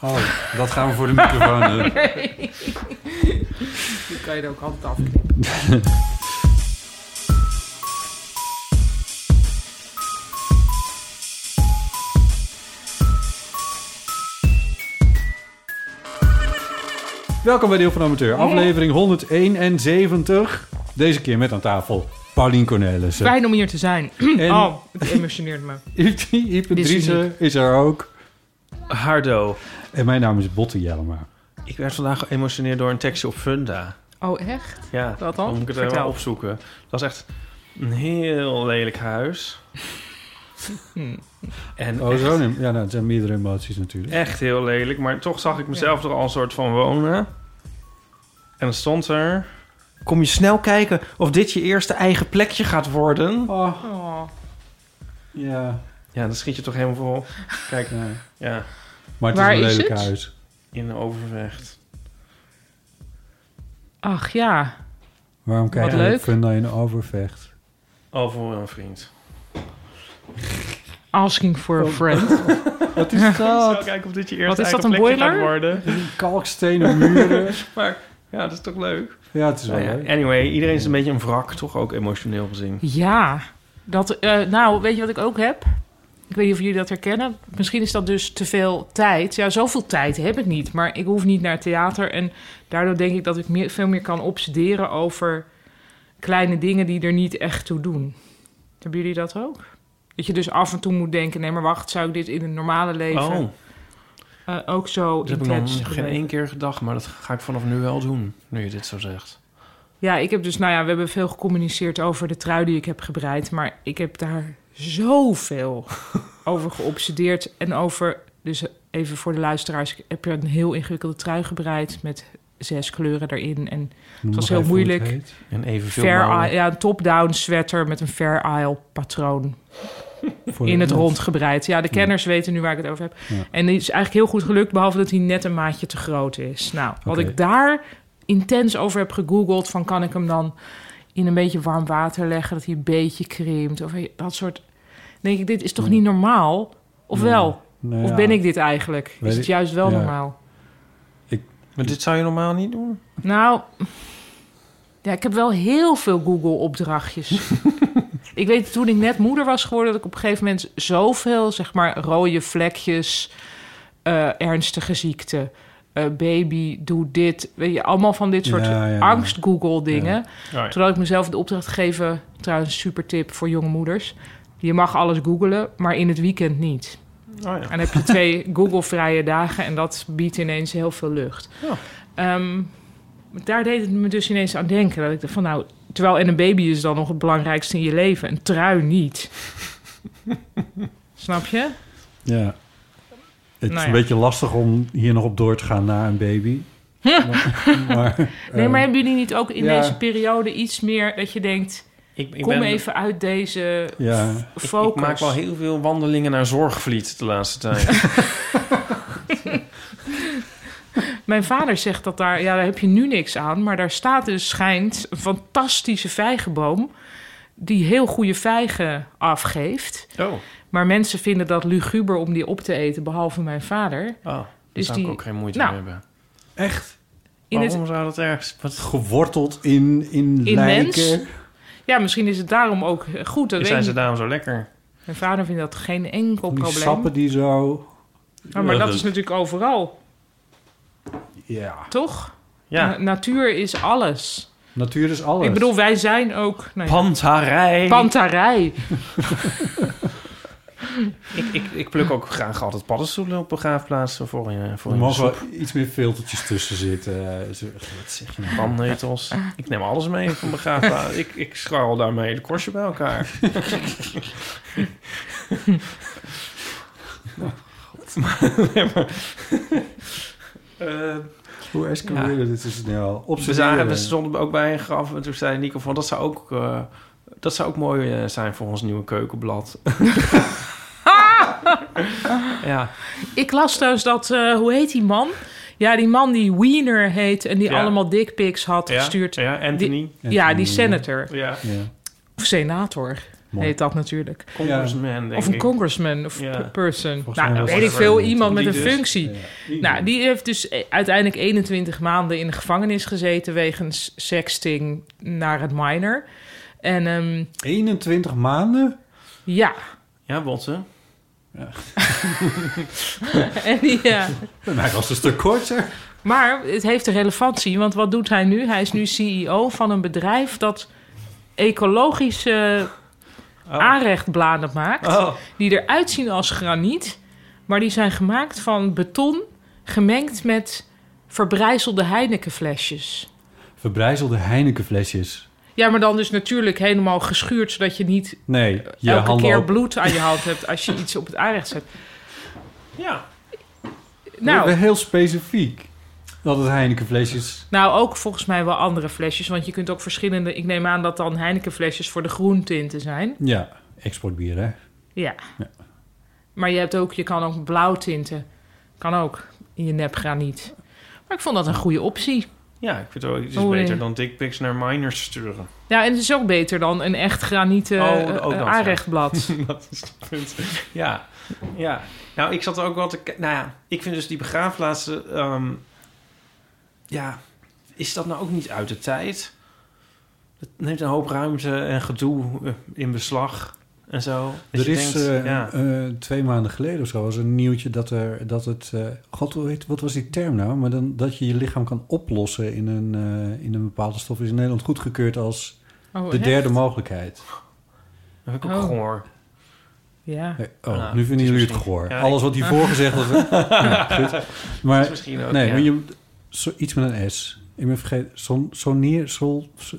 Oh, dat gaan we voor de microfoon doen. Die kan je er ook altijd afknippen. Welkom bij Deel van de Amateur, aflevering 171. Deze keer met aan tafel Paulien Cornelissen. Fijn om hier te zijn. En- Oh, het emotioneert me. Iep- Ipe Dit is Driessen uniek. is er ook. Hardo. En mijn naam is Botte Jellema. Ik werd vandaag geëmotioneerd door een tekstje op Funda. Oh, echt? Ja, Wat dan? Moet ik het Vertel. even opzoeken. Het was echt een heel lelijk huis. Hm. En Oh, echt, zo. nee. Ja, nou, het zijn meerdere emoties natuurlijk. echt heel lelijk. Maar toch zag ik mezelf toch al een soort van wonen. En dan stond er... Kom je snel kijken of dit je eerste eigen plekje gaat worden? Oh, Oh. ja. Ja, dan schiet je toch helemaal vol. Kijk, ja. ja, Maar het Waar is een is lelijk het? huis. in Overvecht. Ach ja. Waarom kijk Wat je op leuk. Funda in Overvecht? Al Oh, voor een vriend. Asking for a friend. Wat is Snel dat? kijken of dit je eerste Wat is eigen dat, een plekje boiler? gaat worden. Kalkstenen muren. Maar ja, dat is toch leuk? Ja, het is wel Nou ja, leuk. anyway, iedereen is een beetje een wrak, toch ook emotioneel gezien. Ja. Dat, eh, nou, weet je wat ik ook heb? Ik weet niet of jullie dat herkennen. Misschien is dat dus te veel tijd. Ja, zoveel tijd heb ik niet. Maar ik hoef niet naar het theater. En daardoor denk ik dat ik meer, veel meer kan obsederen over kleine dingen die er niet echt toe doen. Hebben jullie dat ook? Dat je dus af en toe moet denken: nee, maar wacht, zou ik dit in het normale leven Oh, eh, ook zo dat Dus heb ik intens nog geen beleven? één keer gedacht, maar dat ga ik vanaf nu wel doen, nu je dit zo zegt. Ja, ik heb dus, nou ja, we hebben veel gecommuniceerd over de trui die ik heb gebreid. Maar ik heb daar zoveel over geobsedeerd. En over, dus even voor de luisteraars, ik heb er een heel ingewikkelde trui gebreid met zes kleuren erin. En Noem nog was heel even hoe het moeilijk. heet. En evenveel fair mouwen. eye- ja, een top-down sweater met een fair isle patroon Voor in de- het rond gebreid. Ja, de kenners weten nu waar ik het over heb. Ja. En die is eigenlijk heel goed gelukt, behalve dat hij net een maatje te groot is. Nou, wat Oké. ik daar intens over heb gegoogeld, van kan ik hem dan in een beetje warm water leggen, dat hij een beetje krimpt, of dat soort... Dan denk ik, dit is toch niet normaal? Of wel? Nou Of ja. ben ik dit eigenlijk? Weet Is ik- het juist wel ja. normaal? Maar dit zou je normaal niet doen? Nou, ja, ik heb wel heel veel Google-opdrachtjes. ik weet toen ik net moeder was geworden, dat ik op een gegeven moment zoveel, zeg maar, rode vlekjes, eh, ernstige ziekte, eh, baby, doe dit. Weet je, allemaal van dit soort Ja, Oh, ja, ja. angst-Google-dingen. Ja, Toen had ik mezelf de opdracht gegeven, trouwens, super tip voor jonge moeders. Je mag alles googelen, maar in het weekend niet. Oh ja. En dan heb je twee Google-vrije dagen en dat biedt ineens heel veel lucht. Ja. Ehm, daar deed het me dus ineens aan denken. Dat ik dacht van nou, terwijl en een baby is dan nog het belangrijkste in je leven. Een trui niet. Snap je? Ja. Het is Nou een ja. beetje lastig om hier nog op door te gaan na een baby. maar, maar, Ehm, Nee, maar eh, hebben jullie niet ook in ja. deze periode iets meer dat je denkt... Ik, ik kom ben- even uit deze ja, ik- focus. Ik maak wel heel veel wandelingen naar Zorgvliet de laatste tijd. Mijn vader zegt dat daar, ja, daar heb je nu niks aan, maar daar staat dus schijnt een fantastische vijgenboom die heel goede vijgen afgeeft. oh, Maar mensen vinden dat luguber om die op te eten, behalve mijn vader. oh daar Dus zou die- ik ook geen moeite Nou, mee hebben. echt In Waarom het, zou dat ergens... Wat, geworteld in, in, In lijken. ja, misschien is het daarom ook goed. zijn Dat weet ze ik. niet. daarom zo lekker? Mijn vader vindt dat geen enkel Die probleem. Ah, sappen die zo... Ja, maar dat is natuurlijk overal, Ja. toch? Ja. Na- natuur is alles. Natuur is alles. Ik bedoel, wij zijn ook... nou ja, Pantarij. Pantarij. ik, ik, ik pluk ook graag altijd paddenstoelen op begraafplaatsen voor je. Voor er in de mogen soep. wel iets meer filtertjes tussen zitten. Eh, zo- Wat zeg je nou? Brandnetels. Ik neem alles mee van begraafplaats. ik, ik scharrel daar mijn hele korstje bij elkaar. Nou, Nee, maar- Eh, Hoe escaleren dit is snel? we Observeren. zagen, we stonden ook bij een graf en toen zei Nico van dat zou ook, eh, dat zou ook mooi eh, zijn voor ons nieuwe keukenblad. ja, Ik las trouwens dat, eh, hoe heet die man? Ja, die man die Wiener heet en die Ja. allemaal dickpics had ja, gestuurd. ja, Anthony. Ja, die senator. ja, Ja. Of senator Mooi. heet dat natuurlijk. congressman denk Of een ik. congressman of Ja. p- person. Volgens mij Nou, was weet ik het veel. een- Iemand met die een dus. functie. Ja. Nou, die heeft dus eh, uiteindelijk 21 maanden in de gevangenis gezeten... wegens sexting naar het minor. En ehm, 21 maanden? ja, Ja, Botten. en die... ja. Bij mij was het een stuk korter. Maar het heeft een relevantie, want wat doet hij nu? Hij is nu CEO van een bedrijf dat ecologische aanrechtbladen maakt. Oh. Die eruit zien als graniet, maar die zijn gemaakt van beton gemengd met verbrijzelde Heinekenflesjes. Verbrijzelde Heinekenflesjes. Ja, maar dan dus natuurlijk helemaal geschuurd, zodat je niet eh, Nee, je elke handen keer ook- bloed aan je hand hebt als je iets op het aanrecht zet. Ja. We- Nou, we heel specifiek. Dat het Heinekenflesjes... nou, ook volgens mij wel andere flesjes, want je kunt ook verschillende... Ik neem aan dat dan Heinekenflesjes voor de groentinten zijn. Ja, exportbier, hè? Ja. Ja. Maar je, hebt ook, je kan ook blauw tinten. Kan ook in je nepgraniet. Maar ik vond dat een goede optie. Ja, ik vind het wel, het is Oei. beter dan dickpics naar minors sturen. Ja, en het is ook beter dan een echt granieten Oh, eh, ook dat, eh, ja. aanrechtblad. dat is het punt. Ja, ja. Nou, ik zat ook wel te... ki- Nou ja, ik vind dus die begraafplaatsen... ehm, ja, is dat nou ook niet uit de tijd? Het neemt een hoop ruimte en gedoe eh, in beslag en zo. Dus er je is denkt, eh, ja, eh, twee maanden geleden of zo was een nieuwtje dat, er, dat het... eh, God, hoe heet- wat was die term nou? Maar dan, dat je je lichaam kan oplossen in een, eh, in een bepaalde stof... is in Nederland goedgekeurd als Oh, de hè? derde mogelijkheid. dat heb ik ook Oh. gehoor. Ja. Nee, oh, Nou, nu vinden het is jullie het misschien- goor. Ja, Alles wat hiervoor gezegd was... Ja, goed. Maar is misschien ook, Nee, ja. maar je, zo, iets met een S. Ik ben vergeten. Son, sonier, sol, so-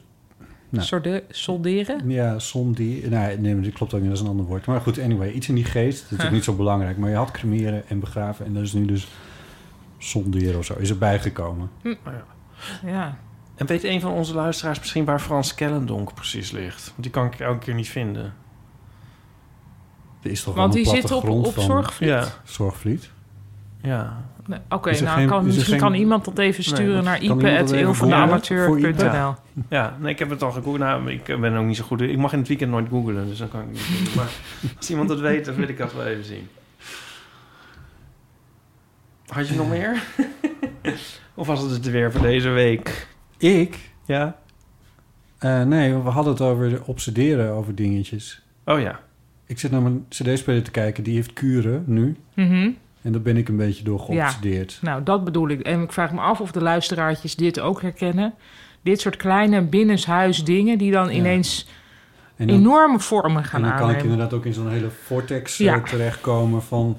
Nou. Solde- solderen. ja, som die. Nou, nee, maar dat klopt ook niet. Dat is een ander woord. Maar goed, anyway, iets in die geest. Dat is natuurlijk niet zo belangrijk. Maar je had cremeren en begraven. En dat is nu dus sonderen of zo. Is erbij gekomen. hm. Ja. En weet een van onze luisteraars misschien waar Frans Kellendonk precies ligt? Want die kan ik elke keer niet vinden. Er is toch wel Want een die platte zit op, grond op van zorgvliet. Ja, zorgvliet. ja. Nee, Oké, Is er nou, geen- kan, is er misschien geen- kan iemand dat even sturen dat- naar kan iemand dat even googlen? Voor Ipe? ipe.eeuwvanamateur.nl. Ja, nee, ik heb het al gegoogeld. Nou, ik eh, ben ook niet zo goed. in- Ik mag in het weekend nooit googelen, dus dan kan ik niet googlen. Maar als iemand dat weet, dan wil ik dat wel even zien. Had je nog meer? of was het het weer voor deze week? Ik? Ja. Eh, nee, we hadden het over de obsederen over dingetjes. Oh ja. Ik zit naar mijn cd-speler te kijken. Die heeft kuren nu. Mhm. En daar ben ik een beetje door geobsedeerd. Nou, dat bedoel ik. En ik vraag me af of de luisteraartjes dit ook herkennen. Dit soort kleine binnenshuisdingen die dan ineens... En dan- enorme vormen En gaan dan kan ik aannemen. inderdaad ook in zo'n hele vortex Ja. eh, terechtkomen van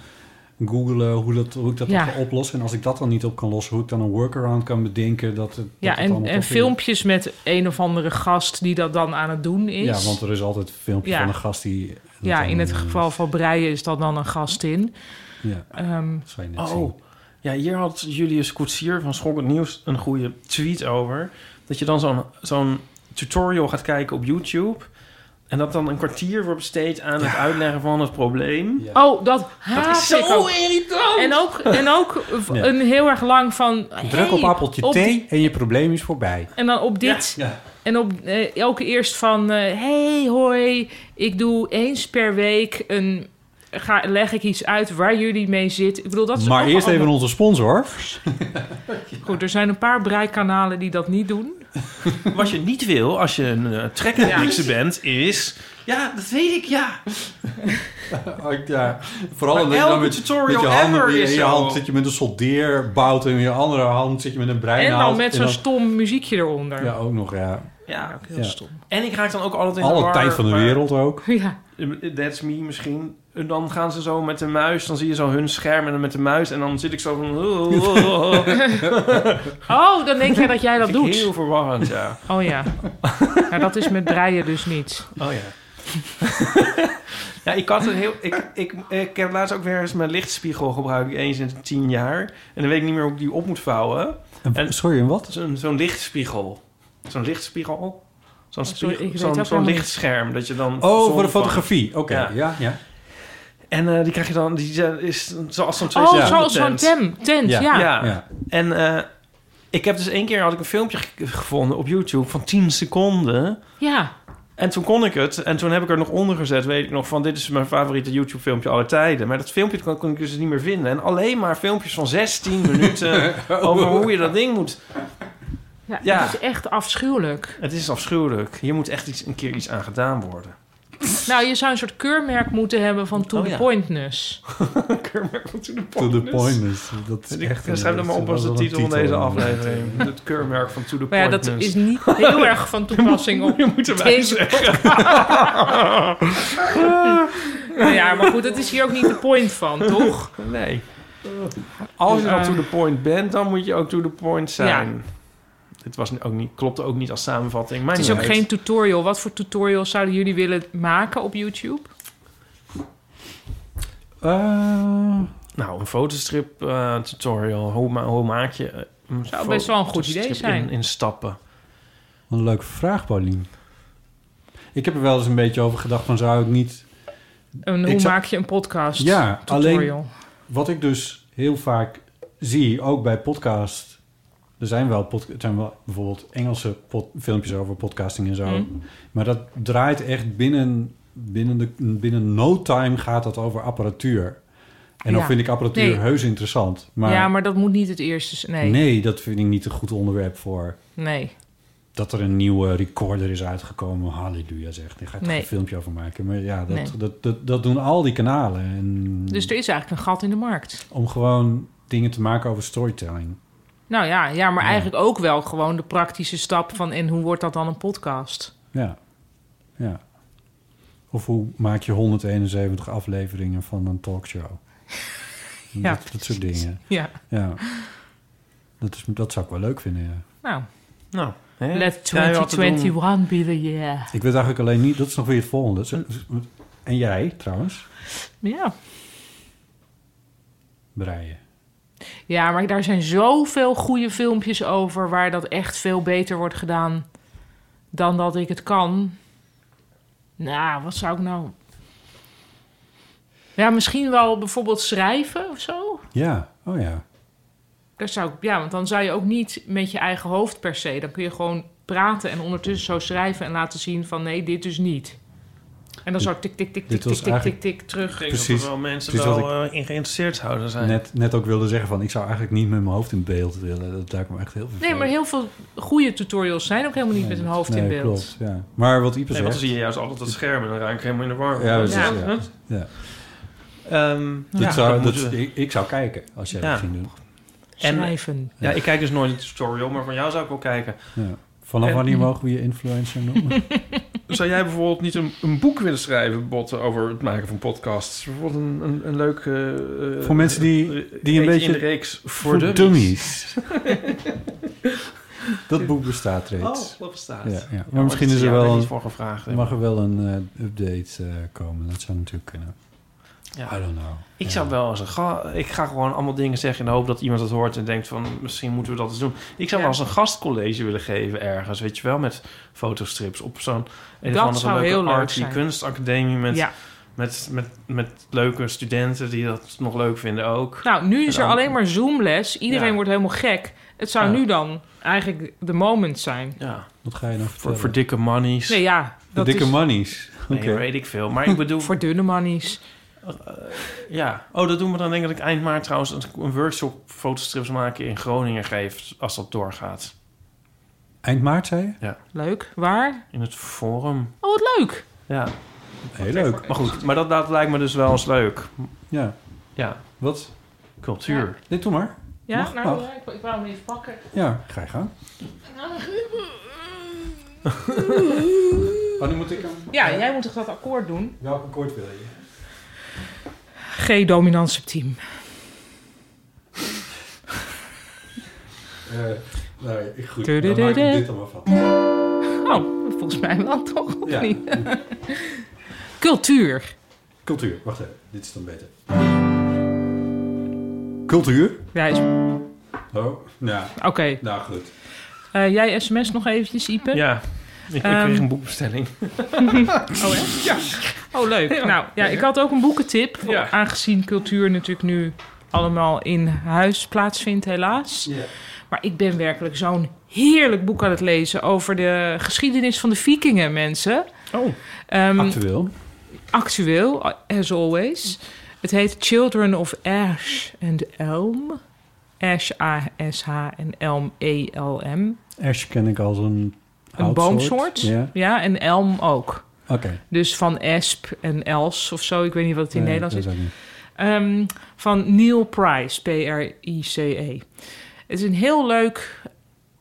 googelen hoe, dat, hoe ik dat Ja. dan ga oplossen. En als ik dat dan niet op kan lossen, hoe ik dan een workaround kan bedenken. Dat, het- dat Ja, het en, allemaal en toch weer- filmpjes met een of andere gast die dat dan aan het doen is. Ja, want er is altijd een filmpje Ja. van een gast die... dat Ja, dan, in het eh, geval van Breien is dat dan een gastin. Ja, Ehm, dat zou je net zien. Oh. Ja, hier had Julius Koetsier van Schokkend Nieuws een goede tweet over. Dat je dan zo'n zo'n tutorial gaat kijken op YouTube. En dat dan een kwartier wordt besteed aan het uitleggen van het probleem. Ja. oh, dat haat Dat is zo ik ook. irritant! En ook, en ook v- Ja. een heel erg lang van... Druk op hey, appeltje op thee die- en je probleem is voorbij. en dan op dit. Ja. En op, eh, ook eerst van... eh, hey, hoi, ik doe eens per week een... Ga, leg ik iets uit waar jullie mee zitten. Ik bedoel, dat is Maar ook eerst allemaal- even onze sponsor. Goed, er zijn een paar breikanalen die dat niet doen. Wat je eh, niet wil als je een uh, trekmixer bent, is... Ja, dat weet ik, ja. Oh, ja, vooral Maar omdat je elke dan met, tutorial met je hand, ever in je, is in je zo. hand zit je met een soldeerbout en in je andere hand zit je met een breinaald. En dan met en zo'n dan- stom muziekje eronder. Ja, ook nog, ja. Ja, ook heel Ja. stom. En ik raak dan ook altijd in de Alle war, tijd van de maar- wereld ook. Ja. That's me misschien. En dan gaan ze zo met de muis. Dan zie je zo hun scherm en dan met de muis. En dan zit ik zo van... Dat Oh, dan denk jij dat jij dat doet. Heel verwarrend, ja. Oh ja. Nou, dat is met breien dus niet. Oh ja. ja, ik had een heel... Ik, ik, ik heb laatst ook weer eens mijn lichtspiegel gebruikt. Eens in tien jaar. En dan weet ik niet meer hoe ik die op moet vouwen. En, sorry, en wat? Zo'n zo'n lichtspiegel. Zo'n lichtspiegel. Zo'n Oh, sorry, ik spiegel- weet zo'n ook zo'n helemaal lichtscherm. Dat je dan Oh, voor zon de vangt. fotografie. Oké, Ja. ja, ja. En eh, die krijg je dan... Die zijn- is zoals zo'n twee Oh, seconden zoals zo'n tent. tem, tent, ja. Ja. ja. ja. En eh, ik heb dus één keer had ik een filmpje ge- gevonden op YouTube van 10 seconden. En toen kon ik het. En toen heb ik er nog onder gezet, weet ik nog, van dit is mijn favoriete YouTube filmpje aller tijden. Maar dat filmpje kon, kon ik dus niet meer vinden. En alleen maar filmpjes van 16 minuten Oh. over hoe je dat ding moet. Ja, Ja. Het is echt afschuwelijk. Het is afschuwelijk. Hier moet echt iets, een keer iets aan gedaan worden. Nou, je zou een soort keurmerk moeten hebben van to Oh, the ja. pointness. To the point. is- Dat is Dus echt ik, schrijf dat maar op als de titel van deze aflevering. Het keurmerk van To The Maar ja, Point dat News. is niet heel erg van toepassing op Je moet erbij Deze zeggen. Nou ja, maar goed, dat is hier ook niet de point van, toch? Nee. Als je eh, dan to the point bent, dan moet je ook to the point zijn. Dit was ook niet, klopte ook niet als samenvatting. Maar Het is niet ook uit. geen tutorial. Wat voor tutorials zouden jullie willen maken op YouTube? Eh, Nou, een fotostrip eh, tutorial. Hoe, ma- hoe maak je... eh, een Zou best wel een goed idee fotostrip zijn. In, in stappen. Wat een leuke vraag, Paulien. Ik heb er wel eens een beetje over gedacht van zou ik niet... En Ik hoe zou- maak je een podcast Ja, alleen tutorial? wat ik dus heel vaak zie, ook bij podcast... Er zijn wel, pod, er zijn wel bijvoorbeeld Engelse pod- filmpjes over podcasting en zo. Mm. Maar dat draait echt binnen, binnen, de, binnen no time gaat dat over apparatuur. En dan Ja. vind ik apparatuur Nee. heus interessant. Maar, ja, maar dat moet niet het eerste zijn. Nee, nee. nee. dat vind ik niet een goed onderwerp voor. nee. Dat er een nieuwe recorder is uitgekomen. Halleluja zegt. Daar ga ik toch Nee. een filmpje over maken. Maar ja, dat, Nee. dat, dat, dat doen al die kanalen. En Dus er is eigenlijk een gat in de markt. Om gewoon dingen te maken over storytelling. Nou ja, ja maar eigenlijk ook wel gewoon de praktische stap van... en hoe wordt dat dan een podcast? Ja. ja. Of hoe maak je 171 afleveringen van een talkshow? Ja, dat, dat soort dingen. Ja, Ja. Dat, is, dat zou ik wel leuk vinden, ja. nou, Nou, hè? let Jij had het doen. 2021 be the year. Ik weet eigenlijk alleen niet... Dat is nog weer het volgende. Zo- En jij, trouwens? Ja. Breien. Ja, maar daar zijn zoveel goede filmpjes over waar dat echt veel beter wordt gedaan dan dat ik het kan. Nou, wat zou ik nou. Ja, misschien wel bijvoorbeeld schrijven of zo. Ja. Oh ja. Daar zou ik, ja, want dan zou je ook niet met je eigen hoofd per se. Dan kun je gewoon praten en ondertussen zo schrijven en laten zien van nee, dit dus niet. En dan zo tik, tik, tik, tik, Dit was tik, tik, tik, eigenlijk- tik, terug. Ik denk dat Precies. er wel mensen Precies wat wel eh, in geïnteresseerd Nou, zouden zijn. Net, net ook wilde zeggen van... Ik zou eigenlijk niet met mijn hoofd in beeld willen. Dat lijkt me echt heel veel. Nee, maar heel veel goede tutorials zijn ook helemaal niet met een hoofd in beeld. Klopt, ja. Maar wat Ipe Nee, want zegt... dan zie je juist altijd het scherm en dan raak ik helemaal in de war. Ja, dat precies, Ja. ja. Ja. Dit ja, zou, dat dat, moeten we- ik, ik zou kijken als jij Ja. dat ging doen. En- Schrijven. ja, ik kijk dus nooit een tutorial, maar van jou zou ik wel kijken. Ja. Vanaf En- wanneer mogen we je influencer noemen? Eh, Zou jij bijvoorbeeld niet een, een boek willen schrijven, Botte, over het maken van podcasts? Bijvoorbeeld een, een, een leuk... eh, eh, Voor mensen die- eh, die een eentje beetje- In de reeks voor, dummies. dat boek bestaat reeds. Oh, wat bestaat. ja, ja. Maar Ja, misschien dat- is er ja, daar wel niet een, voor gevraagd. hè. mag er wel een eh, update eh, komen. Dat zou natuurlijk kunnen. Ja. I don't know. Ik Ja. zou wel eens een ga, ik ga gewoon allemaal dingen zeggen in de hoop dat iemand het hoort en denkt van misschien moeten we dat eens doen. Ik zou wel eens Ja. een gastcollege willen geven ergens, weet je wel, met fotostrips op zo'n een Dat of andere zou leuke heel leuk arty zijn. kunstacademie met, Ja. met, met, met leuke studenten die dat nog leuk vinden ook. Nou, nu is En er dan- alleen maar Zoom-les. Iedereen Ja. wordt helemaal gek. Het zou Ja. nu dan eigenlijk de moment zijn. Ja, Wat ga je nou voor, vertellen? voor dikke monies. Nee, ja, De dat dikke is mannies. Nee, Oké. weet ik veel. Maar ik bedoel, Eh, voor dunne mannies. ja. Oh, dat doen we dan denk ik dat ik eind maart trouwens een, een workshop fotostrips maken in Groningen geef, als dat doorgaat. Eind maart, zei je? Leuk. Waar? In het forum. Oh, wat leuk. Ja. Heel leuk. Maar goed, maar dat, dat lijkt me dus wel eens leuk. Ja. Ja, Wat? cultuur. Dit doe maar. Ja, Mag, nou, mag. ik, wou- ik wou hem even pakken. Ja, ga je gaan. Oh, nu moet ik hem. Ja, jij moet toch dat akkoord doen? Welk akkoord wil je? G-dominant septiem. Eh nou, ik goed. Tudu- Dan maak ik tudu. dit allemaal van. Oh, volgens mij wel toch? Of Ja. niet? Cultuur. Cultuur. Wacht even. Dit is dan beter. Cultuur? Ja, is- Oh, ja. Oké. Nou, goed. Eh, jij sms nog eventjes, Ipe? Ja, ik, ik Ehm, kreeg een boekbestelling. Oh, hè? Ja. Oh, leuk. Nou, ja, ik had ook een boekentip. Ja. Aangezien cultuur natuurlijk nu allemaal in huis plaatsvindt, helaas. Ja. Maar ik ben werkelijk zo'n heerlijk boek aan het lezen... over de geschiedenis van de vikingen, mensen. Oh. Ehm, Actueel. actueel, as always. Het heet Children of Ash and Elm. Ash, A-S-H en Elm, E E-L-M. Ash ken ik als een Een boomsoort. Ja. ja, en elm ook. Oké. Dus van Esp en Els of zo. Ik weet niet wat het in Nederlands is. Nederland Ehm, van Neil Price, P-R-I-C-E. E. Het is een heel leuk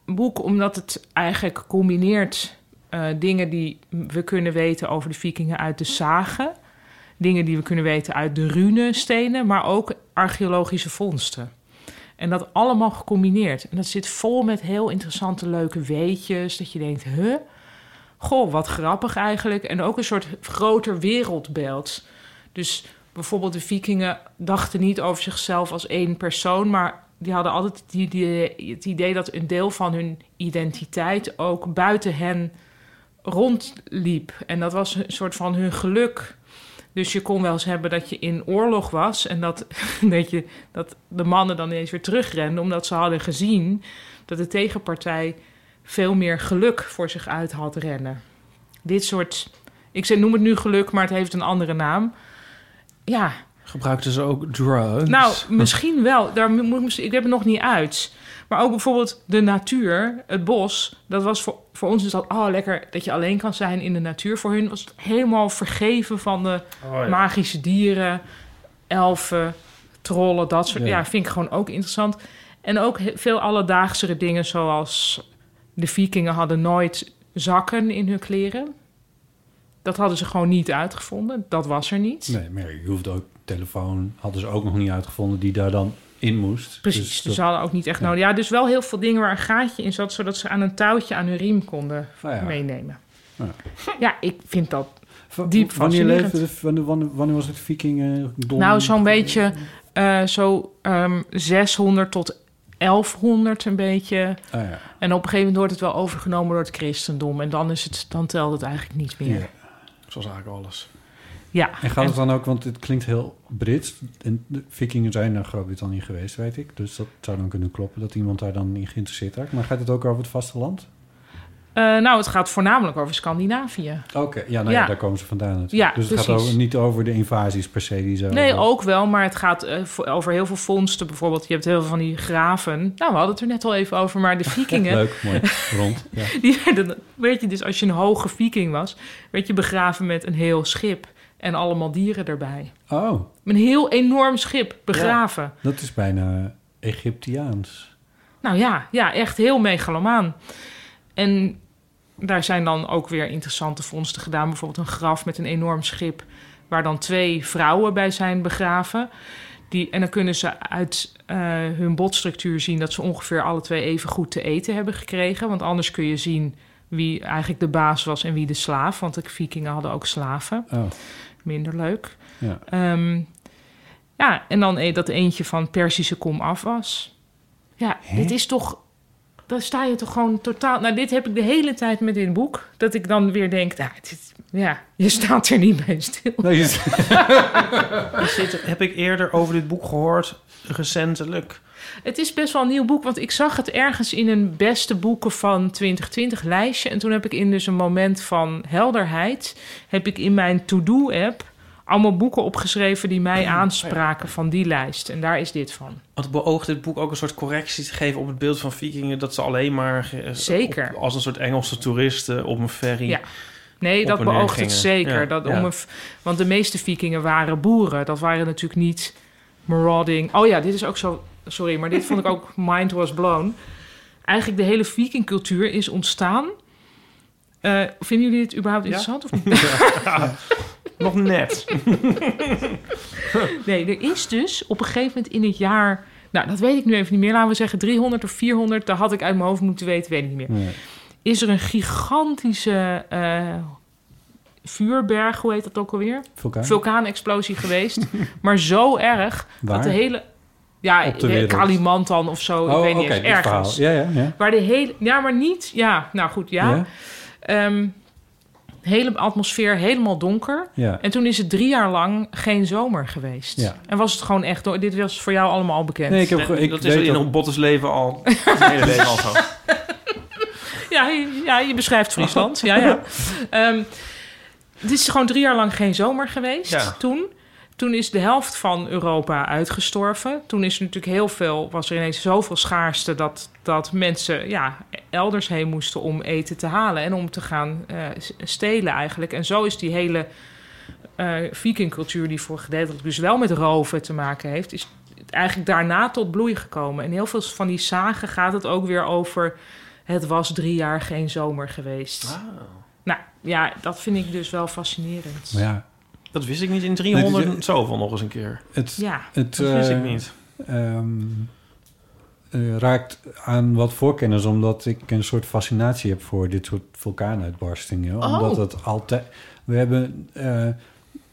boek, omdat het eigenlijk combineert eh, dingen die we kunnen weten over de vikingen uit de sagen. Dingen die we kunnen weten uit de runenstenen, maar ook archeologische vondsten. En dat allemaal gecombineerd. En dat zit vol met heel interessante, leuke weetjes. Dat je denkt, huh? Goh, wat grappig eigenlijk. En ook een soort groter wereldbeeld. Dus bijvoorbeeld de vikingen dachten niet over zichzelf als één persoon, maar die hadden altijd het idee, het idee dat een deel van hun identiteit ook buiten hen rondliep. En dat was een soort van hun geluk. Dus je kon wel eens hebben dat je in oorlog was en dat, dat, je, dat de mannen dan ineens weer terugrenden, omdat ze hadden gezien dat de tegenpartij veel meer geluk voor zich uit had rennen. Dit soort, ik zeg- noem het nu geluk, maar het heeft een andere naam. Ja, Gebruikten ze ook drugs? nou, misschien wel. Daar mo- moet, ik- ik heb het nog niet uit. Maar ook bijvoorbeeld de natuur, het bos. Dat was voor, voor ons dus dat, oh lekker dat je alleen kan zijn in de natuur. Voor hun was het helemaal vergeven van de Oh, ja. magische dieren, elfen, trollen, dat soort. Ja. Ja, vind ik gewoon ook interessant. En ook he- veel alledaagsere dingen zoals de vikingen hadden nooit zakken in hun kleren. Dat hadden ze gewoon niet uitgevonden. Dat was er niet. Nee, maar je hoeft ook telefoon. Hadden ze ook nog niet uitgevonden die daar dan in moest. Precies, Dus dus, dat- ze hadden ook niet echt ja. nodig. Ja, dus wel heel veel dingen waar een gaatje in zat... zodat ze aan een touwtje aan hun riem konden Nou ja. meenemen. Ja. Ja. ik vind dat... Va- diep wanneer, fascinerend. leefde de- wanneer, wanneer, wanneer was het eh, vikingen? Don- Nou, zo'n beetje eh, zo ehm, 600 tot 1100 een beetje. Ah, ja. En op een gegeven moment wordt het wel overgenomen door het christendom. En dan, is het, dan telt het eigenlijk niet meer. Ja. Ja. Zoals eigenlijk alles. En gaat het dan ook, want het klinkt heel Brits. En de vikingen zijn naar Groot-Brittannië geweest, weet ik. Dus dat zou dan kunnen kloppen dat iemand daar dan in geïnteresseerd raakt. Maar gaat het ook over het vasteland? Eh, nou, het gaat voornamelijk over Scandinavië. Oké, ja, nou ja. Ja. daar komen ze vandaan natuurlijk. Ja, dus het gaat precies. over, niet over de invasies per se die ze... Nee, hadden. ook wel, maar het gaat eh, vo- over heel veel vondsten. Bijvoorbeeld, je hebt heel veel van die graven. Nou, we hadden het er net al even over, maar de vikingen... Leuk, mooi, rond. Ja. Die werden, weet je, dus als je een hoge viking was, werd je begraven met een heel schip en allemaal dieren erbij. Oh, Een heel enorm schip begraven. dat is bijna Egyptiaans. Nou ja, ja, echt heel megalomaan. En daar zijn dan ook weer interessante vondsten gedaan. Bijvoorbeeld een graf met een enorm schip... waar dan twee vrouwen bij zijn begraven. Die, en dan kunnen ze uit eh, hun botstructuur zien... dat ze ongeveer alle twee even goed te eten hebben gekregen. Want anders kun je zien wie eigenlijk de baas was en wie de slaaf. Want de vikingen hadden ook slaven. Oh, Minder leuk. ja. Ehm, ja, en dan e- dat eentje van Persische kom af was. Ja, dit is toch... Dan sta je toch gewoon totaal... Nou, dit heb ik de hele tijd met dit boek. Dat ik dan weer denk, nou, dit- ja, je staat er niet bij stil. Nee, je- Is dit- heb ik eerder over dit boek gehoord, recentelijk. Het is best wel een nieuw boek, want ik zag het ergens in een beste boeken van 2020 lijstje. En toen heb ik in dus een moment van helderheid, heb ik in mijn to-do app allemaal boeken opgeschreven die mij aanspraken van die lijst. En daar is dit van. Want beoogt dit boek ook een soort correctie te geven op het beeld van vikingen... dat ze alleen maar eh, Zeker. op- als een soort Engelse toeristen op een ferry... Ja. Nee, Op dat en neer beoogt gingen. het zeker. Ja, Dat ja. om een v- want de meeste vikingen waren boeren. Dat waren natuurlijk niet marauding. Oh ja, dit is ook zo... Sorry, maar dit vond ik ook mind was blown. Eigenlijk de hele vikingcultuur is ontstaan... Eh, vinden jullie dit überhaupt interessant of niet? Nog net. Nee, er is dus op een gegeven moment in het jaar... Nou, dat weet ik nu even niet meer. Laten we zeggen 300 of 400. Dat had ik uit mijn hoofd moeten weten, weet ik niet meer. Nee. Is er een gigantische eh, vuurberg, hoe heet dat ook alweer? Vulkaan? vulkaanexplosie geweest. maar zo erg Waar? dat de hele... Ja, Op de eh, wereld. Kalimantan of zo, ik oh, weet oké, niet eens, dit ergens. verhaal. Ja, ja, ja. Waar de hele... Ja, maar niet... Ja, nou goed, ja. Ja, Ehm, hele atmosfeer, helemaal donker. ja. En toen is het drie jaar lang geen zomer geweest. Ja. En was het gewoon echt... door- Dit was voor jou allemaal al bekend. Nee, ik heb, ge- ik dat is weet in dat- Ombottes leven al. Het hele leven al zo. Ja, je- ja, je beschrijft Friesland. Ja, ja. Ehm, het is gewoon drie jaar lang geen zomer geweest Ja. toen. Toen is de helft van Europa uitgestorven. Toen is er natuurlijk heel veel, was er ineens zoveel schaarste dat, dat mensen ja, elders heen moesten om eten te halen en om te gaan eh, s- stelen eigenlijk. En zo is die hele eh vikingcultuur, die voor gedeeltelijk dus wel met roven te maken heeft, is eigenlijk daarna tot bloei gekomen. En heel veel van die zagen gaat het ook weer over. Het was drie jaar geen zomer geweest. Nou ja, dat vind ik dus wel fascinerend. Maar ja, Dat wist ik niet in 300 Nee, dit- zoveel nog eens een keer. het, Ja, het Dat wist eh, ik niet. ehm, eh, raakt aan wat voorkennis, omdat ik een soort fascinatie heb voor dit soort vulkaanuitbarstingen. Oh. Omdat het altijd. We hebben eh,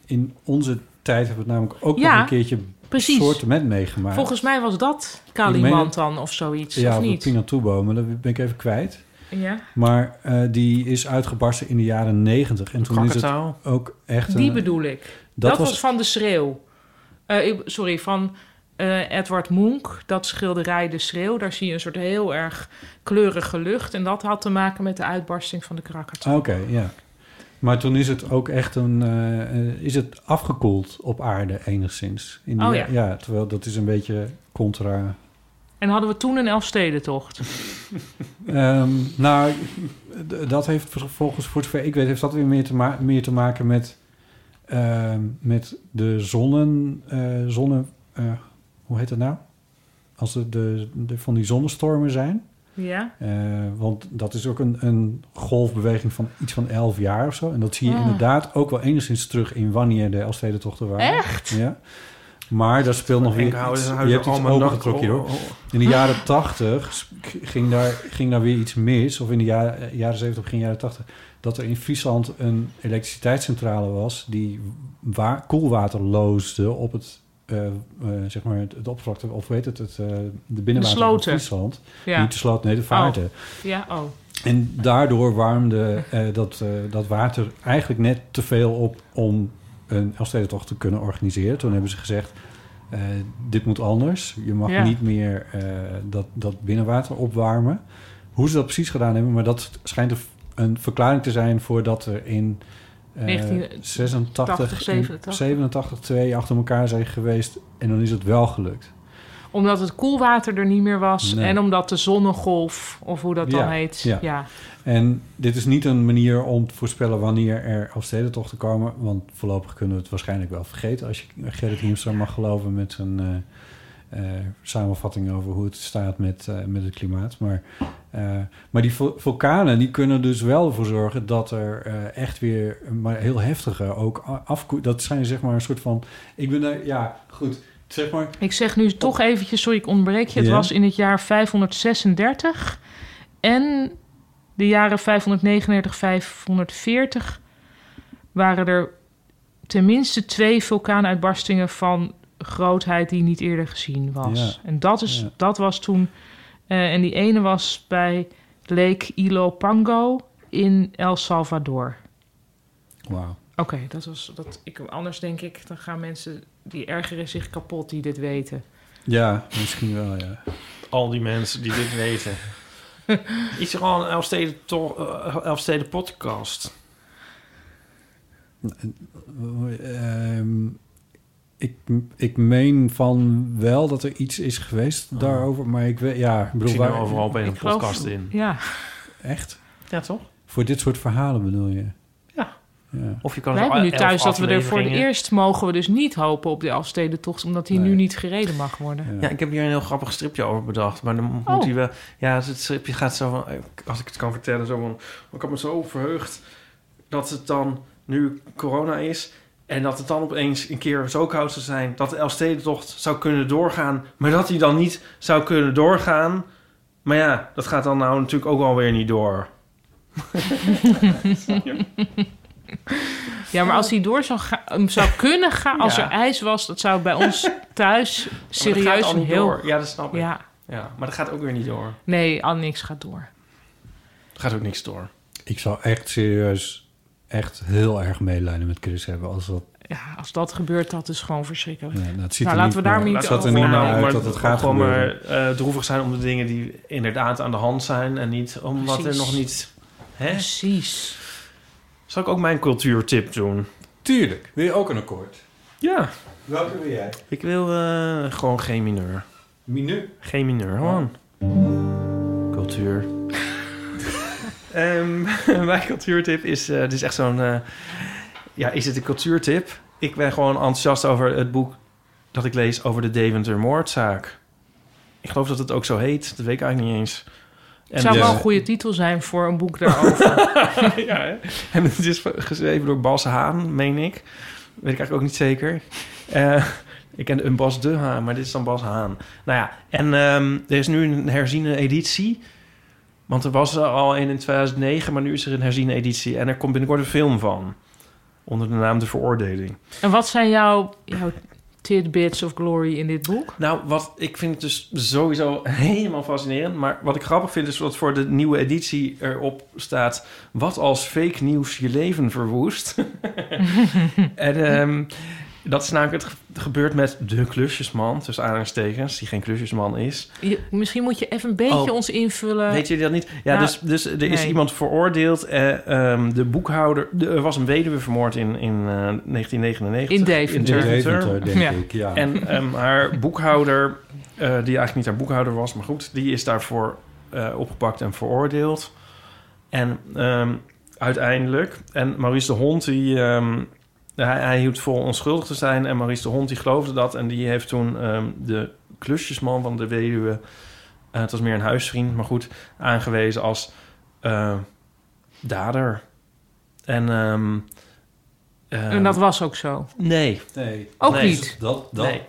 in onze tijd hebben we het namelijk ook Ja, nog een keertje precies. soorten met meegemaakt. volgens mij was dat meen- Kalimantan of zoiets, ja, of op de niet? Pinatubo, maar dat ben ik even kwijt. Ja. Maar eh, die is uitgebarsten in de jaren negentig. En toen is het Krakatau. Oh. ook echt. Die een- bedoel ik. dat Dat, was- was... van de schreeuw. Eh, ik- sorry, van eh, Edward Munch, dat schilderij De Schreeuw. Daar zie je een soort heel erg kleurige lucht. En dat had te maken met de uitbarsting van de Krakatau. Ah, Oké, ja. Maar toen is het ook echt een... eh, eh, is het afgekoeld op aarde enigszins? In die- Oh ja. terwijl dat is een beetje contra... En hadden we toen een Elfstedentocht. Ehm, nou, d- dat heeft volgens voor zover ik weet... heeft dat weer meer te, ma- meer te maken met... ehm, met de zonnen... eh zonne... eh, hoe heet dat nou? Als er de, de, van die zonnestormen zijn... Ja? Eh, want dat is ook een, een golfbeweging van iets van 11 jaar of zo. En dat zie je Ah. inderdaad ook wel enigszins terug in wanneer de Elfstedentochten waren. Echt? Ja. Maar daar speelt nog weer iets, je hebt iets opengetrokken hier, hoor. In de jaren 80 ging daar, ging daar weer iets mis. Of in de jaren, eh, jaren 70, begin jaren 80. Dat er in Friesland een elektriciteitscentrale was... die wa- koelwater loosde op het... eh, eh, zeg maar het, het oppervlakte, of weet het, het eh, de binnenwater van sloten. Friesland. Ja. Oh. Niet de sloot, nee, de vaarten. ja, oh. En daardoor warmde eh, dat, eh, dat water eigenlijk net te veel op om een Elfstedentocht te kunnen organiseren. Toen hebben ze gezegd, eh, dit moet anders. Je mag Ja. niet meer eh, dat, dat binnenwater opwarmen. Hoe ze dat precies gedaan hebben, maar dat schijnt een, een verklaring te zijn voordat er in eh, 1986, 86, en 87. 87 twee achter elkaar zijn geweest. En dan is het wel gelukt. Omdat het koelwater er niet meer was. Nee. En omdat de zonnegolf, of hoe dat dan Ja, heet. ja. Ja. En dit is niet een manier om te voorspellen wanneer er afstedentochten komen. Want voorlopig kunnen we het waarschijnlijk wel vergeten. Als je Gerrit Hiemstra mag geloven met zijn eh, eh, samenvatting over hoe het staat met, eh, met het klimaat. Maar, eh, maar die vul- vulkanen die kunnen dus wel ervoor zorgen dat er eh, echt weer, maar heel heftige ook a- afko. Dat zijn zeg maar een soort van. Ik ben daar, ja, goed. Zeg maar. Ik zeg nu toch eventjes, sorry ik onderbreek je. Het Ja. was in het jaar 536 en de jaren 539, 540 waren er tenminste twee vulkaanuitbarstingen van grootheid die niet eerder gezien was. Ja. En dat, is, Ja. dat was toen, eh, en die ene was bij Lake Ilopango in El Salvador. Wauw. Oké, dat was dat. Ik, anders denk ik, dan gaan mensen die ergeren zich kapot die dit weten. Ja, misschien wel, ja. Al die mensen die dit weten. Is er al een Elfsteden, to- eh, Elfsteden podcast? Ehm, ik, ik meen van wel dat er iets is geweest daarover, maar ik weet, ja, ik Oh. Ik bedoel, zie nou waar- overal opeens Ik een geloof- podcast in. Ja, Hmm. echt? Ja, toch? Voor dit soort verhalen bedoel je? Ja. Of je kan Wij zo hebben nu elf thuis dat we er voor het afleveringen- eerst mogen we dus niet hopen op de Elfstedentocht, omdat die Nee. nu niet gereden mag worden. Ja, ik heb hier een heel grappig stripje over bedacht. Maar dan Oh. moet hij wel... Ja, het stripje gaat zo van... Als ik het kan vertellen, zo van... "Oh, Ik had me zo verheugd dat het dan nu corona is... En dat het dan opeens een keer zo koud zou zijn... dat de Elfstedentocht zou kunnen doorgaan... maar dat hij dan niet zou kunnen doorgaan. Maar ja, dat gaat dan nou natuurlijk ook alweer niet door. Ja, maar als hij door zou, ga- hem zou kunnen gaan, als Ja. er ijs was, dat zou bij ons thuis Maar dat gaat serieus al een niet heel... door. Ja, dat snap ik. Ja. Ja, maar dat gaat ook weer niet door. nee, al niks gaat door. Er gaat ook niks door. Ik zou echt serieus echt heel erg medelijden met Chris hebben als dat... Ja, als dat gebeurt, dat is gewoon verschrikkelijk. Ja, dat ziet Nou, er laten niet we daar meer- niet het zat er over niet meer nadenken. uit dat het gaat gewoon gebeuren. maar eh, droevig zijn om de dingen die inderdaad aan de hand zijn en niet omdat Precies. er nog niet. Hè? Precies. Zal ik ook mijn cultuurtip doen? Tuurlijk. Wil je ook een akkoord? Ja. Welke wil jij? Ik wil eh, gewoon geen mineur. Minu. Geen mineur, Oh. gewoon. Cultuur. Ehm, mijn cultuurtip is... eh dit is echt zo'n... eh, ja, is het een cultuurtip? Ik ben gewoon enthousiast over het boek dat ik lees over de Deventer moordzaak. Ik geloof dat het ook zo heet. Dat weet ik eigenlijk niet eens. En eh, Het zou de- wel een goede titel zijn voor een boek daarover. ja, hè? En het is geschreven door Bas Haan, meen ik. Weet ik eigenlijk ook niet zeker. Eh, ik ken een Bas de Haan, maar dit is dan Bas Haan. Nou ja, en ehm, er is nu een herziene editie. Want er was er al een in 2009, maar nu is er een herziene editie. En er komt binnenkort een film van. Onder de naam De Veroordeling. en wat zijn jouw, jouw tidbits of glory in dit boek? Nou, wat ik vind het dus sowieso helemaal fascinerend. Maar wat ik grappig vind is dat voor de nieuwe editie erop staat: wat als fake nieuws je leven verwoest. en ehm, dat is namelijk het ge- gebeurt met de klusjesman, tussen aanhalingstekens, die geen klusjesman is. Je- misschien moet je even een beetje Oh. ons invullen. Weet jullie dat niet? Ja, nou, dus, dus er is nee. iemand veroordeeld. eh, ehm, de boekhouder, de- er was een weduwe vermoord in, in eh, 1999. In Deventer. De Deventer. Deventer, denk Ja. ik. Ja. En ehm, haar boekhouder, eh, die eigenlijk niet haar boekhouder was, maar goed, die is daarvoor eh, opgepakt en veroordeeld. En ehm, uiteindelijk, en Maurice de Hond, die, ehm, hij, hij hield vol onschuldig te zijn. En Maurice de Hond, die geloofde dat. En die heeft toen ehm, de klusjesman van de weduwe, eh, het was meer een huisvriend, maar goed, aangewezen als eh, dader. En, ehm, ehm, en dat was ook zo. Nee, nee, Ook Nee. niet. dat, dat Nee.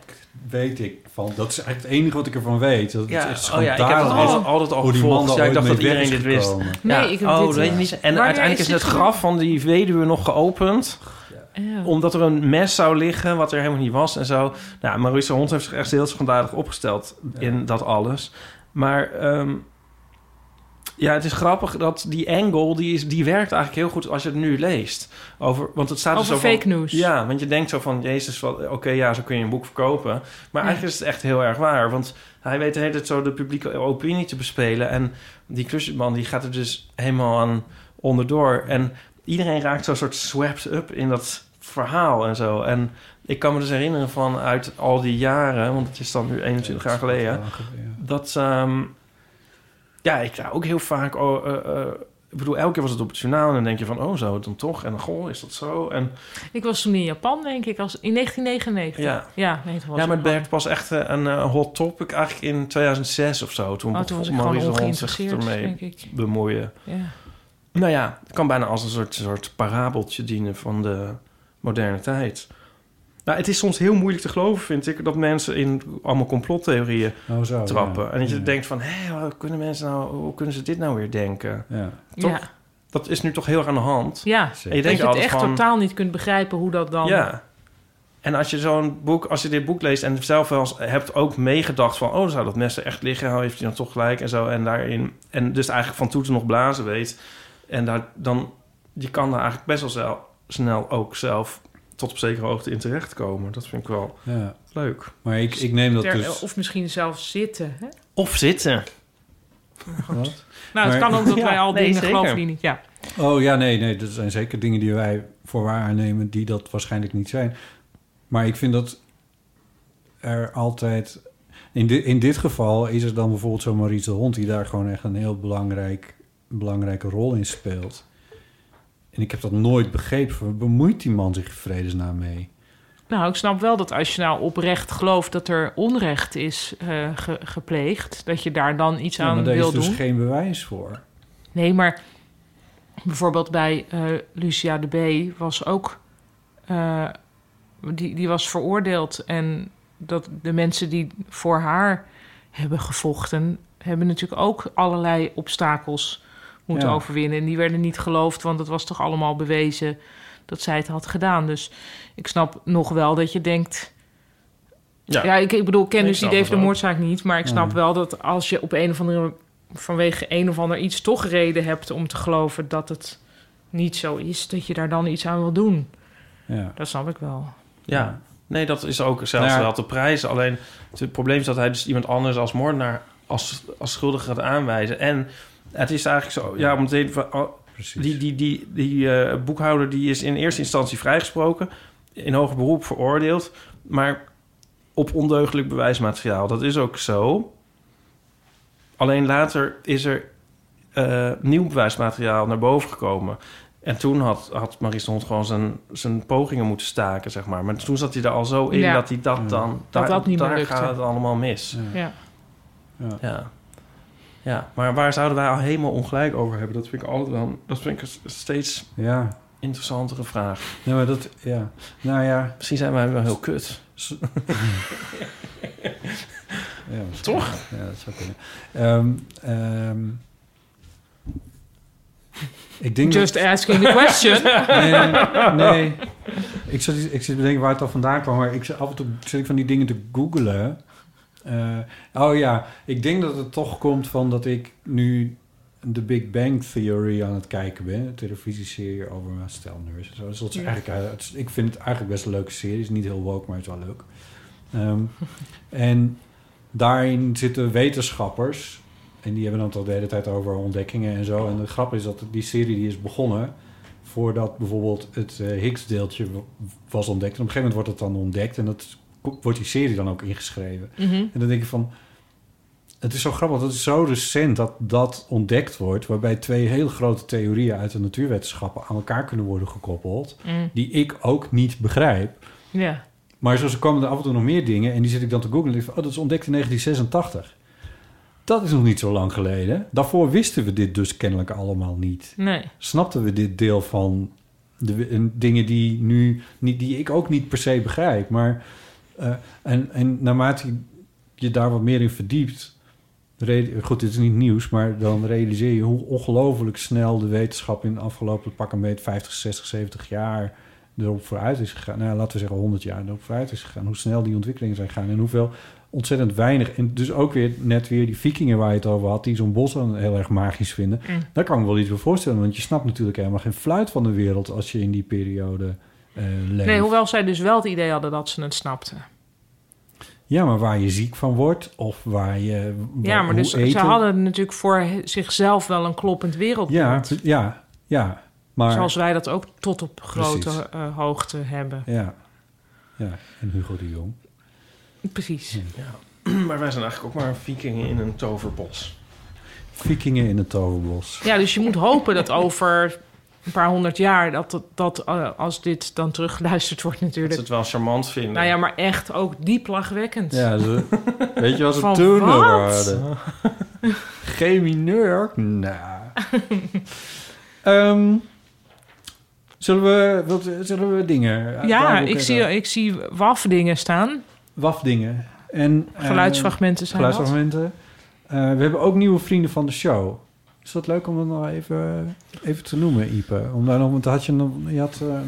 weet ik van. Dat is echt het enige wat ik ervan weet. Dat Ja, het echt oh ja, ik heb dat schandalig is altijd, altijd al hoe die man gevolgd. daar Ja, ik ooit dacht mee dat weg iedereen dit is wist. gekomen. Nee, Ja. ik heb oh, dit- weet je niet. En Wanneer uiteindelijk is is het dit graf van die weduwe nog geopend. Ja. Omdat er een mes zou liggen, wat er helemaal niet was en zo. Nou, Maurice de Hond heeft zich echt heel schandalig opgesteld in dat alles. Maar ehm, ja, het is grappig dat die angle, die, is, die werkt eigenlijk heel goed als je het nu leest. Over, want het staat dus er Over zo van- fake news. Ja, want je denkt zo van, jezus, wat- oké, ja, zo kun je een boek verkopen. Maar Ja. eigenlijk is het echt heel erg waar. Want hij weet de hele tijd zo de publieke opinie te bespelen. En die klusjesman, die gaat er dus helemaal aan onderdoor. En iedereen raakt zo'n soort swept up in dat verhaal en zo. En ik kan me dus herinneren van uit al die jaren... want het is dan nu 21 jaar geleden... Dat, ehm, ja, ik daar ook heel vaak... Oh, eh, eh, ik bedoel, elke keer was het op het journaal... en dan denk je van, oh, zo het dan toch? En dan, goh, is dat zo? En Ik was toen in Japan, denk ik, als, in 1999. Ja. nee, toen was ja, ik maar het gewoon- werd pas echt eh, een eh, hot topic eigenlijk in 2006 of zo. Toen, Oh, toen was ik begon gewoon Maurice de Hond zich ongeïnteresseerd, denk ermee ik. bemoeien. Ja. Nou ja, het kan bijna als een soort, soort parabeltje dienen van de moderne tijd. Nou, het is soms heel moeilijk te geloven, vind ik, dat mensen in allemaal complottheorieën Oh, zo, ja. trappen. En dat je Ja. denkt van, hé, hoe kunnen mensen nou, hoe kunnen ze dit nou weer denken? Ja. Toch? Ja. Dat is nu toch heel erg aan de hand. ja. Zeker. En je Dat denkt je het altijd echt van, totaal niet kunt begrijpen hoe dat dan... Ja. En als je zo'n boek, als je dit boek leest en zelf wel eens hebt ook meegedacht van, oh, zou dat mes er echt liggen? Oh, heeft hij dan toch gelijk en zo? En daarin, en dus eigenlijk van toeten nog blazen weet. En daar, dan, je kan daar eigenlijk best wel zel- snel ook zelf tot op zekere hoogte in terechtkomen. Dat vind ik wel Ja. leuk. Maar ik, ik neem dat Ter- dus... Of misschien zelfs zitten. Hè? Of zitten. Wat? Nou, het Maar- kan ook dat Ja, wij al nee, dingen zeker. geloven die niet... Ja. Oh ja, nee, nee, dat zijn zeker dingen die wij voor waar aannemen die dat waarschijnlijk niet zijn. Maar ik vind dat er altijd. In, di- in dit geval is er dan bijvoorbeeld zo'n Maurice de Hond die daar gewoon echt een heel belangrijk, belangrijke rol in speelt. En ik heb dat nooit begrepen. Waar bemoeit die man zich in vredesnaam mee? Nou, ik snap wel dat als je nou oprecht gelooft dat er onrecht is eh, ge- gepleegd, dat je daar dan iets Ja, aan maar daar wil is dus doen. geen bewijs voor. Nee, maar bijvoorbeeld bij eh, Lucia de B was ook. eh, die, die was veroordeeld. En dat de mensen die voor haar hebben gevochten, hebben natuurlijk ook allerlei obstakels moeten Ja. overwinnen. En die werden niet geloofd, want het was toch allemaal bewezen dat zij het had gedaan. Dus ik snap nog wel dat je denkt. Ja, ik, ik bedoel, ik ken Ik dus die snap Dave het de ook. Moordzaak niet. Maar ik snap wel dat als je op een of andere vanwege een of ander iets toch reden hebt om te geloven dat het niet zo is, dat je daar dan iets aan wil doen. Ja. Dat snap ik wel. Ja, nee, dat is ook zelfs Nou ja. wel te prijzen. Alleen het probleem is dat hij dus iemand anders als moordenaar als, als schuldige gaat aanwijzen. En het is eigenlijk zo, ja, om meteen van, oh, Precies. die, die, die, die eh, boekhouder die is in eerste instantie vrijgesproken, in hoger beroep veroordeeld, maar op ondeugelijk bewijsmateriaal. Dat is ook zo. Alleen later is er eh, nieuw bewijsmateriaal naar boven gekomen. En toen had, had Maries de Hond gewoon zijn, zijn pogingen moeten staken, zeg maar. Maar toen zat hij er al zo in Ja. dat hij dat dan... daar dat niet meer daar lukte. gaat het allemaal mis. Ja. Ja. Ja. ja. Maar waar zouden wij al helemaal ongelijk over hebben? Dat vind ik altijd wel... Dat vind ik een steeds ja. interessantere vraag. Nee, maar dat, ja. Nou ja. Misschien zijn wij wel heel kut. ja Toch? Ja, dat zou kunnen. Ehm, ehm, ik denk Just asking the question. dat... Nee, nee. Ik zit, ik zit te bedenken waar het al vandaan kwam. Maar ik, zit- af en toe zit ik van die dingen te googlen. Eh, oh ja, ik denk dat het toch komt van dat ik nu de Big Bang Theory aan het kijken ben. Een televisieserie over uh, stelneurs en zo. Dus dat is eigenlijk, eh, het is- ik vind het eigenlijk best een leuke serie. Het is niet heel woke, maar het is wel leuk. Ehm, en daarin zitten wetenschappers. En die hebben dan toch de hele tijd over ontdekkingen en zo. En de grap is dat die serie die is begonnen... voordat bijvoorbeeld het eh, Higgs-deeltje wa- was ontdekt. En op een gegeven moment wordt het dan ontdekt. En dat ko- wordt die serie dan ook ingeschreven. Mhm. En dan denk ik van... Het is zo grappig, dat het is zo recent dat dat ontdekt wordt... waarbij twee hele grote theorieën uit de natuurwetenschappen... aan elkaar kunnen worden gekoppeld... Mm. die ik ook niet begrijp. Ja. Maar zo kwamen er af en toe nog meer dingen... en die zit ik dan te googlen en denk ik van... oh, dat is ontdekt in 1986. Dat is nog niet zo lang geleden. Daarvoor wisten we dit dus kennelijk allemaal niet. Nee. Snapten we dit deel van de we- en dingen die nu... Niet, die ik ook niet per se begrijp, maar... Eh, en, en naarmate je daar wat meer in verdiept... re- Goed, dit is niet nieuws, maar dan realiseer je hoe ongelooflijk snel de wetenschap in de afgelopen pak een beet 50, 60, 70 jaar erop vooruit is gegaan. Nou, ja, laten we zeggen 100 jaar erop vooruit is gegaan. Hoe snel die ontwikkelingen zijn gegaan en hoeveel ontzettend weinig. En dus ook weer net weer die vikingen waar je het over had, die zo'n bos dan heel erg magisch vinden. Mm. Daar kan ik me wel iets bij voorstellen, want je snapt natuurlijk helemaal geen fluit van de wereld als je in die periode eh leeft. nee, hoewel zij dus wel het idee hadden dat ze het snapten. Ja, maar waar je ziek van wordt of waar je. Ja, wa- maar hoe dus ze eten- hadden natuurlijk voor he- zichzelf wel een kloppend Ja, wereldbeeld. pre- ja, ja. Maar. Zoals wij dat ook tot op grote Precies. eh, hoogte hebben. Ja. ja, en Hugo de Jong. Precies. maar wij zijn eigenlijk ook maar vikingen in een toverbos. Vikingen in het Toverbos. Ja, dus je moet hopen dat over een paar honderd jaar, dat, dat, dat, eh, als dit dan teruggeluisterd wordt Dat ze natuurlijk. het wel charmant vinden. Nou ja, maar echt ook diep lachwekkend. Ja, ze- weet je wat ze Van toen nog wat? waren? G mineur? Nou. Ehm, zullen, we, wat, zullen we dingen? Ja, uitdoen? ik zie, ik zie wafdingen staan. Wafdingen. En, eh, Geluidsfragmenten zijn dat. geluidsfragmenten. Eh, we hebben ook nieuwe vrienden van de show. Is dat leuk om dat nog even, even te noemen, Ipe? Om daar nog, want had je, nog, je had eh,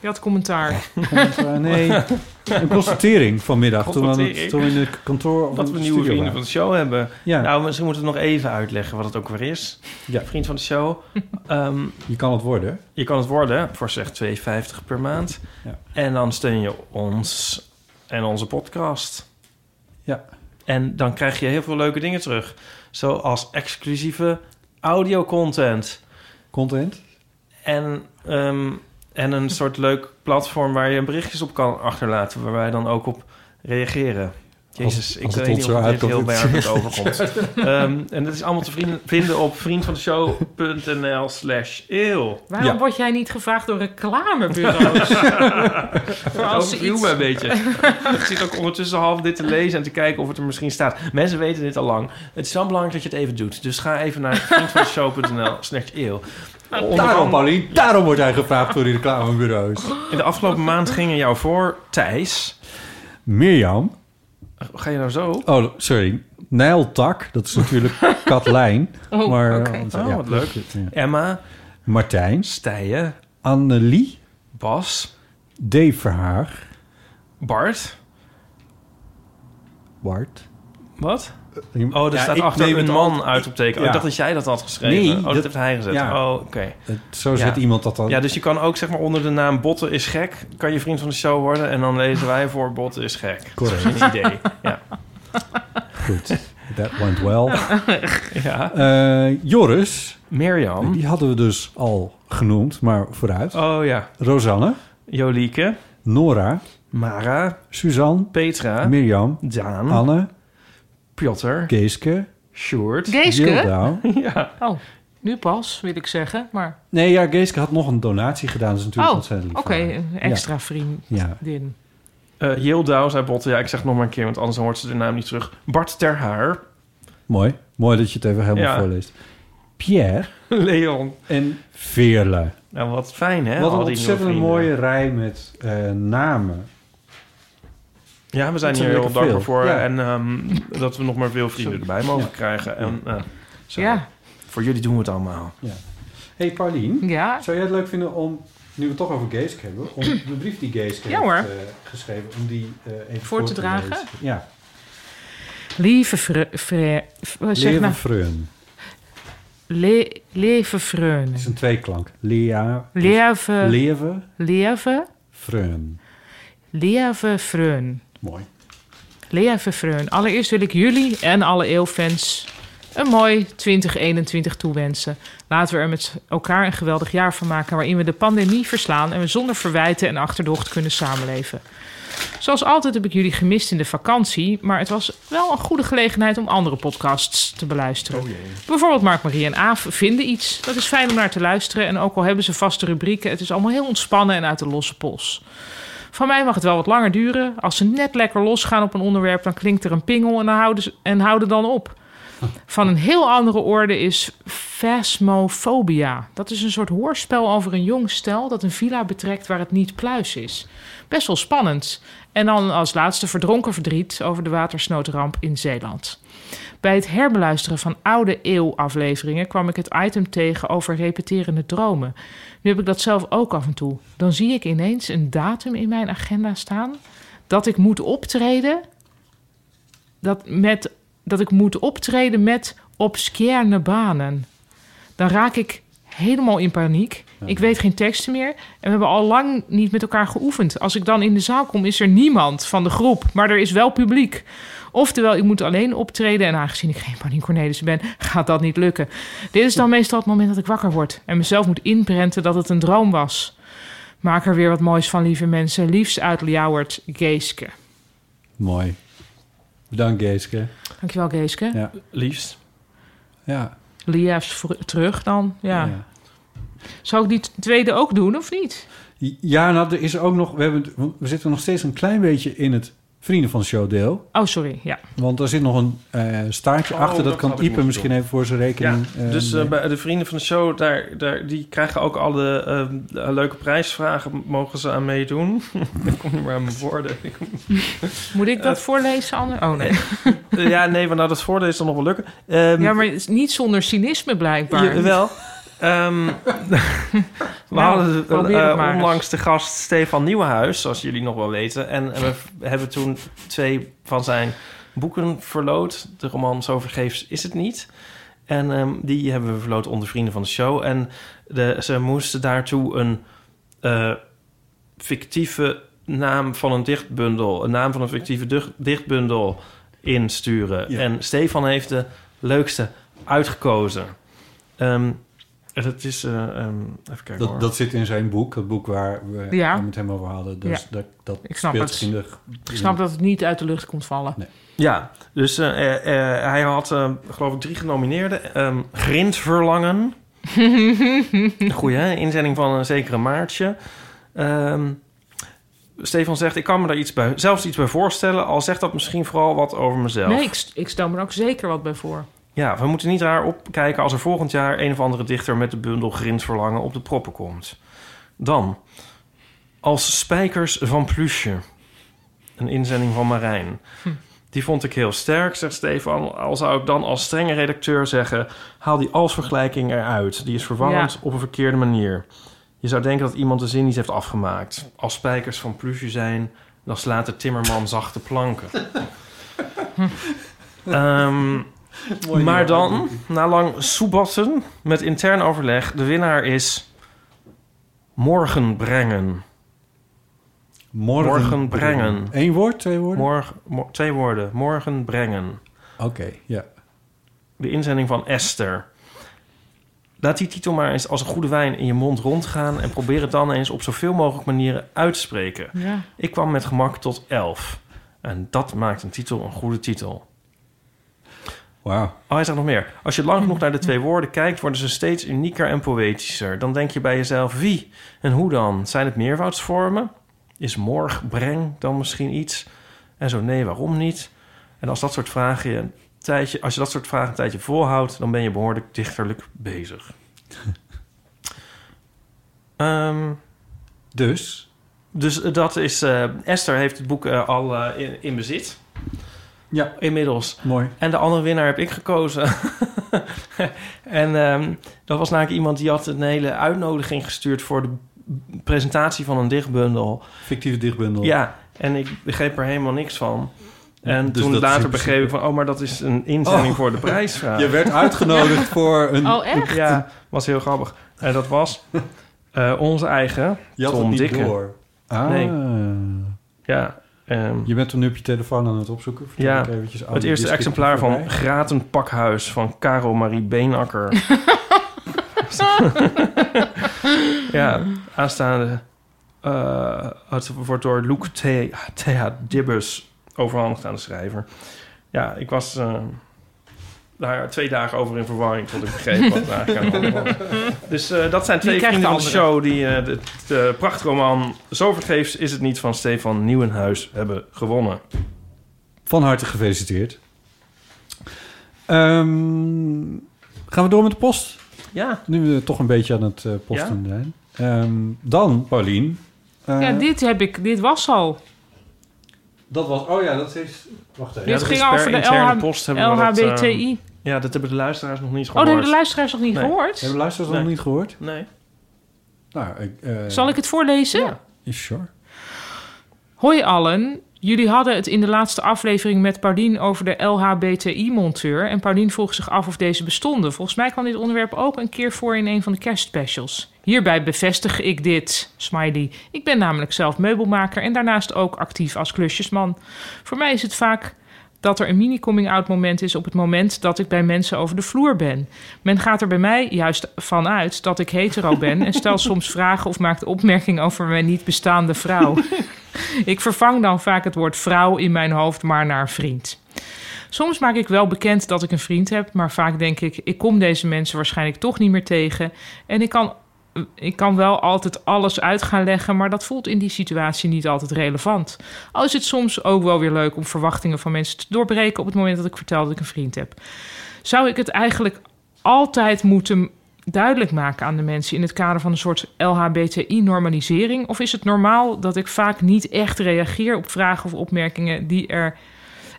Je had commentaar. comment, eh, nee, een constatering vanmiddag toen we, aan het, Constatering? toen we in het kantoor of dat in we de nieuwe studio vrienden van waren. de show hebben. Ja, Nou, misschien moeten we nog even uitleggen wat het ook weer is. Ja. Vriend van de show. Ehm, je kan het worden. je kan het worden voor zeg 2,50 per maand. Ja. En dan steun je ons en onze podcast. Ja. En dan krijg je heel veel leuke dingen terug. Zoals exclusieve audiocontent. Content. En, ehm, en een soort leuk platform waar je berichtjes op kan achterlaten. Waar wij dan ook op reageren. Jezus, ik als het weet ons niet of zo dit heel uitkomt. werkend overkomt. Ehm, en dat is allemaal te vrienden- vinden op vriendvandeshow.nl slash eeuw. Waarom Ja. word jij niet gevraagd door reclamebureaus? Voor Dat als ze overviel iets... me een beetje. ik zit ook ondertussen half dit te lezen en te kijken of het er misschien staat. Mensen weten dit al lang. Het is wel belangrijk dat je het even doet. Dus ga even naar vriendvandeshow.nl slash eeuw. Onder Daarom, andere- Paulien, daarom wordt hij gevraagd door die reclamebureaus. In de afgelopen maand gingen jou voor, Thijs. Mirjam, Ga je nou zo? oh sorry, Nijltak, dat is natuurlijk Katlijn. Oh, maar, eh, oké. want, Oh, ja, wat leuk. ja. Emma, Martijn, Stijen, Annelie, Bas, D. Verhaag, Bart. Bart. Wat? Ja, Oh, daar ik staat achter neem een het man al- uit op teken. Oh, Ja. ik dacht dat jij dat had geschreven. Nee, oh, dat, dat- heeft hij gezet. ja. Oh, oké. Het- Eh, Zo zet Ja. iemand dat dan. Ja, dus je kan ook zeg maar onder de naam Botten is gek... kan je vriend van de show worden en dan lezen wij voor Botten is gek. Correct. Een idee. Ja. Goed, that went well. ja. Eh, Joris, Mirjam. die hadden we dus al genoemd, maar vooruit. Oh ja. Rosanne, Jolieke. Nora, Mara. Suzanne, Petra. Mirjam, Daan. Anne, Piotr. Geeske, Sjoerd. Geeske? Jildau. Ja. Oh, nu pas, wil ik zeggen. Maar, Nee, ja, Geeske had nog een donatie gedaan. Dat is natuurlijk oh, ontzettend oké, lief van haar. een extra vriendin. Ja, ja. Eh Jildau, zei Botten. Ja, ik zeg nog maar een keer, want anders hoort ze de naam niet terug. Bart Terhaar. mooi. Mooi dat je het even helemaal Ja. voorleest. Pierre Leon. en Veerle. Nou, wat fijn, hè? Wat al een die nieuwe ontzettend vrienden. mooie rij met eh, namen. Ja, we zijn Dat hier zijn lekker heel dankbaar veel. voor. Ja. En ehm, dat we nog maar veel vrienden erbij mogen krijgen. En, eh, zo. Ja, Voor jullie doen we het allemaal. hey, Paulien, ja. zou jij het leuk vinden om, nu we het toch over Geeske hebben, om de brief die Geeske Ja, heeft hoor. eh, geschreven, om die eh, even Voor te dragen? lezen? Ja, Lieve vre, vre- v- eh, zeg Leven nou, Freun. le, leven Het is vreunen. een tweeklank. Lea, Leven, Leven leven, Freun. leven vreun. Mooi. Leven vreun. Allereerst wil ik jullie en alle eeuwfans een mooi 2021 toewensen. Laten we er met elkaar een geweldig jaar van maken... waarin we de pandemie verslaan en we zonder verwijten en achterdocht kunnen samenleven. Zoals altijd heb ik jullie gemist in de vakantie... maar het was wel een goede gelegenheid om andere podcasts te beluisteren. Bijvoorbeeld Mark, Marie en Aaf vinden iets. Dat is fijn om naar te luisteren. En ook al hebben ze vaste rubrieken, het is allemaal heel ontspannen en uit de losse pols. Van mij mag het wel wat langer duren. Als ze net lekker losgaan op een onderwerp, dan klinkt er een pingel en, dan houden, ze, en houden dan op. Van een heel andere orde is phasmophobia. Dat is een soort hoorspel over een jong stel dat een villa betrekt waar het niet pluis is. Best wel spannend. En dan als laatste verdronken verdriet over de watersnoodramp in Zeeland. Bij het herbeluisteren van oude eeuw-afleveringen kwam ik het item tegen over repeterende dromen. Nu heb ik dat zelf ook af en toe. Dan zie ik ineens een datum in mijn agenda staan dat ik moet optreden. Dat, met, dat ik moet optreden met obscure banen. Dan raak ik helemaal in paniek. Ik weet geen teksten meer. En we hebben al lang niet met elkaar geoefend. Als ik dan in de zaal kom, is er niemand van de groep. Maar er is wel publiek. Oftewel, ik moet alleen optreden. En aangezien ik geen Paulien Cornelissen ben, gaat dat niet lukken. Dit is dan meestal het moment dat ik wakker word. En mezelf moet inprenten dat het een droom was. Maak er weer wat moois van, lieve mensen. Liefst uit Ljouwert, Geeske. Mooi. Bedankt, Geeske. Dankjewel, Geeske. Ja. Liefst. Ja. Liefst vr- terug dan. Ja. Zou ik die t- tweede ook doen, of niet? Ja, nou, er is ook nog. We, hebben, het- want we zitten nog steeds een klein beetje in het Vrienden van de Show deel. Oh, sorry. Ja. Want er zit nog een eh, staartje Oh, achter. Dat, dat kan had ik Ipe moeten misschien even voor zijn Ja, rekening. eh, dus eh, nemen. bij de vrienden van de show, daar, daar, die krijgen ook alle eh, leuke prijsvragen, mogen ze aan meedoen. ik kom niet meer aan mijn woorden. Ik- Moet ik dat Eh, voorlezen, Anne? Oh, nee. Eh, ja, nee, maar nou, dat voordeel zal nog wel lukken. Ehm, Ja, maar het is niet zonder cynisme, blijkbaar. Jawel. Ehm, we Nou, hadden eh, probeer het maar eens. onlangs de gast Stefan Nieuwenhuis, zoals jullie nog wel weten. En we v- hebben toen twee van zijn boeken verloot. De roman Zo vergeefs is het niet. En ehm, die hebben we verloot onder vrienden van de show. En de, ze moesten daartoe een eh, fictieve naam van een dichtbundel... een naam van een fictieve ducht- dichtbundel insturen. Ja. En Stefan heeft de leukste uitgekozen. Ehm, En dat is, eh, ehm, even kijken hoor. Dat, dat zit in zijn boek, het boek waar we Ja. het met hem over hadden. Dus Ja. dat, dat Ik snap speelt het. zich in de... Ik snap dat het niet uit de lucht komt vallen. Ja, dus eh, eh, eh, hij had, eh, geloof ik, drie genomineerden. Ehm Grindverlangen. Goeie, hè? Inzending van een zekere Maartje. Ehm, Stefan zegt, ik kan me daar iets bij, zelfs iets bij voorstellen... al zegt dat misschien vooral wat over mezelf. Nee, ik, st- ik stel me er ook zeker wat bij voor. Ja, we moeten niet raar opkijken als er volgend jaar... een of andere dichter met de bundel Grindverlangen op de proppen komt. Dan, als spijkers van pluche. Een inzending van Marijn. Die vond ik heel sterk, zegt Stefan. Al zou ik dan als strenge redacteur zeggen... haal die als-vergelijking eruit. Die is verwarrend Ja. op een verkeerde manier. Je zou denken dat iemand de zin niet heeft afgemaakt. Als spijkers van pluche zijn... dan slaat de timmerman zachte planken. Ehm, maar dan, na lang soebatten met intern overleg... de winnaar is... Morgen brengen. Morgen, Morgen brengen. Eén woord, twee woorden? Morgen, mo- twee woorden. Morgen brengen. Oké, ja. De inzending van Esther. Laat die titel maar eens als een goede wijn in je mond rondgaan... en probeer het dan eens op zoveel mogelijk manieren uit te spreken. Ja. Ik kwam met gemak tot elf. En dat maakt een titel een goede titel. Wauw. Oh, hij zegt nog meer. Als je lang genoeg naar de twee woorden kijkt, worden ze steeds unieker en poëtischer. Dan denk je bij jezelf, wie en hoe dan? Zijn het meervoudsvormen? Is morg breng dan misschien iets? En zo nee, waarom niet? En als, dat soort vragen je een tijdje, als je dat soort vragen een tijdje volhoudt, dan ben je behoorlijk dichterlijk bezig. Ehm, Dus, dus eh, dat is. eh, Esther heeft het boek eh, al eh, in, in bezit. Ja. Inmiddels. mooi. En de andere winnaar heb ik gekozen. en ehm, dat was namelijk iemand die had een hele uitnodiging gestuurd voor de b- presentatie van een dichtbundel. Fictieve dichtbundel. Ja, en ik begreep er helemaal niks van. En Dus toen dat is later in principe- begreep ik van, oh, maar dat is een inzending Oh. voor de prijsvraag. Je werd uitgenodigd voor een... Oh, echt? Ja, was heel grappig. En dat was eh, onze eigen je had het Tom niet Dikke. door. Ah. Nee. Ja, ehm, Je bent toen nu op je telefoon aan het opzoeken. Vertel Ja, ik eventjes aan het die eerste discussie exemplaar van voorbij. Graten Pakhuis van Karel Marie Beenakker. ja, aanstaande. eh, het wordt door Luc T. Thea Dibbers overhandigd aan de schrijver. Ja, ik was eh, daar twee dagen over in verwarring tot ik begreep wat er eigenlijk aan de hand was. Dus eh, dat zijn twee krijgt vrienden van de de show die eh, de, de prachtroman Zo vergeefs is het niet van Stefan Nieuwenhuis hebben gewonnen. Van harte gefeliciteerd. Ehm, gaan we door met de post? Ja, Nu we toch een beetje aan het eh, posten zijn. Ehm, dan, Paulien. eh, Ja, dit heb ik. Dit was al. Dat was... Oh ja, dat is... Wacht even. Ja, dat dit ging is per over de interne LH post hebben we dat, LHBTI. eh, ja, dat hebben de luisteraars nog niet oh, dat gehoord. hebben de luisteraars nog niet Nee. gehoord? Hebben luisteraars dat Nee. nog niet gehoord? Nee. Nou, ik... eh, Zal ik het voorlezen? Ja. Sure. Hoi allen. Jullie hadden het in de laatste aflevering met Paulien over de LHBTI-monteur. En Paulien vroeg zich af of deze bestonden. Volgens mij kwam dit onderwerp ook een keer voor in een van de kerstspecials. Hierbij bevestig ik dit, smiley. Ik ben namelijk zelf meubelmaker en daarnaast ook actief als klusjesman. Voor mij is het vaak dat er een mini-coming-out moment is op het moment dat ik bij mensen over de vloer ben. Men gaat er bij mij juist van uit dat ik hetero ben... en stelt soms vragen of maakt opmerkingen over mijn niet bestaande vrouw. Ik vervang dan vaak het woord vrouw in mijn hoofd maar naar vriend. Soms maak ik wel bekend dat ik een vriend heb, maar vaak denk ik, ik kom deze mensen waarschijnlijk toch niet meer tegen. En ik kan, ik kan wel altijd alles uit gaan leggen, maar dat voelt in die situatie niet altijd relevant. Al is het soms ook wel weer leuk om verwachtingen van mensen te doorbreken op het moment dat ik vertel dat ik een vriend heb. Zou ik het eigenlijk altijd moeten duidelijk maken aan de mensen in het kader van een soort LHBTI-normalisering? Of is het normaal dat ik vaak niet echt reageer op vragen of opmerkingen die er.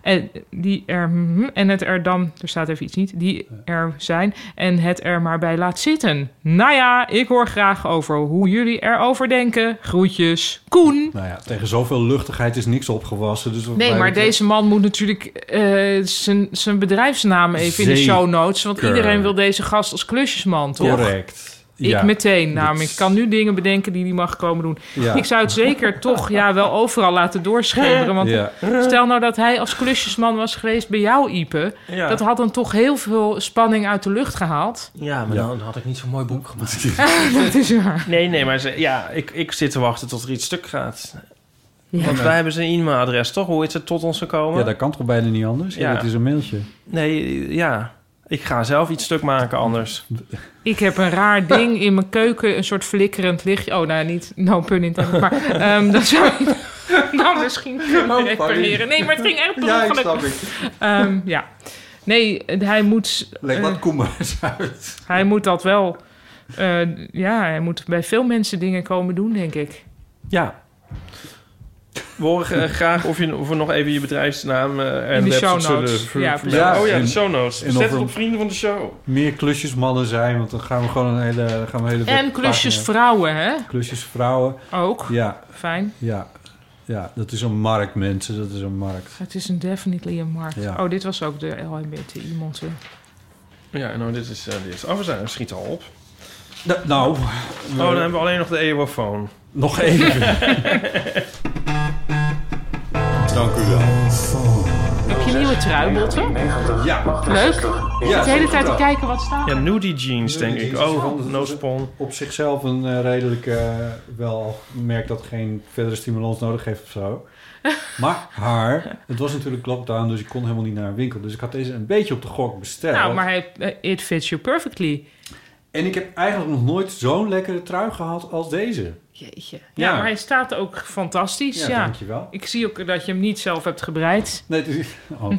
En, die er, mhm, en het er dan, er staat even iets niet, die er zijn en het er maar bij laat zitten. Nou ja, ik hoor graag over hoe jullie erover denken. Groetjes, Koen. Nou ja, tegen zoveel luchtigheid is niks opgewassen. Dus wat Nee, mij maar betreft- deze man moet natuurlijk eh, zijn zijn bedrijfsnaam even in de Zeker. show notes. Want iedereen wil deze gast als klusjesman, toch? Correct. Ik Ja, meteen dat namelijk. is- Ik kan nu dingen bedenken die die mag komen doen. Ja. Ik zou het zeker toch ja, wel overal laten doorschemeren. Want Ja. stel nou dat hij als klusjesman was geweest bij jou, Ipe. Ja. Dat had dan toch heel veel spanning uit de lucht gehaald. Ja, maar Ja. dan had ik niet zo'n mooi boek gemaakt. dat is waar. Nee, nee, maar ze, ja, ik, ik zit te wachten tot er iets stuk gaat. Ja. Want wij hebben zijn e-mailadres, toch? Hoe is het tot ons gekomen? Ja, dat kan toch bijna niet anders? Ja, Ja. dat is een mailtje. Nee, ja. Ik ga zelf iets stuk maken anders. Ik heb een raar ding in mijn keuken, een soort flikkerend lichtje. Oh, nou niet, no pun intended, maar ehm dat zou ik dan Nou, misschien kunnen funny. repareren. Nee, maar het ging echt per ongeluk. ik. Ehm, ja. Nee, hij moet, Leg wat koemers uit. hij moet dat wel... eh, ja, hij moet bij veel mensen dingen komen doen, denk ik. Ja. We horen eh, graag of, je, of we nog even je bedrijfsnaam eh, In en de website show notes. zullen ver- Ja, vermelden. precies. Oh ja, de En- show notes. en Zet of het er- op vrienden van de show. Meer klusjesmannen zijn, want dan gaan we gewoon een hele... Dan gaan we een hele En pagina- klusjesvrouwen, hè? Klusjesvrouwen. Ook. Ja, Fijn. ja. Ja, dat is een markt, mensen. Dat is een markt. Het is een definitely een markt. Ja. Oh, dit was ook de LHBTI-monster. Ja, nou, dit is... eh, dit is oh, we zijn we schieten al op. Da- nou, Oh, dan hebben we alleen nog de eeuwofoon. nog even. Dank u wel. Heb je een nieuwe trui, Botte? Ja, Leuk. Ik zit de hele tijd te kijken wat staat. Ja, nudie jeans, denk Nudie ik. jeans. Oh, no spawn. op zichzelf een eh, redelijk eh, wel merk dat geen verdere stimulans nodig heeft of zo. Maar haar, het was natuurlijk lockdown, dus ik kon helemaal niet naar een winkel. Dus ik had deze een beetje op de gok besteld. Nou, maar hij, eh, it fits you perfectly. En ik heb eigenlijk nog nooit zo'n lekkere trui gehad als deze. Jeetje. Ja, Ja. maar hij staat ook fantastisch. Ja, dankjewel. Ik zie ook dat je hem niet zelf hebt gebreid. Nee, het is... Oh, oh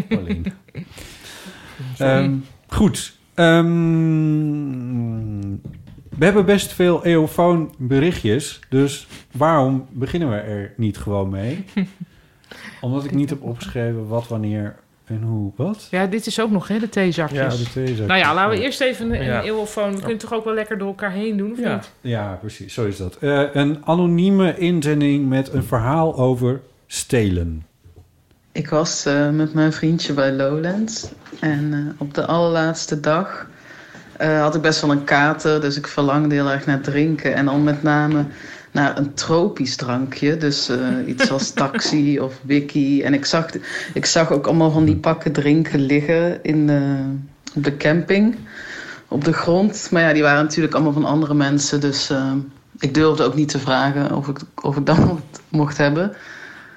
Paulien. Ehm, goed. Ehm, we hebben best veel eofoon berichtjes, dus waarom beginnen we er niet gewoon mee? Omdat ik niet heb opgeschreven wat, wanneer en hoe, wat. Ja, dit is ook nog, hè, de theezakjes. Ja, de twee zaken. Nou ja, laten we eerst even een, Ja. een eeuwofoon. We kunnen toch ook wel lekker door elkaar heen doen, of Ja. niet? Ja, precies, zo is dat. Eh, een anonieme inzending met een verhaal over stelen. Ik was eh, met mijn vriendje bij Lowlands. En eh, op de allerlaatste dag eh, had ik best wel een kater. Dus ik verlangde heel erg naar drinken. En dan met name naar een tropisch drankje. Dus eh, iets als taxi of wiki. En ik zag, ik zag ook allemaal van die pakken drinken liggen in de, op de camping. Op de grond. Maar ja, die waren natuurlijk allemaal van andere mensen. Dus eh, ik durfde ook niet te vragen of ik, of ik dat mocht, mocht hebben.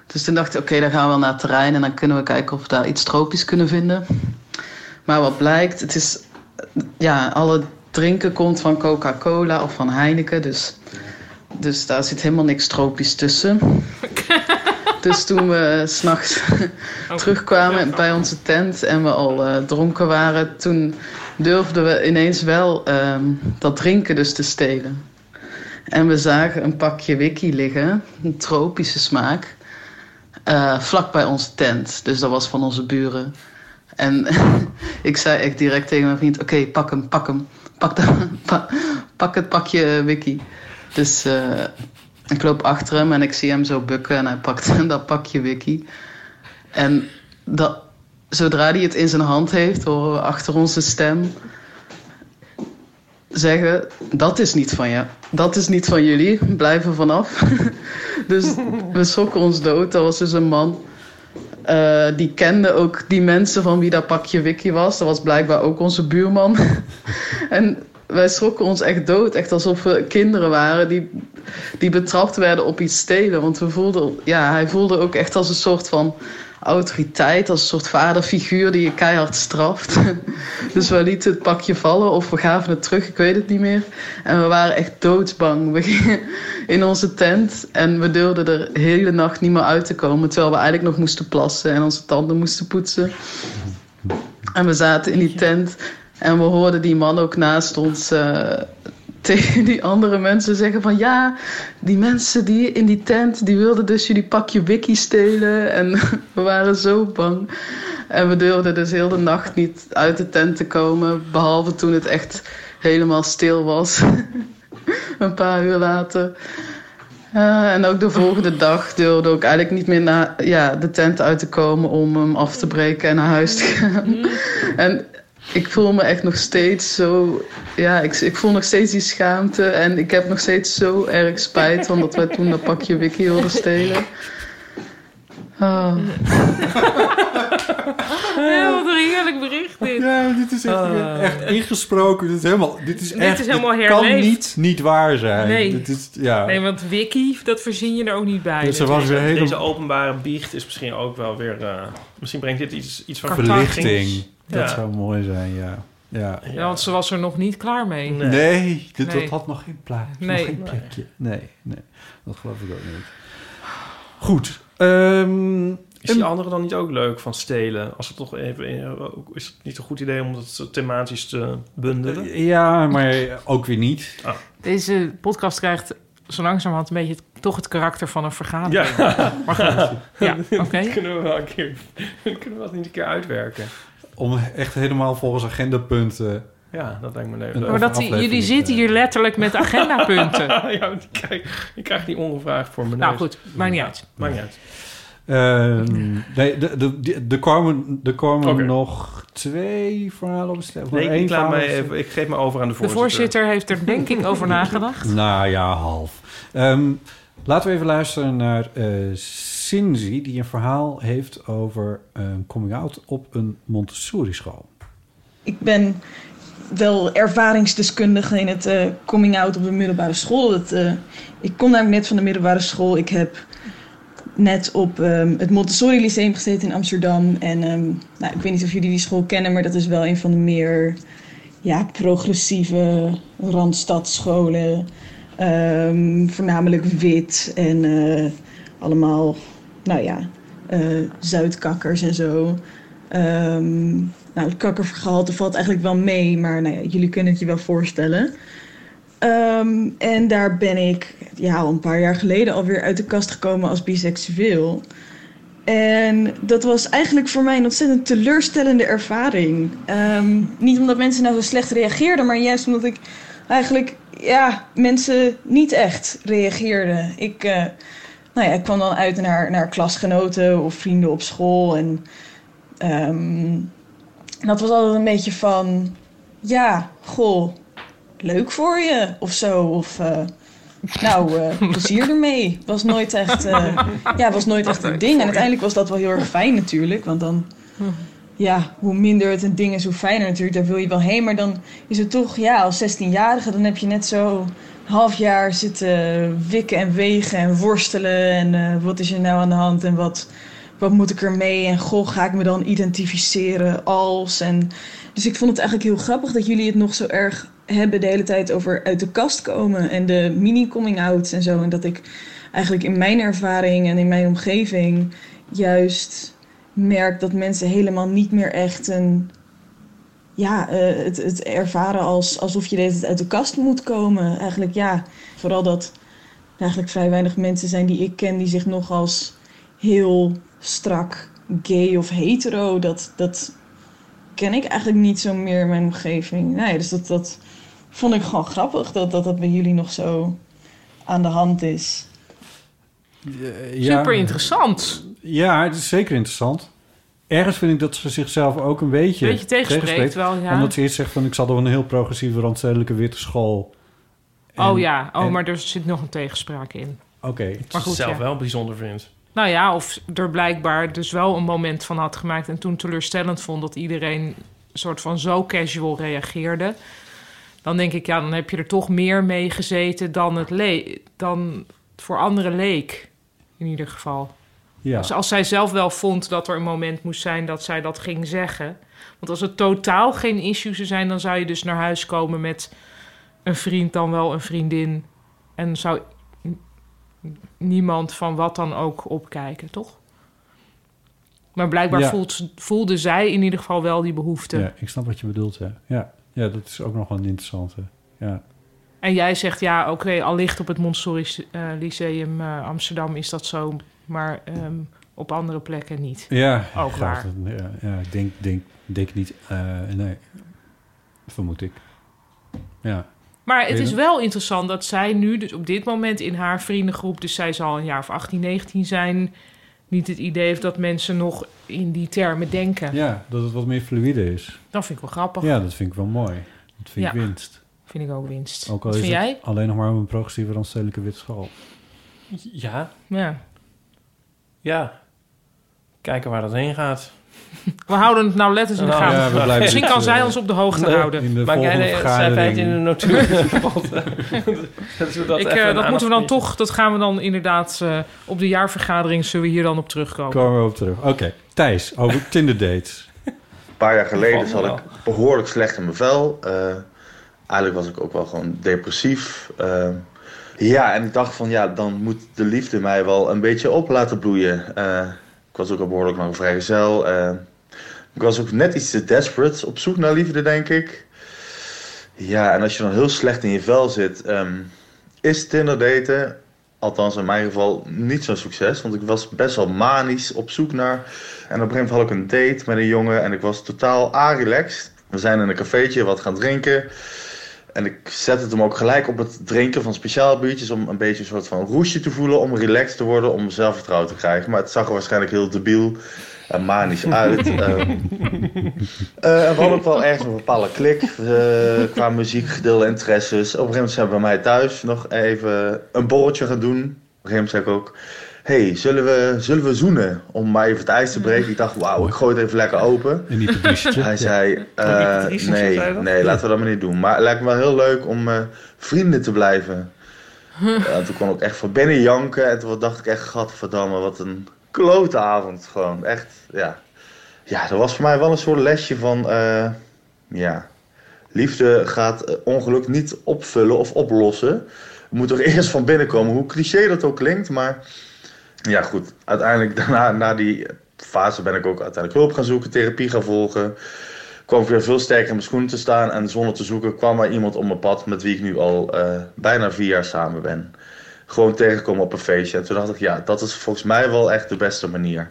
Dus toen dacht ik, oké, dan gaan we wel naar het terrein en dan kunnen we kijken of we daar iets tropisch kunnen vinden. Maar wat blijkt, het is, eh, ja, alle drinken komt van Coca-Cola of van Heineken, dus, dus daar zit helemaal niks tropisch tussen. dus toen we s'nachts terugkwamen bij onze tent en we al eh, dronken waren, toen durfden we ineens wel ehm, dat drinken dus te stelen. En we zagen een pakje wiki liggen, een tropische smaak eh, vlak bij onze tent. Dus dat was van onze buren. En ik zei echt direct tegen mijn vriend: Oké, pak hem, pak hem. Pak, de- pa- pak het pakje eh, wiki. Dus eh, ik loop achter hem en ik zie hem zo bukken en hij pakt dat pakje wiki. En dat, zodra hij het in zijn hand heeft, horen we achter onze stem zeggen: Dat is niet van je. Dat is niet van jullie. Blijf er vanaf. Dus we schrokken ons dood. Er was dus een man. eh, die kende ook die mensen van wie dat pakje Wiki was. Dat was blijkbaar ook onze buurman. en wij schrokken ons echt dood. Echt alsof we kinderen waren die, die betrapt werden op iets stelen. Want we voelden, ja, hij voelde ook echt als een soort van autoriteit. Als een soort vaderfiguur die je keihard straft. dus we lieten het pakje vallen of we gaven het terug. Ik weet het niet meer. En we waren echt doodsbang. We gingen in onze tent. En we durfden er de hele nacht niet meer uit te komen. Terwijl we eigenlijk nog moesten plassen en onze tanden moesten poetsen. En we zaten in die tent. En we hoorden die man ook naast ons eh, tegen die andere mensen zeggen van... Ja, die mensen die in die tent, die wilden dus jullie pakje wiki stelen. En we waren zo bang. En we durfden dus heel de nacht niet uit de tent te komen. Behalve toen het echt helemaal stil was. Een paar uur later. Eh, en ook de volgende dag durfde ook eigenlijk niet meer naar ja, de tent uit te komen om hem af te breken en naar huis te gaan. En ik voel me echt nog steeds zo. Ja, ik, ik voel nog steeds die schaamte. En ik heb nog steeds zo erg spijt van dat wij toen dat pakje Wiki wilden stelen. Ah. Ja, Eh, wat een heerlijk bericht dit. Ja, dit is echt, Ah. echt ingesproken. Dit is helemaal, dit is Dit echt, is helemaal kan herleefd. niet, niet waar zijn. Nee. Dit is, ja. Nee, want wiki, dat verzin je er ook niet bij. Dus er was weer Deze hele openbare biecht is misschien ook wel weer... eh, misschien brengt dit iets, iets van verlichting. Ja. Dat zou mooi zijn, ja. ja. Ja, want ze was er nog niet klaar mee. Nee. Nee, dit, Nee. dat had nog geen plaats. Nee. Nog geen plekje. Nee, nee, dat geloof ik ook niet. Goed. ehm, Is die andere dan niet ook leuk van stelen? Als het toch even, is het niet een goed idee om dat thematisch te bundelen? Eh, Ah, ja, maar ook weer niet. Deze podcast krijgt zo langzamerhand een beetje het- toch het karakter van een vergadering. Ja, Maar goed, ja, oké. dat kunnen we wel een keer, dat kunnen we dat niet een keer uitwerken. Om echt helemaal volgens agendapunten... Ja, dat lijkt me leuk. Een- leuk. Maar dat die, aflevering jullie is, zitten eh, hier letterlijk met agendapunten. ja, ik krijg, ik krijg die ongevraagd voor me. nou goed, maakt niet uit. Maakt niet uit. Ehm, nee, de, de, de, er komen, er komen Oké. nog twee verhalen op stel. Nee, ik, ik, laat mij even. even, ik geef me over aan de De voorzitter. voorzitter heeft er denk ik over nagedacht. Nou ja, half. Ehm, laten we even luisteren naar eh Sinzi, die een verhaal heeft over een coming-out op een Montessori-school. Ik ben wel ervaringsdeskundige in het eh, coming out op de middelbare school. Dat, eh, ik kom namelijk net van de middelbare school. Ik heb net op ehm, het Montessori Lyceum gezeten in Amsterdam. En ehm, nou, ik weet niet of jullie die school kennen, maar dat is wel een van de meer ja, progressieve randstadscholen. Ehm, voornamelijk wit en eh, allemaal, nou ja, eh, Zuidkakkers en zo. Ehm, nou, het kakkergehalte valt eigenlijk wel mee, maar nou ja, jullie kunnen het je wel voorstellen. Ehm, en daar ben ik ja, al een paar jaar geleden alweer uit de kast gekomen als biseksueel. En dat was eigenlijk voor mij een ontzettend teleurstellende ervaring. Ehm, niet omdat mensen nou zo slecht reageerden, maar juist omdat ik eigenlijk ja, mensen niet echt reageerden. Ik, eh, nou ja, ik kwam dan uit naar, naar klasgenoten of vrienden op school. En ehm, en dat was altijd een beetje van... Ja, goh, leuk voor je of zo. Of eh, nou, eh, plezier ermee. Was nooit echt, eh, ja, was nooit echt een ding. En uiteindelijk was dat wel heel erg fijn natuurlijk. Want dan, ja, hoe minder het een ding is, hoe fijner natuurlijk. Daar wil je wel heen. Maar dan is het toch, ja, als 16-jarige... dan heb je net zo een half jaar zitten wikken en wegen en worstelen. En eh, wat is er nou aan de hand en wat wat moet ik ermee? En goh, ga ik me dan identificeren als? En dus ik vond het eigenlijk heel grappig dat jullie het nog zo erg hebben de hele tijd over uit de kast komen en de mini-coming-outs en zo. En dat ik eigenlijk in mijn ervaring en in mijn omgeving juist merk dat mensen helemaal niet meer echt een. Ja, eh, het, het ervaren als, alsof je deze uit de kast moet komen. Eigenlijk ja, vooral dat er eigenlijk vrij weinig mensen zijn die ik ken die zich nog als heel strak gay of hetero. Dat, dat ken ik eigenlijk niet zo meer in mijn omgeving. Nee, dus dat, dat vond ik gewoon grappig dat, dat dat bij jullie nog zo aan de hand is. Super interessant. Ja, het is zeker interessant. Ergens vind ik dat ze zichzelf ook een beetje, Beetje tegenspreekt wel, ja. Omdat ze eerst zegt van ik zat op een heel progressieve randstedelijke witte school. En- oh ja, oh, en- maar er zit nog een tegenspraak in. Oké, Maar Als je goed, het zelf ja. wel bijzonder vindt. Nou ja, of er blijkbaar dus wel een moment van had gemaakt... en toen teleurstellend vond dat iedereen een soort van zo casual reageerde... dan denk ik, ja, dan heb je er toch meer mee gezeten dan het, le dan het voor anderen leek. In ieder geval. ja. Dus als zij zelf wel vond dat er een moment moest zijn dat zij dat ging zeggen. Want als het totaal geen issue zou zijn, dan zou je dus naar huis komen met een vriend, dan wel een vriendin. En zou n- niemand van wat dan ook opkijken, toch? Maar blijkbaar Ja. voelt, voelde zij in ieder geval wel die behoefte. ja, ik snap wat je bedoelt. Ja. Ja. ja, dat is ook nog wel een interessante. Ja. En jij zegt ja, oké, allicht op het Montessori eh, Lyceum eh, Amsterdam is dat zo, maar ehm, op andere plekken niet. Ja, Ook graag. Ja, ja, ik denk, denk, denk niet. eh, nee, vermoed ik. Ja. Maar het Weet is je? wel interessant dat zij nu, dus op dit moment in haar vriendengroep, dus zij zal een jaar of 18, 19 zijn, niet het idee heeft dat mensen nog in die termen denken. Ja, dat het wat meer fluïde is. Dat vind ik wel grappig. Ja, dat vind ik wel mooi. Dat vind ik Ja. winst. Vind ik ook winst. Ook al Wat is vind het jij? alleen nog maar een progressieve randstedelijke witte school. Ja, Ja. ja. Kijken waar dat heen gaat. We houden het nou letters in de Nou, gaten. ja, we blijven Misschien het, kan eh, zij ons op de hoogte nee, houden. In de maar volgende jij zei feit in de vergadering. notulen. dat we dat, Ik, even eh, een dat moeten we dan aandachtspuntje- toch, dat gaan we dan inderdaad eh, op de jaarvergadering zullen we hier dan op terugkomen. Komen we op terug. Oké, Thijs, over Tinder dates. Een paar jaar geleden Valt me zat ik behoorlijk slecht in mijn vel. Eh, eigenlijk was ik ook wel gewoon depressief. Eh, ja, en ik dacht van ja, dan moet de liefde mij wel een beetje op laten bloeien. Eh, ik was ook al behoorlijk lang vrijgezel. Eh, ik was ook net iets te desperate op zoek naar liefde, denk ik. Ja, en als je dan heel slecht in je vel zit, ehm, is Tinder daten, althans in mijn geval, niet zo'n succes. Want ik was best wel manisch op zoek naar en op een gegeven moment had ik een date met een jongen en ik was totaal a-relaxed. We zijn in een cafeetje wat gaan drinken. En ik zette het hem ook gelijk op het drinken van speciaal biertjes om een beetje een soort van roesje te voelen, om relaxed te worden, om zelfvertrouwen te krijgen. Maar het zag er waarschijnlijk heel debiel en manisch uit. Ehm, eh, en we hadden ook wel ergens een bepaalde klik eh, qua muziekgedeelde interesses. Op een gegeven moment zijn we bij mij thuis nog even een borreltje gaan doen. Op een gegeven moment zei ik ook, hey, zullen we, zullen we zoenen? Om maar even het ijs te breken. Ik dacht, wauw, ik gooi het even lekker open. In die publicitje. Hij zei, eh, Niet triest, nee, zei hij dat? nee, laten we dat maar niet doen. Maar het lijkt me wel heel leuk om eh, vrienden te blijven. Ja, toen kon ik echt van binnen janken. En toen dacht ik echt, gadverdamme, wat een klote avond. Gewoon, echt, ja. Ja, dat was voor mij wel een soort lesje van, eh, ja. Liefde gaat eh, ongeluk niet opvullen of oplossen. Het moet toch eerst van binnen komen. Hoe cliché dat ook klinkt, maar... Ja, goed. Uiteindelijk, daarna, na die fase ben ik ook uiteindelijk hulp gaan zoeken, therapie gaan volgen kwam ik weer veel sterker in mijn schoenen te staan. En zonder te zoeken kwam er iemand op mijn pad met wie ik nu al eh, bijna vier jaar samen ben. Gewoon tegenkomen op een feestje. En toen dacht ik, ja, dat is volgens mij wel echt de beste manier.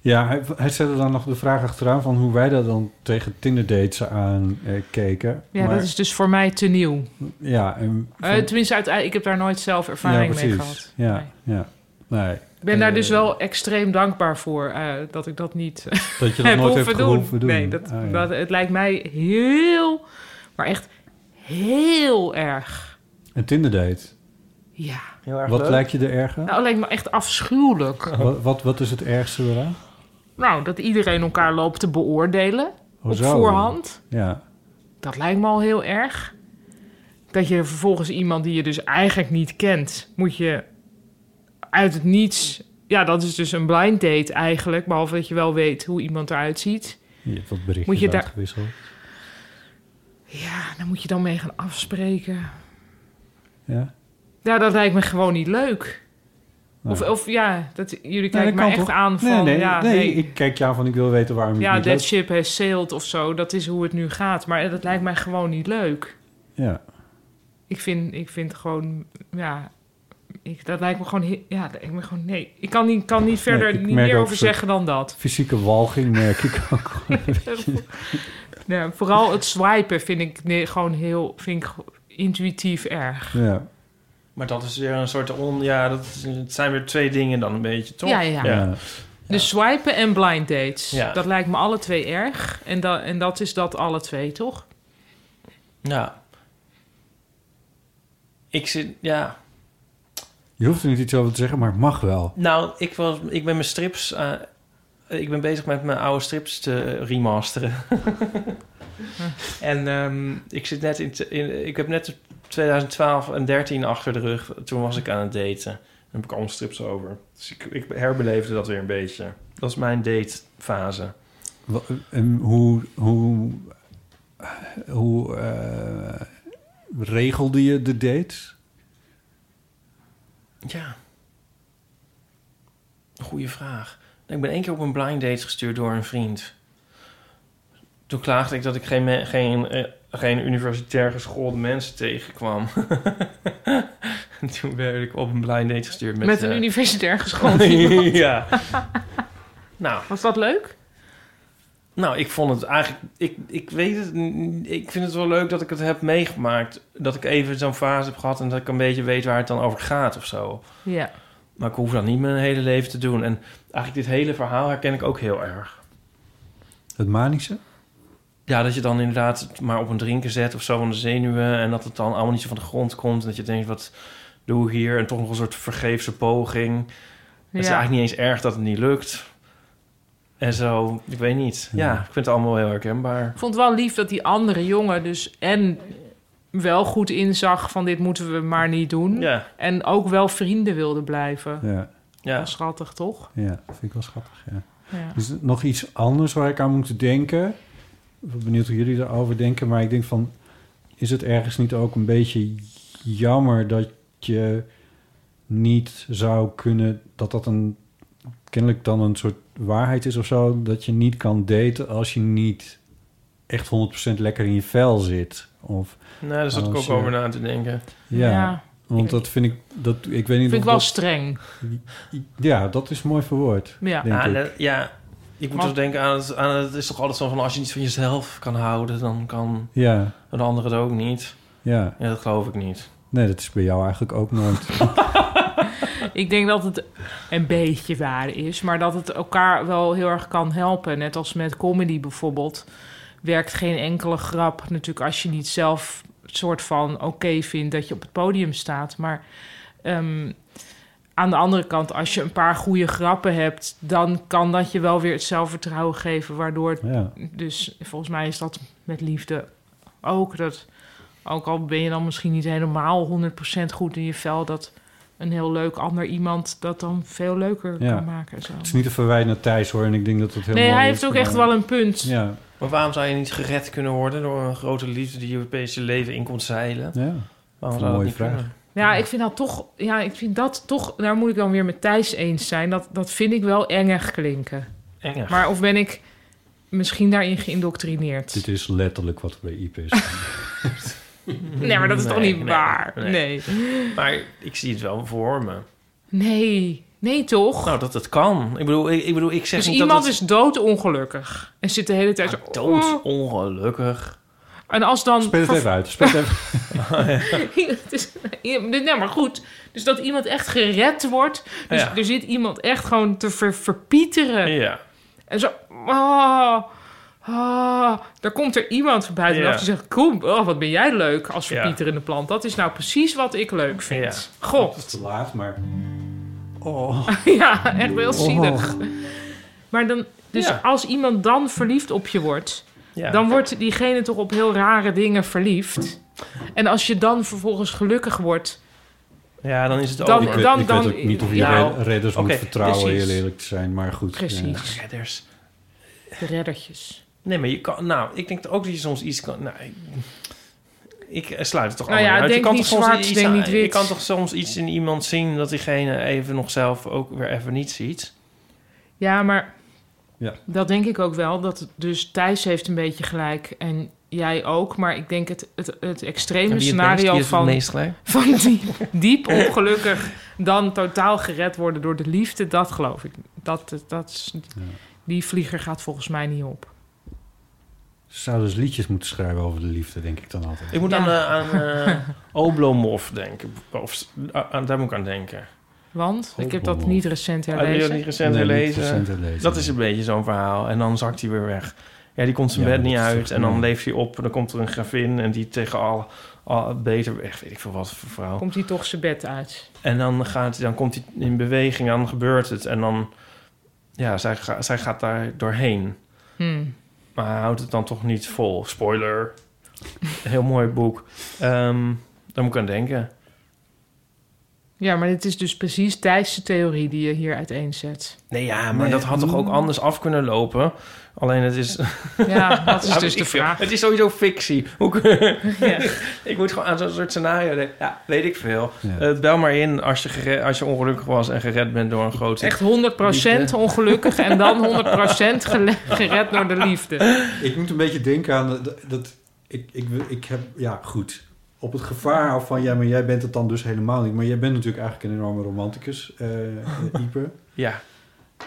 Ja, hij, hij zette dan nog de vraag achteraan van hoe wij daar dan tegen Tinder dates aan eh, keken. Ja, Maar- dat is dus voor mij te nieuw. Ja, en... Eh, tenminste, uite- ik heb daar nooit zelf ervaring mee gehad. Ja, Nee. ja. Nee, Ik ben daar Eh, dus wel extreem dankbaar voor eh, dat ik dat niet eh, dat je dat heb nooit hebt hoeven doen. gehoeven doen. Nee, dat, Ah, ja. dat, het lijkt mij heel, maar echt heel erg. Een Tinder date. Ja, Heel erg Wat leuk. lijkt je de erge? nou, het lijkt me echt afschuwelijk. Wat, wat, wat is het ergste eraan? Nou, dat iedereen elkaar loopt te beoordelen Oh, op zo. voorhand. Ja. Dat lijkt me al heel erg. Dat je vervolgens iemand die je dus eigenlijk niet kent, moet je uit het niets. Ja, dat is dus een blind date eigenlijk. Behalve dat je wel weet hoe iemand eruit ziet. Je hebt wat berichtjes Moet je daar- uitgewisseld. Ja, daar moet je dan mee gaan afspreken. Ja. Ja, dat lijkt me gewoon niet leuk. Nou. Of, of ja, dat, jullie Nee, kijken dat me kan echt toch? aan van... nee, nee, ja, nee, ik kijk jou van ik wil weten waarom je ja het niet that leuk- ship has sailed of zo. Dat is hoe het nu gaat. Maar dat lijkt mij gewoon niet leuk. Ja. Ik vind, ik vind gewoon, ja, ik, dat lijkt me gewoon, he- ja, dat lijkt me gewoon, nee. Ik kan niet, kan niet verder, ik niet merk meer ook over zo- zeggen dan dat. Fysieke walging merk ik ook. Ja, vooral het swipen vind ik nee, gewoon heel, vind ik go- intuïtief erg. ja. Maar dat is weer een soort on... Ja, dat is- het zijn weer twee dingen dan een beetje, toch? Ja, ja. ja. ja. Dus swipen en blind dates, Ja. dat lijkt me alle twee erg. En, da, en dat is dat alle twee, toch? Ja. Ik zit... Ja. Je hoeft er niet iets over te zeggen, maar het mag wel. Nou, ik, was, ik ben mijn strips... eh, ik ben bezig met mijn oude strips te remasteren. en ehm, ik zit net in, te- in... Ik heb net 2012 en 13 achter de rug. Toen was ik aan het daten. Dan heb ik allemaal strips over. Dus ik, ik herbeleefde dat weer een beetje. Dat is mijn datefase. Wa- En hoe, hoe, hoe eh, regelde je de dates? Ja. Goeie vraag. Ik ben één keer op een blind date gestuurd door een vriend. Toen klaagde ik dat ik geen, me- geen, eh, geen universitair geschoolde mensen tegenkwam. en toen werd ik op een blind date gestuurd met... Met, een eh, universitair geschoold iemand. ja. nou, Was dat leuk? nou, ik vond het eigenlijk... Ik, ik weet het... n- Ik vind het wel leuk dat ik het heb meegemaakt. Dat ik even zo'n fase heb gehad... en dat ik een beetje weet waar het dan over gaat of zo. Ja. Maar ik hoef dat niet mijn hele leven te doen. En eigenlijk dit hele verhaal herken ik ook heel erg. Het manische? Ja, dat je dan inderdaad het maar op een drinken zet of zo van de zenuwen... en dat het dan allemaal niet zo van de grond komt... en dat je denkt, wat doe ik hier? En toch nog een soort vergeefse poging. Het is Ja. eigenlijk niet eens erg dat het niet lukt. En zo, ik weet niet. Ja, ik vind het allemaal heel herkenbaar. Ik vond het wel lief dat die andere jongen dus en wel goed inzag van dit moeten we maar niet doen. Ja. En ook wel vrienden wilde blijven. Ja. Ja. Dat is schattig, toch? Ja, vind ik wel schattig. Ja. Ja. Dus nog iets anders waar ik aan moet denken. Ik ben benieuwd hoe jullie daarover denken. Maar ik denk van, is het ergens niet ook een beetje jammer dat je niet zou kunnen... dat dat een kennelijk dan een soort waarheid is of zo... dat je niet kan daten als je niet echt 100% lekker in je vel zit. Of, Nou, daar zat ik als eh, je- ook over na te denken. Ja, Ja. want dat vind ik... Dat, ik weet niet Vind ik of wel dat- streng. Ja, dat is mooi verwoord. Ja. denk Ah, ik. dat- ja, ik moet Maar- toch denken aan het, aan het... is toch altijd zo van, als je niet van jezelf kan houden... dan kan Ja, een ander het ook niet. ja. Ja, dat geloof ik niet. Nee, dat is bij jou eigenlijk ook nooit. Ik denk dat het een beetje waar is, maar dat het elkaar wel heel erg kan helpen. Net als met comedy bijvoorbeeld. Werkt geen enkele grap natuurlijk als je niet zelf het soort van oké vindt dat je op het podium staat. Maar ehm, aan de andere kant, als je een paar goede grappen hebt, dan kan dat je wel weer het zelfvertrouwen geven. Waardoor het ja. dus volgens mij is dat met liefde ook. Dat, ook al ben je dan misschien niet helemaal 100% goed in je vel, dat een heel leuk ander iemand dat dan veel leuker Ja. kan maken. Zo. Het is niet te verwijten naar Thijs hoor. En ik denk dat dat heel Nee, mooi hij is, heeft ook maar- echt wel een punt. Ja, Maar waarom zou je niet gered kunnen worden... door een grote liefde die je opeens je leven in komt zeilen? ja. Waarom Een zou dat mooie niet vraag. kunnen? Ja, ik vind dat toch. Ja, ik vind dat toch. Daar moet ik dan weer met Thijs eens zijn. Dat, dat vind ik wel engig klinken. Enger. Maar of ben ik misschien daarin geïndoctrineerd? Dit is letterlijk wat er bij Iep is. Nee, maar dat is toch Nee, niet nee, waar? nee. Nee. Maar ik zie het wel voor me. Nee, nee toch? Nou, dat het kan. Ik bedoel, ik, ik, bedoel, ik zeg dus niet dat iemand het- is doodongelukkig. En zit de hele tijd zo... oh. Ah, dood ongelukkig. En als dan... Speel het even uit. Speel het even. Het is- nee, maar goed. Dus dat iemand echt gered wordt. Dus Ja. er zit iemand echt gewoon te ver- verpieteren. Ja. En zo... ah, ah. daar komt er iemand buiten Ja. af die zegt... Kom, oh, wat ben jij leuk als verpieterende plant. Dat is nou precies wat ik leuk vind. God. Het is te laat, maar... Ja, echt Oh. heel zielig. Maar dan... Dus Ja. als iemand dan verliefd op je wordt... ja. Dan wordt diegene toch op heel rare dingen verliefd. En als je dan vervolgens gelukkig wordt, ja, dan is het dan- Ik, weet, over. dan- ik dan- weet ook niet of je nou, red- redders oké, moet vertrouwen, precies. heel eerlijk te zijn. Maar goed. precies, Redders. de reddertjes. Nee, maar je kan... Nou, ik denk ook dat je soms iets kan... Nou, ik, ik sluit het toch Nou allemaal ja, uit. denk je kan niet toch soms zwart, iets denk aan- niet Je wit. kan toch soms iets in iemand zien... dat diegene even nog zelf ook weer even niet ziet. Ja, maar Ja. dat denk ik ook wel. Dat dus Thijs heeft een beetje gelijk en jij ook. Maar ik denk het, het, het En extreme wie het meest, scenario wie is het van, meest gelijk? van diep, diep ongelukkig dan totaal gered worden door de liefde, dat geloof ik. Dat, dat, is, die vlieger gaat volgens mij niet op. Ze zouden dus liedjes moeten schrijven over de liefde, denk ik dan altijd. Ik moet Ja. aan, eh, aan eh, Oblomov denken. Of, eh, aan- daar moet ik aan denken. Want ik heb dat Godverdomme. niet recent Oh, Heb je dat niet herlezen. recent Nee, niet gelezen? recent herlezen, Dat nee. is een beetje zo'n verhaal. En dan zakt hij weer weg. Ja, die komt zijn Ja, bed dat niet is uit. echt En dan mooi. leeft hij op. En dan komt er een gravin. En die tegen al, al beter... Echt, weet ik veel wat voor vrouw. Komt hij toch zijn bed uit? En dan, gaat, dan komt hij in beweging. En dan gebeurt het. En dan... Ja, zij, ga- zij gaat daar doorheen. Hmm. Maar hij houdt het dan toch niet vol. Spoiler. Heel mooi boek. Ehm daar moet ik aan denken. Ja, maar dit is dus precies Thijs' theorie die je hier uiteenzet. Nee, ja, maar dat had toch mm. ook anders af kunnen lopen? Alleen het is... Ja, dat is Ja, dus ik de vind- vraag. Het is sowieso fictie. Hoe kun- Ja. ik moet gewoon aan zo'n soort scenario denken. Ja, weet ik veel. Ja. Eh, bel maar in als je, gere- als je ongelukkig was en gered bent door een groot... Echt 100% ongelukkig en dan 100% gele- gered door de liefde. Ik moet een beetje denken aan... Dat, dat- ik, ik, ik heb... Ja, goed. Op het gevaar af van... Ja, maar jij bent het dan dus helemaal niet. Maar jij bent natuurlijk eigenlijk een enorme romanticus, eh eh, Ieper. Ja,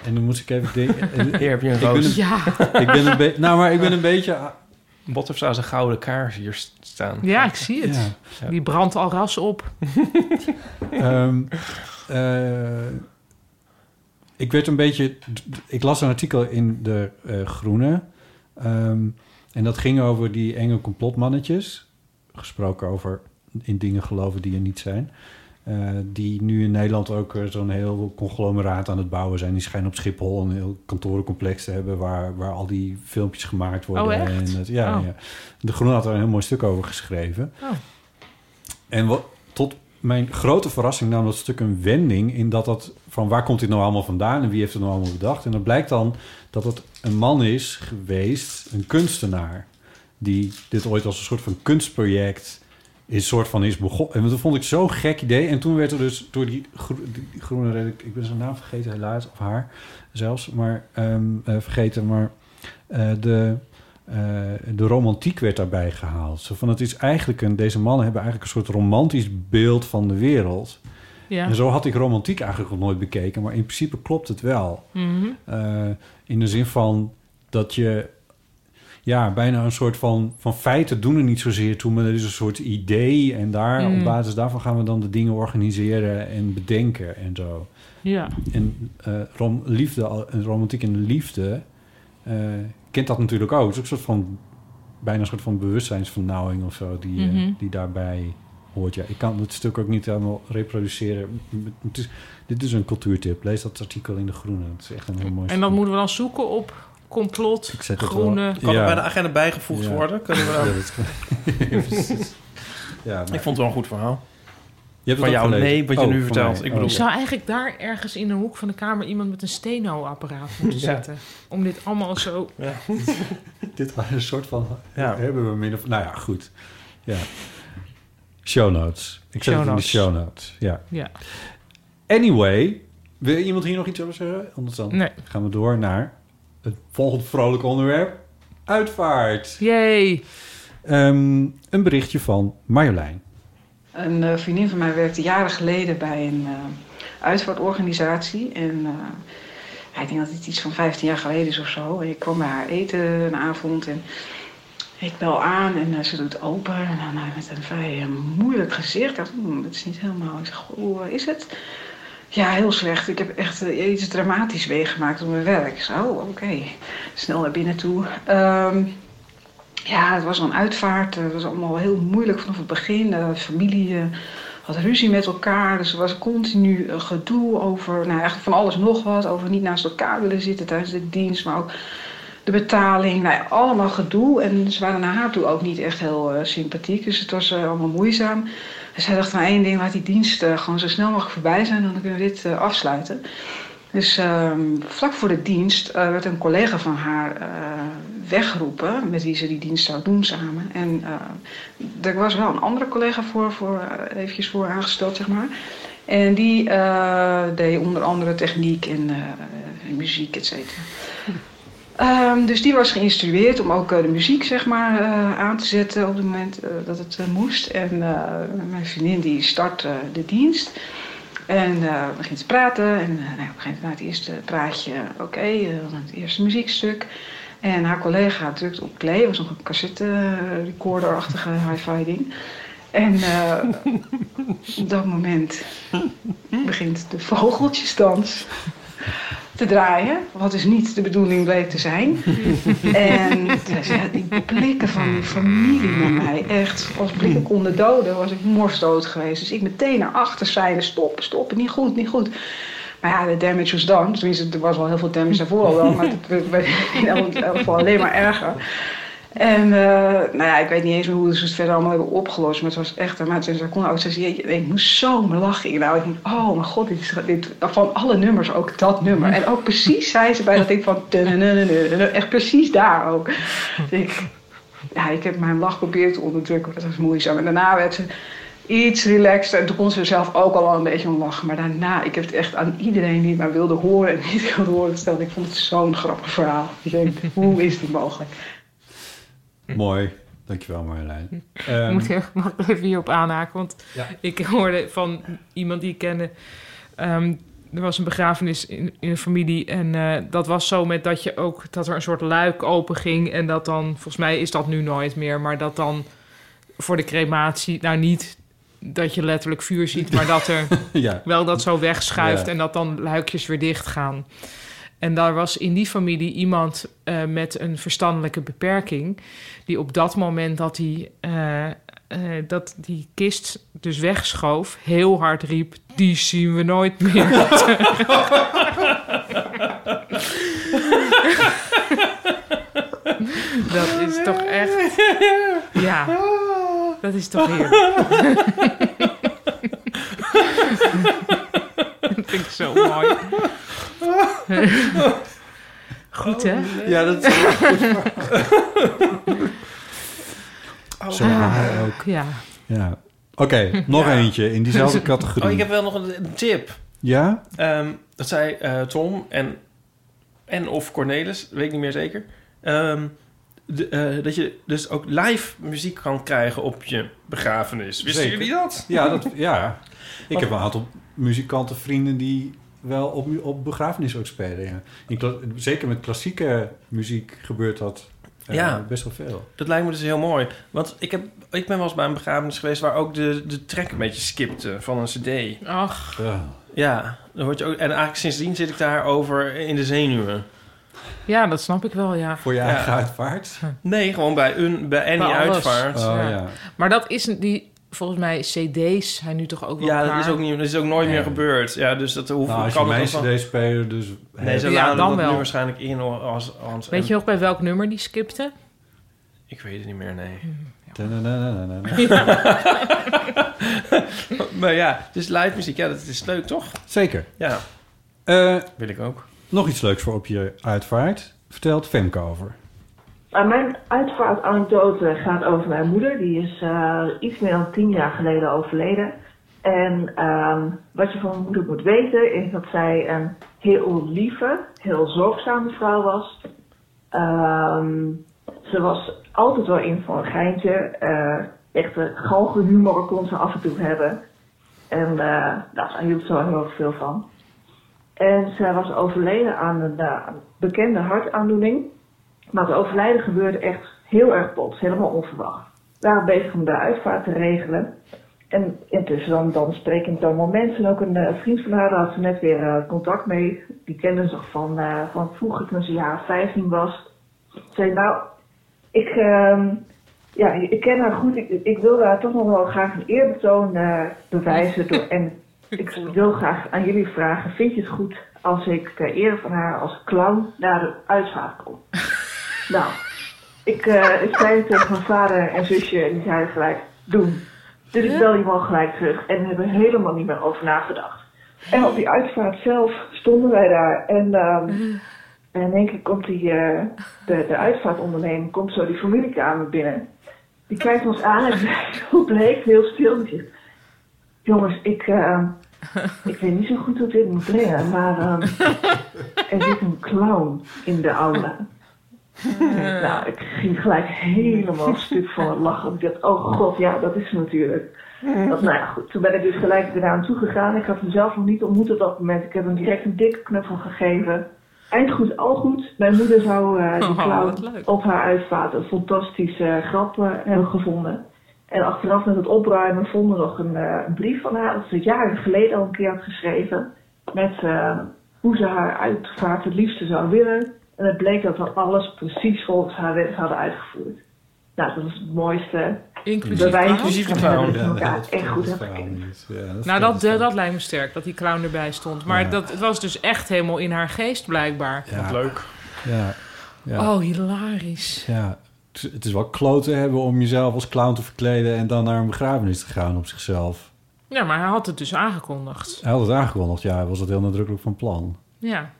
En dan moest ik even denken... en- hier heb je een Ik ben roos. een- Ja, ik ben een beetje... Nou, maar ik ben een beetje... Bot heeft trouwens een gouden kaars hier s- staan. Ja, ik zie het. Ja. Ja. Die brandt al ras op. Ehm, eh, ik werd een beetje. Ik las een artikel in de eh, Groene. Ehm, en dat ging over die enge complotmannetjes. Gesproken over in dingen geloven die er niet zijn. Eh, die nu in Nederland ook eh, zo'n heel conglomeraat aan het bouwen zijn. Die schijnen op Schiphol een heel kantorencomplex te hebben... waar, waar al die filmpjes gemaakt worden. Oh, echt? En het- ja, Oh. ja. De Groene had er een heel mooi stuk over geschreven. Oh. En wat, tot mijn grote verrassing nam dat stuk een wending... in dat dat van waar komt dit nou allemaal vandaan... en wie heeft het nou allemaal bedacht. En dan blijkt dan dat het een man is geweest, een kunstenaar... die dit ooit als een soort van kunstproject is soort van is begonnen. En dat vond ik zo'n gek idee. En toen werd er dus door die, gro- die groene redacteur... ik ben zijn naam vergeten helaas, of haar zelfs, maar ehm, eh, vergeten. Maar eh, de, eh, de romantiek werd daarbij gehaald. Zo van, het is eigenlijk een, deze mannen hebben eigenlijk een soort romantisch beeld van de wereld. Ja. En zo had ik romantiek eigenlijk nog nooit bekeken, maar in principe klopt het wel. Mhm. Eh, in de zin van dat je ja, bijna een soort van, van feiten doen er niet zozeer toe, maar er is een soort idee en daar Mm. op basis daarvan gaan we dan de dingen organiseren en bedenken en zo. ja. En eh, rom, liefde, al- en romantiek en liefde eh, kent dat natuurlijk ook. Het is ook een soort van, bijna een soort van bewustzijnsvernauwing of zo die, eh, Mhm. die daarbij hoort. Ja, ik kan het stuk ook niet helemaal reproduceren. Het is, dit is een cultuurtip. Lees dat artikel in De Groene. Het is echt een heel mooi En dan stuk. moeten we dan zoeken op complot, Ik zet het wel- groene... Kan Ja. er bij de agenda bijgevoegd Ja. worden? Kunnen we daar- Ja, dat kan- Precies. ja, Ik vond het wel een goed verhaal. je Van jou, nee, Oh, wat je nu vertelt. Ik bedoel- Ik zou eigenlijk daar ergens in een hoek van de kamer iemand met een steno-apparaat moeten Ja. zetten. Om dit allemaal zo... dit was een soort van... Ja. Hebben we min of... Nou ja, goed. Ja. Show notes. Ik zet Show het in de notes. show notes. Ja. Ja. Anyway, wil iemand hier nog iets over zeggen? Anders dan Nee. gaan we door naar het volgende vrolijk onderwerp. Uitvaart. Jee. Ehm, een berichtje van Marjolein. Een eh, vriendin van mij werkte jaren geleden bij een eh, uitvaartorganisatie. En eh, ik denk dat het iets van 15 jaar geleden is of zo. En ik kwam bij haar eten een avond en ik bel aan en eh, ze doet open. En dan eh, met een vrij eh, moeilijk gezicht. Ik dacht, "Hmm, dat is niet helemaal. Ik zeg, hoe eh, is het? Ja, heel slecht. Ik heb echt eh, iets dramatisch meegemaakt op mijn werk. Ik zei, oh, oké. Snel naar binnen toe. Ehm, ja, het was een uitvaart. eh, Het was allemaal heel moeilijk vanaf het begin. De familie eh, had ruzie met elkaar. Dus er was continu eh, gedoe over nou, eigenlijk van alles nog wat. Over niet naast elkaar willen zitten tijdens de dienst. Maar ook de betaling. Nou, ja, allemaal gedoe. En ze waren naar haar toe ook niet echt heel eh, sympathiek. Dus het was eh, allemaal moeizaam. Dus zij dacht van één ding. Laat die dienst eh, gewoon zo snel mogelijk voorbij zijn. Dan kunnen we dit eh, afsluiten. Dus ehm, vlak voor de dienst eh, werd een collega van haar eh, weggeroepen, met wie ze die dienst zou doen samen. En eh, er was wel een andere collega voor, voor eh, eventjes voor aangesteld, zeg maar. En die eh, deed onder andere techniek en eh, muziek, et cetera. Ehm, dus die was geïnstrueerd om ook eh, de muziek zeg maar, eh, aan te zetten op het moment eh, dat het eh, moest. En eh, mijn vriendin die start eh, de dienst. En eh, begint te praten. En eh, nou, op een gegeven moment na het eerste praatje, oké, eh, dan het eerste muziekstuk. En haar collega drukt op play, was nog een cassette eh, recorder-achtige hi-fi ding. En eh, op dat moment begint de vogeltjesdans te draaien. Wat dus niet de bedoeling bleek te zijn. En dus ja, die blikken van die familie naar mij, echt als blikken konden doden, was ik morsdood geweest. Dus ik meteen naar achter zeiden, stoppen, stoppen, niet goed, niet goed. Maar ja, de damage was done. Tenminste, er was wel heel veel damage daarvoor al wel, maar het werd- werd in elk elk geval alleen maar erger. En eh, nou ja, ik weet niet eens meer hoe ze het verder allemaal hebben opgelost. Maar het was echt, maar toen ze kon ook zeggen, jeetje, ik moest zo me lachen. Nou, ik denk, oh mijn god, dit is, dit, van alle nummers ook dat nummer. En ook precies zei ze bij dat ik van, "Tudududududu", echt precies daar ook. Dus ik, ja, ik heb mijn lach geprobeerd te onderdrukken, maar dat was moeizaam. En daarna werd ze iets relaxter. En toen kon ze er zelf ook al wel een beetje om lachen. Maar daarna, ik heb het echt aan iedereen die het maar wilde horen en niet wilde horen gesteld. Ik vond het zo'n grappig verhaal. Ik denk, hoe is dit mogelijk? Mooi. Dankjewel Marjolein. Ehm, Ik Hm. moet er- mag ik even hierop aanhaken, want Ja. ik hoorde van iemand die ik kende... ehm, er was een begrafenis in, in een familie. En eh, dat was zo met dat je ook dat er een soort luik open ging. En dat dan, volgens mij is dat nu nooit meer, maar dat dan voor de crematie, nou niet dat je letterlijk vuur ziet, maar dat er ja. wel dat zo wegschuift Ja. en dat dan luikjes weer dicht gaan. En daar was in die familie iemand eh, met een verstandelijke beperking. Die op dat moment dat hij eh, eh, dat die kist dus wegschoof, heel hard riep: Die zien we nooit meer. dat is toch echt. Ja, Ah. dat is toch heerlijk. dat vind ik zo mooi. Goed, hè? Ja, dat, Zo Ah, haar ook. Oh, ah, Ja. Ja. Oké, nog eentje in diezelfde categorie. oh, ik heb wel nog een, een tip. Ja? Ehm, dat zei eh, Tom en, en of Cornelis, weet ik niet meer zeker. Ehm, de- eh, dat je dus ook live muziek kan krijgen op je begrafenis. Wisten Zeker. jullie dat? Ja, dat, ja. ik Wat- heb een aantal muzikantenvrienden die wel op, mu- op begrafenis ook spelen. Ja. In kla- zeker met klassieke muziek gebeurt dat eh, Ja. best wel veel. Dat lijkt me dus heel mooi. Want ik, heb, ik ben wel eens bij een begrafenis geweest waar ook de, de track een beetje skipte van een cd. Ach, Ja. Ja, dan word je ook, en eigenlijk sindsdien zit ik daarover in de zenuwen. ja, dat snap ik wel, ja. Voor je eigen uitvaart. Nee, gewoon bij een bij any Bij alles. uitvaart. Oh, Ja. ja. Maar dat is een- die, volgens mij, CD's zijn nu toch ook wel Ja, klaar? dat is ook, niet, dat is ook nooit Nee. meer gebeurd. Ja, dus dat hoeft Nou, als je kan mijn het dan- cd spelen, dus... Nee, ze Ja, laden dan dat wel. nu waarschijnlijk in als... als Weet en- je nog bij welk nummer die skipte? Ik weet het niet meer, nee. Mhm. Tadadadadada. maar ja, dus live muziek, ja, dat is leuk, toch? Zeker. Ja, Eh, wil ik ook. nog iets leuks voor op je uitvaart. Vertelt Femke over. Maar mijn uitvaartanekdote gaat over mijn moeder. Die is eh, iets meer dan tien jaar geleden overleden. En ehm, wat je van mijn moeder moet weten is dat zij een heel lieve, heel zorgzame vrouw was. Ehm, ze was altijd wel in voor een geintje. Eh echte galgenhumor kon ze af en toe hebben. En eh, nou, daar hield ze wel heel erg veel van. En zij was overleden aan een eh, bekende hartaandoening. Maar het overlijden gebeurde echt heel erg plots, helemaal onverwacht. We waren bezig om de uitvaart te regelen. En intussen dan, dan spreek ik dan wel mensen. En ook een eh, vriend van haar, daar had ze net weer eh, contact mee. Die kende ze nog van, eh, van vroeger, toen ze jaren 15 was. Ze zei, nou, ik, ehm, ja, ik ken haar goed. Ik, ik wil haar toch nog wel graag een eerbetoon eh, bewijzen. Door, en ik wil graag aan jullie vragen, vind je het goed als ik ter ere van haar als clown naar de uitvaart kom? Nou, ik, eh, ik zei het tegen mijn vader en zusje en die zeiden gelijk, doen. Dus ik bel die man gelijk terug en hebben helemaal niet meer over nagedacht. En op die uitvaart zelf stonden wij daar en, ehm, en in één keer komt die, eh, de, de uitvaartondernemer, komt zo die familiekamer binnen. Die kijkt ons aan en heel bleek, heel stil, die zegt, jongens, ik, ehm, ik weet niet zo goed hoe ik dit moet brengen, maar ehm, er zit een clown in de aula. Nou, ik ging gelijk helemaal stuk van het lachen. Ik dacht, oh god, ja, dat is het natuurlijk. Dat, nou ja, goed. Toen ben ik dus gelijk eraan aan toegegaan. Ik had hem zelf nog niet ontmoet op dat moment. Ik heb hem direct een dikke knuffel gegeven. Eind goed, al goed. Mijn moeder zou eh die Oh, clown wat leuk. op haar uitvaart een fantastische eh, grap eh, hebben gevonden. En achteraf met het opruimen vonden we nog een, eh, een brief van haar. Dat ze jaren geleden al een keer had geschreven. Met eh, hoe ze haar uitvaart het liefste zou willen. En het bleek dat we alles precies volgens haar wens hadden uitgevoerd. Nou, dat was het mooiste. Inclusief Bewijs clown? Inclusief de clown. Ja, dat vertelt echt goed, het hè, verhaal niet. Ja, Nou, vertelt dat, het eh, verhaal dat lijkt me sterk, dat die clown erbij stond. Maar Ja. dat, het was dus echt helemaal in haar geest, blijkbaar. niet. Ja, Leuk. ja, ja. Oh, hilarisch. Ja, het is- het is wel kloten hebben om jezelf als clown te verkleden en dan naar een begrafenis te gaan op zichzelf. Ja, maar hij had het dus aangekondigd. Hij had het aangekondigd, ja, hij was dat heel nadrukkelijk van plan. Ja.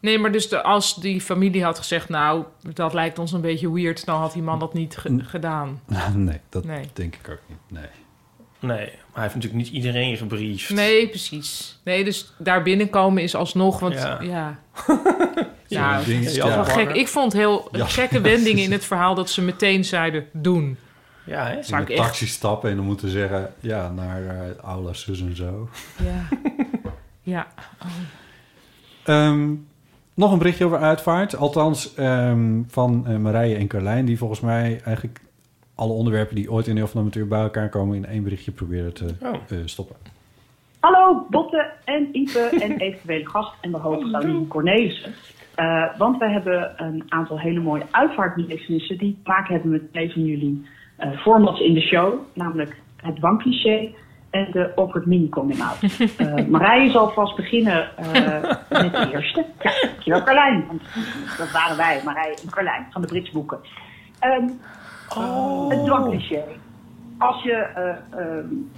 Nee, maar dus de, als die familie had gezegd... nou, dat lijkt ons een beetje weird... dan had die man dat niet ge- gedaan. nee, dat Nee. denk ik ook niet. Nee. Nee, maar hij heeft natuurlijk niet iedereen gebriefd. Nee, precies. Nee, dus daar binnenkomen is alsnog... want ja... Ja. Ja, Zo'n ding is- dat is wel ja. gek. Ik vond heel Ja. gekke wendingen in het verhaal... dat ze meteen zeiden, doen. Ja, hè? In Zou ik de echt... taxi stappen en dan moeten zeggen, ja, naar eh aula zus en zo. Ja. Ja. Ehm, nog een berichtje over uitvaart. Althans, ehm, van eh, Marije en Carlijn, die volgens mij eigenlijk alle onderwerpen die ooit in heel van Amateur bij elkaar komen, in één berichtje proberen te Oh. eh, stoppen. Hallo Botte en Ipe en eventuele gast en de hoofdvrouw Cornelissen. Eh, want wij hebben een aantal hele mooie uitvaartbelichtenissen die vaak hebben met twee van jullie eh, formats in de show. Namelijk het bankcliché en de awkward mini coming out. Eh, Marije zal vast beginnen eh, met de eerste. Ja, dankjewel Carlijn. Want dat waren wij, Marije en Carlijn van de Brits boeken. Ehm, Het bankcliché als je eh, eh,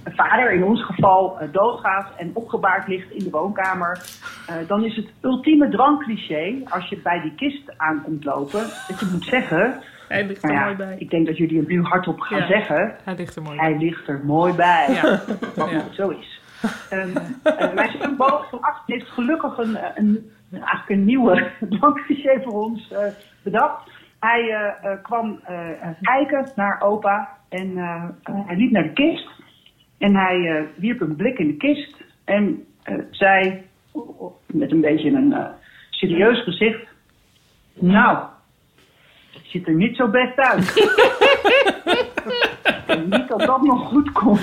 een vader, in ons geval, eh, doodgaat en opgebaard ligt in de woonkamer, eh, dan is het ultieme drankcliché, als je bij die kist aankomt lopen, dat je moet zeggen. Hij ligt er mooi bij. Ik denk dat jullie hem nu hardop gaan Ja. zeggen. Hij ligt er mooi Hij ligt er mooi bij. Ja. Wat Ja. het zo is. Ehm, eh, mijn zoon Boog van acht heeft gelukkig een, eh, een, een- eigenlijk een nieuwe bankcliché voor ons eh, bedacht. Hij eh, eh, kwam eh, eh, kijken naar opa en eh, eh, hij liep naar de kist. En hij eh, wierp een blik in de kist en eh, zei met een beetje een eh, serieus gezicht... Nou, het ziet er niet zo best uit. Ik denk niet dat dat nog goed komt.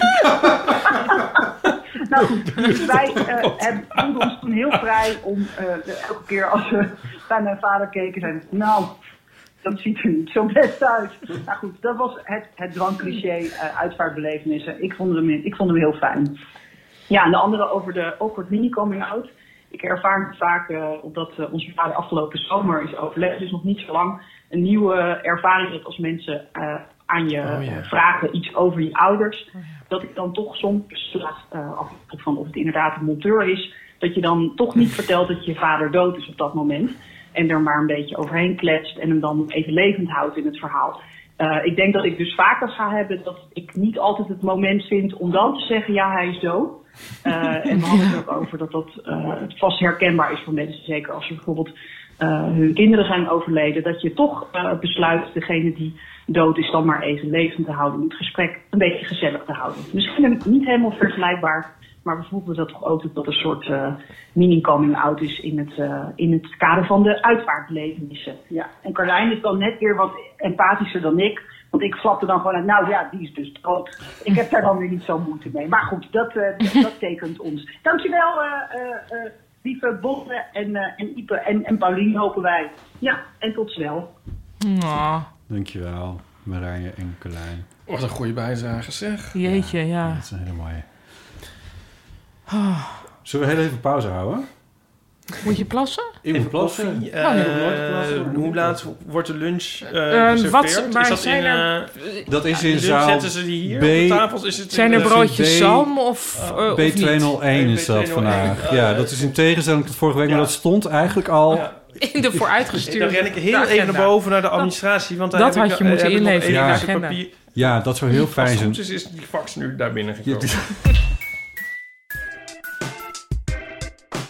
nou goed, dus wij eh, hebben, voelden ons toen heel vrij om eh, elke keer als we bij mijn vader keken, zeiden we, nou, dat ziet er niet zo best uit. Nou goed, dat was het, het drankcliché eh, uitvaartbelevenissen. Ik vond, hem, ik vond hem heel fijn. Ja, en de andere over de awkward mini coming out. Ik ervaar het vaak, eh, omdat eh, onze vader afgelopen zomer is overleden, dus nog niet zo lang. Een nieuwe ervaring dat als mensen eh, aan je Oh ja. Oh, eh, vragen iets over je ouders, dat ik dan toch soms, eh afhankelijk van of het inderdaad een monteur is, dat je dan toch niet vertelt dat je vader dood is op dat moment. En er maar een beetje overheen kletst en hem dan even levend houdt in het verhaal. Eh, ik denk dat ik dus vaker ga hebben dat ik niet altijd het moment vind om dan te zeggen, ja, hij is dood. Eh, en we hadden het ook over dat dat eh, vast herkenbaar is voor mensen. Zeker als er bijvoorbeeld eh, hun kinderen zijn overleden. Dat je toch eh, besluit degene die dood is dan maar even levend te houden. Om het gesprek een beetje gezellig te houden. Dus Misschien een- niet helemaal vergelijkbaar. Maar we voelden dat toch ook dat dat een soort eh, mini-coming-out is in het, eh, in het kader van de uitvaartbelevenissen. Ja. En Carlijn is dan net weer wat empathischer dan ik. Want ik flapte dan gewoon uit, nou ja, die is dus dood. Ik heb daar dan weer niet zo moeite mee. Maar goed, dat, eh, dat- dat tekent ons. Dankjewel, eh eh eh, lieve Botte en, eh, en Ipe en, en Paulien, hopen wij. Ja, en tot snel. Nou. Dankjewel, Marije en Carlijn. Wat een goede bijdrage, zeg. Jeetje, ja. Ah. Dat is een hele mooie. Zullen we heel even pauze houden? Moet je plassen? Even plassen? Koffie, Oh, nee. eh, hoe laat wordt de lunch eh Ehm, geserveerd? wat- Is maar nou- dat zijn in, er- eh, Dat is in dus zaal Zetten ze die hier B. op de tafels? Is het Oh. Zijn in, er eh, broodjes B- zalm of, eh, of niet? B201 is dat B201, vandaag. eh, ja, dat is in tegenstelling tot vorige week, maar dat stond eigenlijk al. In de vooruitgestuurde Dan ren ik heel agenda. even naar boven naar de administratie. Want daar dat heb ik- had je eh, moeten heb ik nog inleveren één in de stuk agenda. papier. Ja, dat zou heel Als fijn het zijn. goed is, is die fax nu daar binnen gekomen.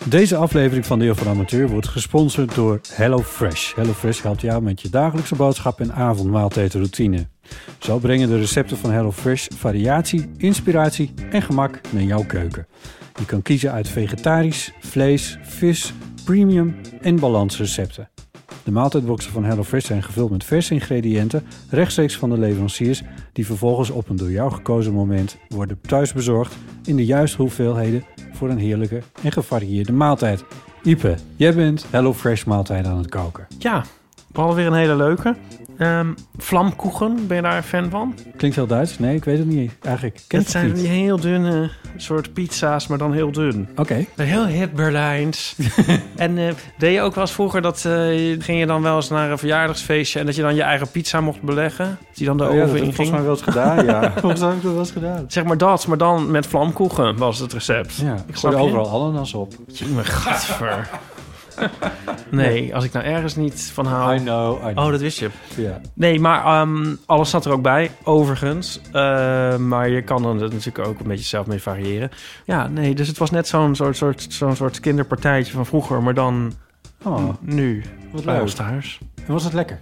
Deze aflevering van Deel van Amateur wordt gesponsord door HelloFresh. HelloFresh helpt jou met je dagelijkse boodschap en avondmaaltijdroutine. Zo brengen de recepten van HelloFresh variatie, inspiratie en gemak naar jouw keuken. Je kan kiezen uit vegetarisch, vlees, vis, premium en balansrecepten. De maaltijdboxen van HelloFresh zijn gevuld met verse ingrediënten rechtstreeks van de leveranciers, die vervolgens op een door jou gekozen moment worden thuisbezorgd in de juiste hoeveelheden voor een heerlijke en gevarieerde maaltijd. Ipe, jij bent HelloFresh maaltijd aan het koken. Ja, we hadden weer een hele leuke. Ehm vlamkoegen, ben je daar een fan van? Klinkt heel Duits? Nee, ik weet het niet eigenlijk. Ik Ken dat het zijn niet. die heel dunne soort pizza's, maar dan heel dun. Oké. Heel hip Berlijns. en eh, deed je ook wel eens vroeger dat eh, ging je dan wel eens naar een verjaardagsfeestje en dat je dan je eigen pizza mocht beleggen? Die dan de Oh ja, oven dat heb ik in volgens ging. mij wel eens gedaan, ja. volgens mij heb ik dat wel eens gedaan. Zeg maar dat, maar dan met vlamkoegen was het recept. Ja, ik snap gooi je. overal ananas op. Mijn gadver. Nee, als ik nou ergens niet van hou. I know, I know. Oh, dat wist je. Ja. Nee, maar ehm, alles staat er ook bij, overigens. Eh, maar je kan er natuurlijk ook een beetje zelf mee variëren. Ja, nee, dus het was net zo'n soort, soort, zo'n soort kinderpartijtje van vroeger, maar dan Oh, nu. wat bij leuk. ons thuis. En was het lekker?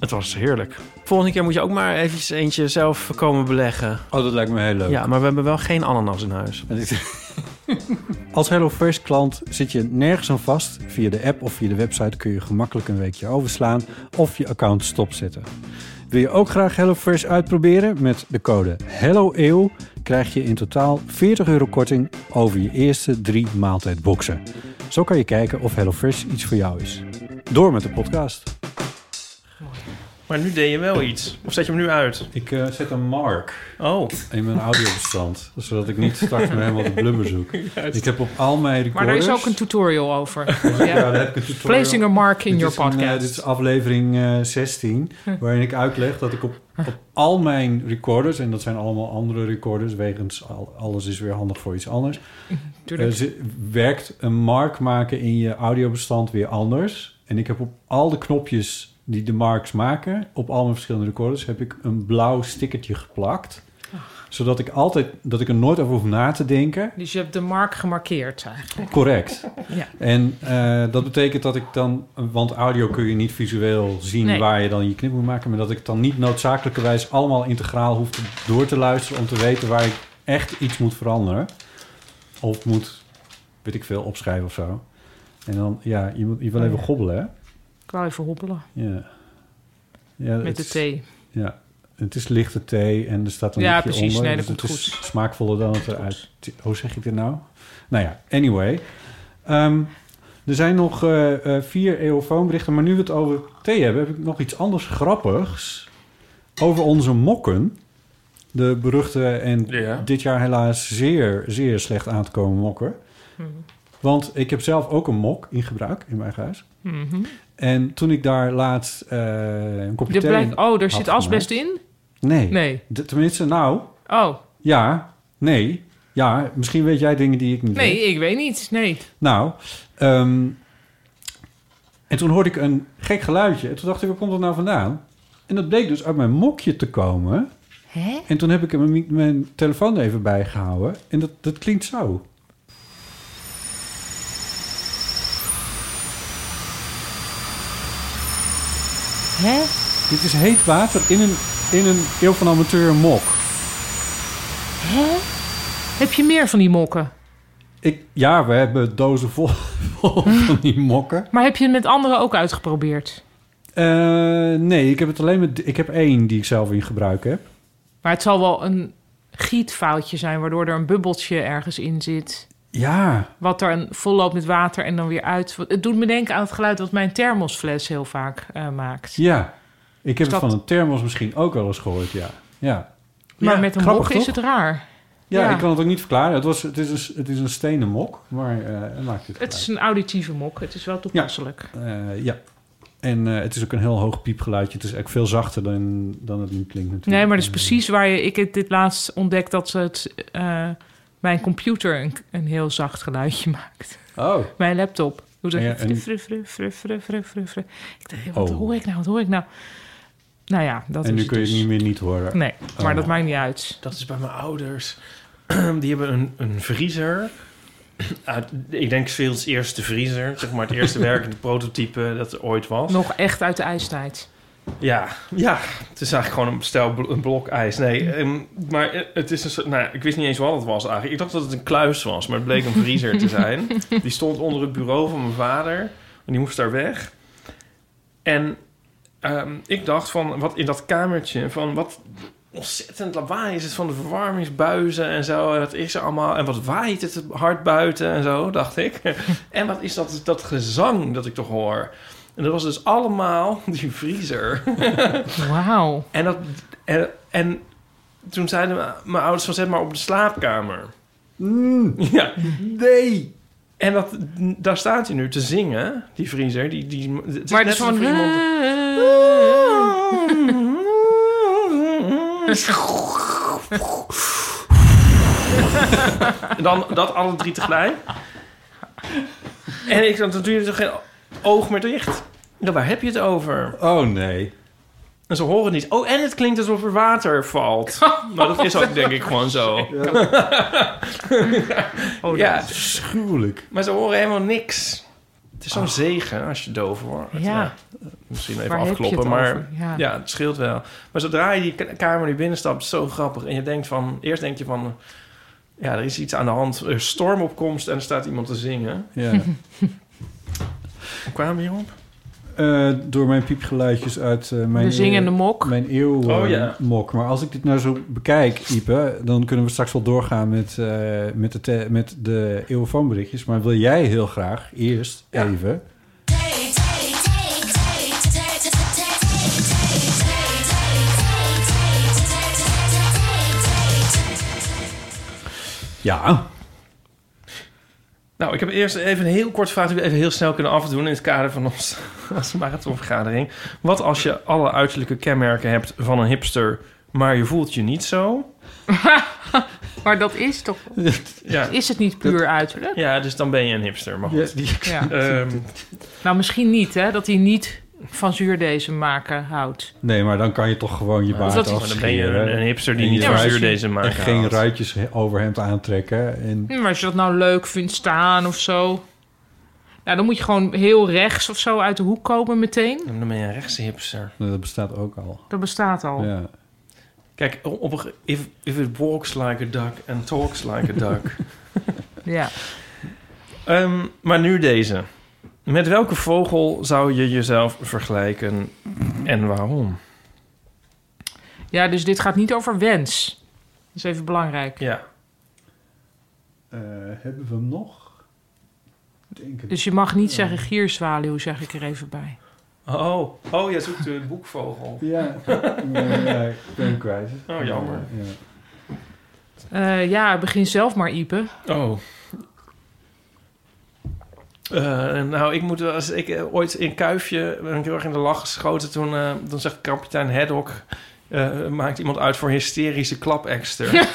Het was heerlijk. Volgende keer moet je ook maar eventjes eentje zelf komen beleggen. Oh, dat lijkt me heel leuk. Ja, maar we hebben wel geen ananas in huis. En ik- Als HelloFresh klant zit je nergens aan vast. Via de app of via de website kun je gemakkelijk een weekje overslaan of je account stopzetten. Wil je ook graag HelloFresh uitproberen? Met de code HelloEeuw krijg je in totaal 40 euro korting over je eerste drie maaltijdboxen. Zo kan je kijken of HelloFresh iets voor jou is. Door met de podcast. Maar nu deed je wel iets. Of zet je hem nu uit? Ik eh, zet een mark Oh. in mijn audiobestand, zodat ik niet straks weer helemaal de blubber zoek. Juist. Ik heb op al mijn recorders... Maar daar is ook een tutorial over. ja. Ja, daar heb ik een tutorial. Placing a mark in Dit your is een, eh, podcast. Hm. dit is aflevering eh, 16, waarin ik uitleg dat ik op, op al mijn recorders, en dat zijn allemaal andere recorders, wegens al- alles is weer handig voor iets anders, Hm, Tuurlijk. eh, ze- werkt een mark maken in je audiobestand weer anders. En ik heb op al de knopjes die de marks maken, op al mijn verschillende recorders, heb ik een blauw stickertje geplakt. Zodat ik altijd, dat ik er nooit over hoef na te denken. Dus je hebt de mark gemarkeerd eigenlijk. Correct. Ja. En eh, dat betekent dat ik dan, want audio kun je niet visueel zien Nee. waar je dan je knip moet maken, maar dat ik dan niet noodzakelijkerwijs allemaal integraal hoef te- door te luisteren om te weten waar ik echt iets moet veranderen. Of moet, weet ik veel, opschrijven of zo. En dan, ja, je, moet, je Oh, wil even gobbelen, hè? Ik wou even hoppelen. Ja. ja Met het de is- thee. Ja. Het is lichte thee en er staat een Ja, liedje precies. onder. Nee, dus dat het komt is smaakvoller dan het eruit... Hoe zeg ik dit nou? Nou ja, anyway. Ehm, er zijn nog eh, eh, vier eeuwfoonberichten. Maar nu we het over thee hebben... heb ik nog iets anders grappigs. Over onze mokken. De beruchte en Ja. dit jaar helaas zeer, zeer slecht aan te komen mokken. Mhm. Want ik heb zelf ook een mok in gebruik in mijn eigen huis. Mhm. En toen ik daar laatst eh, een kopje Er thee blijkt, in oh, er had zit gemaakt. asbest in? Nee. Nee. D- tenminste, nou, Oh, ja, nee. Ja, misschien weet jij dingen die ik niet nee, weet. ik weet niet. Nee. Nou, ehm, en toen hoorde ik een gek geluidje. En toen dacht ik, waar komt dat nou vandaan? En dat bleek dus uit mijn mokje te komen. Hè? En toen heb ik mijn, mijn telefoon er even bijgehouden. En dat, dat klinkt zo. Hè? Dit is heet water in een, in een eeuw van amateur mok. Hè? Heb je meer van die mokken? Ik, ja, we hebben dozen vol, vol van die mokken. Maar heb je het met anderen ook uitgeprobeerd? Eh, nee, ik heb het alleen met... Ik heb één die ik zelf in gebruik heb. Maar het zal wel een gietfoutje zijn... waardoor er een bubbeltje ergens in zit... Ja, wat er een volloopt met water en dan weer uit. Het doet me denken aan het geluid dat mijn thermosfles heel vaak eh, maakt. ja. Ik heb het Is Dus dat- van een thermos misschien ook wel eens gehoord, ja. Ja, Maar met een grappig, mok is toch? het raar. ja, ik kan het ook niet verklaren. Het, was, het, is, een, s- het is een stenen mok, maar eh het maakt het Het is een auditieve mok. Het is wel toepasselijk. Eh, ja. En eh, het is ook een heel hoog piepgeluidje. Het is eigenlijk veel zachter dan, dan het nu klinkt natuurlijk. Nee, maar dat is precies waar je... Ik heb dit laatst ontdekt dat ze het, eh, mijn computer een, een heel zacht geluidje maakt. Oh. Mijn laptop. Doet dat Ja, en- fru, fru, fru, fru, fru, fru, fru. Ik dacht, hé, wat Oh. hoor ik nou? Wat hoor ik nou? Nou ja, dat en is nu het kun je dus. het niet meer niet horen. Nee, maar Oh. dat maakt niet uit. Dat is bij mijn ouders. Die hebben een, een vriezer. Uit, Ah, ik denk Fields eerste vriezer. Zeg maar het eerste werkende prototype dat er ooit was. Nog echt uit de ijstijd. Ja, ja, het is eigenlijk gewoon een stel bl- een blok ijs. Nee, ehm, maar eh, het is een soort... Nou, ik wist niet eens wat het was eigenlijk. Ik dacht dat het een kluis was, maar het bleek een vriezer te zijn. Die stond onder het bureau van mijn vader. En die moest daar weg. En ehm, ik dacht van, wat in dat kamertje... van wat ontzettend lawaai is het van de verwarmingsbuizen en zo. En Wat is er allemaal? En wat waait het hard buiten en zo, dacht ik. en wat is dat, dat gezang dat ik toch hoor? En dat was dus allemaal die vriezer. Wauw. En, dat, en, en toen zeiden mijn- mijn ouders van zet maar op de slaapkamer. Ja. Nee. En dat, daar staat hij nu te zingen, die vriezer. Die, die, het is Maar net het is gewoon... alsof iemand- En dan dat alle drie tegelijk. En ik dacht, dan doe je er toch geen oog meer dicht. Ja, waar heb je het over? Oh, nee. En ze horen niet. Oh, en het klinkt alsof er water valt. Maar Nou, dat is ook denk ik gewoon zo. Oh, Ja, Schuwelijk. maar ze horen helemaal niks. Het is zo'n zegen als je doof wordt. Ja. misschien even Waar heb je afkloppen, het maar over? Ja. ja, het scheelt wel. Maar zodra je die ka- kamer nu binnenstapt, is het zo grappig. En je denkt van, eerst denk je van, Ja, er is iets aan de hand. Er is stormopkomst en er staat iemand te zingen. Ja. Hoe kwamen we hierop? Eh, door mijn piepgeluidjes uit eh, mijn... De zingende mok. Mijn eeuw eh, Oh, ja. mok. Maar als ik dit nou zo bekijk, Ipe... dan kunnen we straks wel doorgaan met, eh, met, de, te- met de eeuwfoonberichtjes. Maar wil jij heel graag eerst even... Ja. Nou, ik heb eerst even een heel kort vraag... die we even heel snel kunnen afdoen... in het kader van ons, onze marathonvergadering. Wat als je alle uiterlijke kenmerken hebt van een hipster... maar je voelt je niet zo? Maar dat is toch... Ja. Is het niet puur uiterlijk? Ja, dus dan ben je een hipster. Maar goed. Ja. Ehm, Nou, misschien niet, hè? Dat hij niet van zuurdezen maken houdt. Nee, maar dan kan je toch gewoon je baard dat is- afscheren. Maar dan ben je een- een hipster die niet van zuurdeze deze maken En geen haalt. ruitjes he- overhemd aantrekken. En Hm, Maar als je dat nou leuk vindt staan of zo... Nou, dan moet je gewoon heel rechts of zo uit de hoek komen meteen. dan ben je een rechtse hipster. nou, dat bestaat ook al. Dat bestaat Oh. al. Ja. Kijk, op, een ge- if, if it walks like a duck and talks like a duck. Ja. Ehm, maar nu deze. Met welke vogel zou je jezelf vergelijken en waarom? ja, dus dit gaat niet over wens. Dat is even belangrijk. Ja. eh, hebben we hem nog? Denk Dus je mag niet zeggen gierzwaluw, zeg ik er even bij. Oh, oh jij zoekt de boekvogel. Ja, ja, ik ben hem kwijt. Oh, jammer. Ja. Eh, ja, begin zelf maar, Ipe. Oh. Eh, nou, ik moet wel eens, ik eh, ooit in Kuifje ben ik heel erg in de lach geschoten. Toen, eh, dan zegt kapitein Haddock, eh, maakt iemand uit voor hysterische klapekster.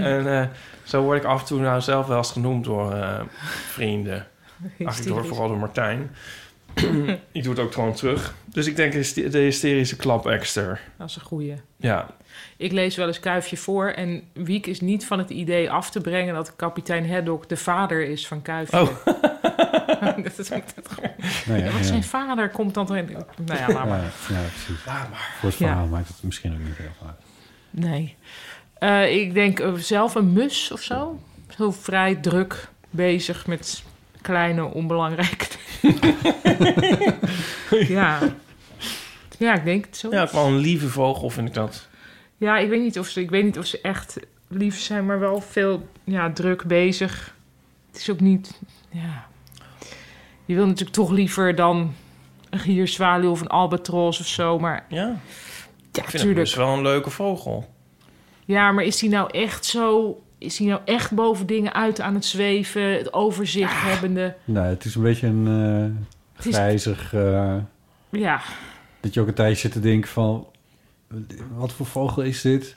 en eh, zo word ik af en toe nou zelf wel eens genoemd door eh, vrienden. Eigenlijk door, Hysterisch. vooral door Martijn. ik doe het ook gewoon terug. Dus ik denk hyste- de hysterische klapekster. Dat is een goeie. Ja, Ik lees wel eens Kuifje voor en Wiek is niet van het idee af te brengen dat kapitein Haddock de vader is van Kuifje. Oh. dat is ook dat gewoon. Nou ja, Ja, wat ja. zijn vader komt dan... in- Nou ja, laat Ja, maar. ja, precies. laat maar. Voor het Ja. verhaal maakt het misschien ook niet heel veel uit. Nee. Eh, ik denk eh, zelf een mus of zo. Heel vrij druk bezig met kleine, onbelangrijke dingen. ja. Ja, ik denk het zo. Ja, wel een lieve vogel vind ik dat. Ja, ik weet niet of ze, ik weet niet of ze echt lief zijn, maar wel veel ja, druk bezig. Het is ook niet. Ja. Je wil natuurlijk toch liever dan een gierzwaluw of een albatros of zo, maar Ja. ja, Ik vind het natuurlijk. dus wel een leuke vogel. Ja, maar is die nou echt zo? Is die nou echt boven dingen uit aan het zweven, het overzicht hebbende? Nou, het is een beetje een eh, Het is- grijzig... eh, Ja, dat je ook een tijdje zit te denken van... Wat voor vogel is dit?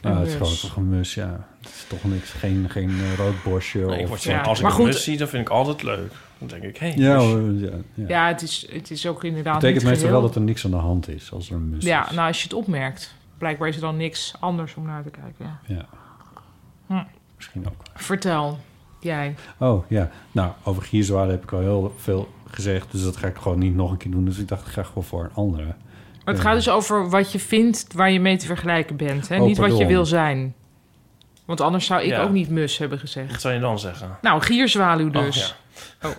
Nou, Een het is gewoon mus. toch een mus, ja. Het is toch niks, geen, geen eh, rood borstje Nee, ik of... word Ja. Als ik Maar een goed. mus zie, dan vind ik altijd leuk. Dan denk ik, hé, hey, dus- ja, mus. hoor, ja, ja. ja, het, is, het is ook inderdaad. betekent niet meestal geheel- wel dat er niks aan de hand is als er een mus Ja, is. nou als je het opmerkt, blijkbaar is er dan niks anders om naar te kijken. Ja. Ja. Hm. Misschien ook. Vertel, jij. Oh, ja. Nou, over gierzwaarden heb ik al heel veel gezegd. Dus dat ga ik gewoon niet nog een keer doen. Dus ik dacht, ik ga gewoon voor een andere. Maar het Ja. gaat dus over wat je vindt waar je mee te vergelijken bent. Hè? Oh, niet wat je pardon. wil zijn. Want anders zou ik Ja. ook niet mus hebben gezegd. Wat zou je dan zeggen? Nou, gierzwaluw Oh, dus. ja. Nou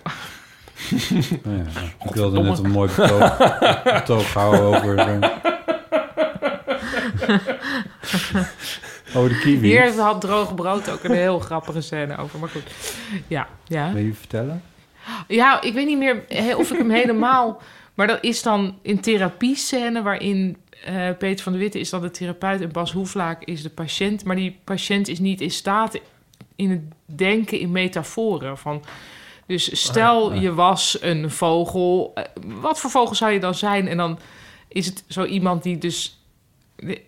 ja, ik wilde net een mooi betoog, betoog houden over... eh, over de kiwi. Hier had droge brood ook een heel grappige scène over. Maar goed. Ja, ja. Wil je vertellen? ja, ik weet niet meer hè, of ik hem helemaal. Maar dat is dan in therapie-scène waarin eh, Peter van de Witte is dan de therapeut en Bas Hoeflaak is de patiënt. Maar die patiënt is niet in staat in het denken in metaforen. Van, dus stel je was een vogel. eh, wat voor vogel zou je dan zijn? En dan is het zo iemand die dus. eh,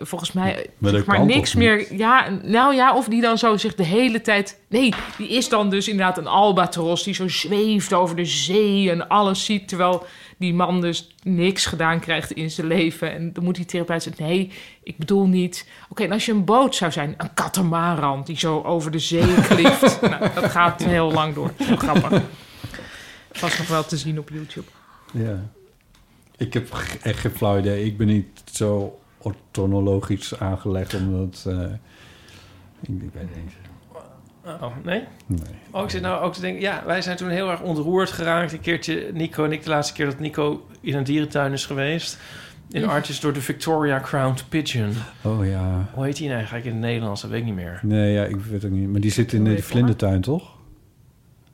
Volgens mij eh, Maar dat zeg maar kan toch niks meer. Ja, nou ja, of die dan zo zich de hele tijd. Nee, die is dan dus inderdaad een albatros die zo zweeft over de zee en alles ziet. Terwijl die man dus niks gedaan krijgt in zijn leven. En dan moet die therapeut zeggen: Nee, ik bedoel niet. Oké, en als je een boot zou zijn, een katamaran die zo over de zee klift. nou, dat gaat heel lang door. Heel grappig. Vast nog wel te zien op YouTube. Ja. Ik heb ge- echt geen flauw idee. Ik ben niet zo ortonologisch aangelegd, omdat... eh, ik, ik weet het niet. Oh, nee? Nee. Oh, ik zit nou ook te denken... Ja, wij zijn toen heel erg ontroerd geraakt. Een keertje, Nico en ik, de laatste keer dat Nico in een dierentuin is geweest. In Mm. Artjes door de Victoria Crowned Pigeon. Oh ja. Hoe heet die nou eigenlijk in het Nederlands? Dat weet ik niet meer. Nee, ja, ik weet het ook niet. Maar die zit in de vlindertuin, toch?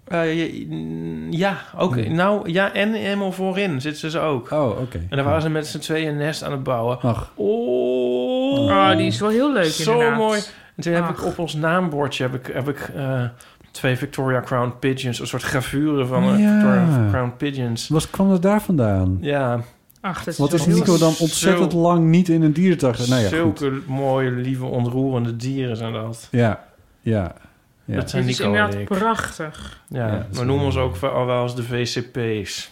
Eh, je- mm, ja, ook. Nou, ja, en helemaal voorin zitten ze ze ook. Oh, oké. En daar waren ze met z'n tweeën een nest aan het bouwen. Ach. Oh, Ah, Oh, die is wel heel leuk Zo inderdaad. mooi. En toen heb ik op ons naambordje heb ik, heb ik eh, twee Victoria Crown Pigeons, een soort gravuren van eh, Ja. Victoria Crown Pigeons. Was, kwam dat daar vandaan? Ja. Ach, dat is Wat is zo- Nico dan ontzettend Zo- lang niet in een dierentuin? Nou ja, goed. Zulke mooie, lieve, ontroerende dieren zijn dat. Ja, ja. ja. Dat zijn Het is Nico en inderdaad ik. prachtig. Ja, Ja, dat is we noemen ons ook wel- al wel eens de VCP's.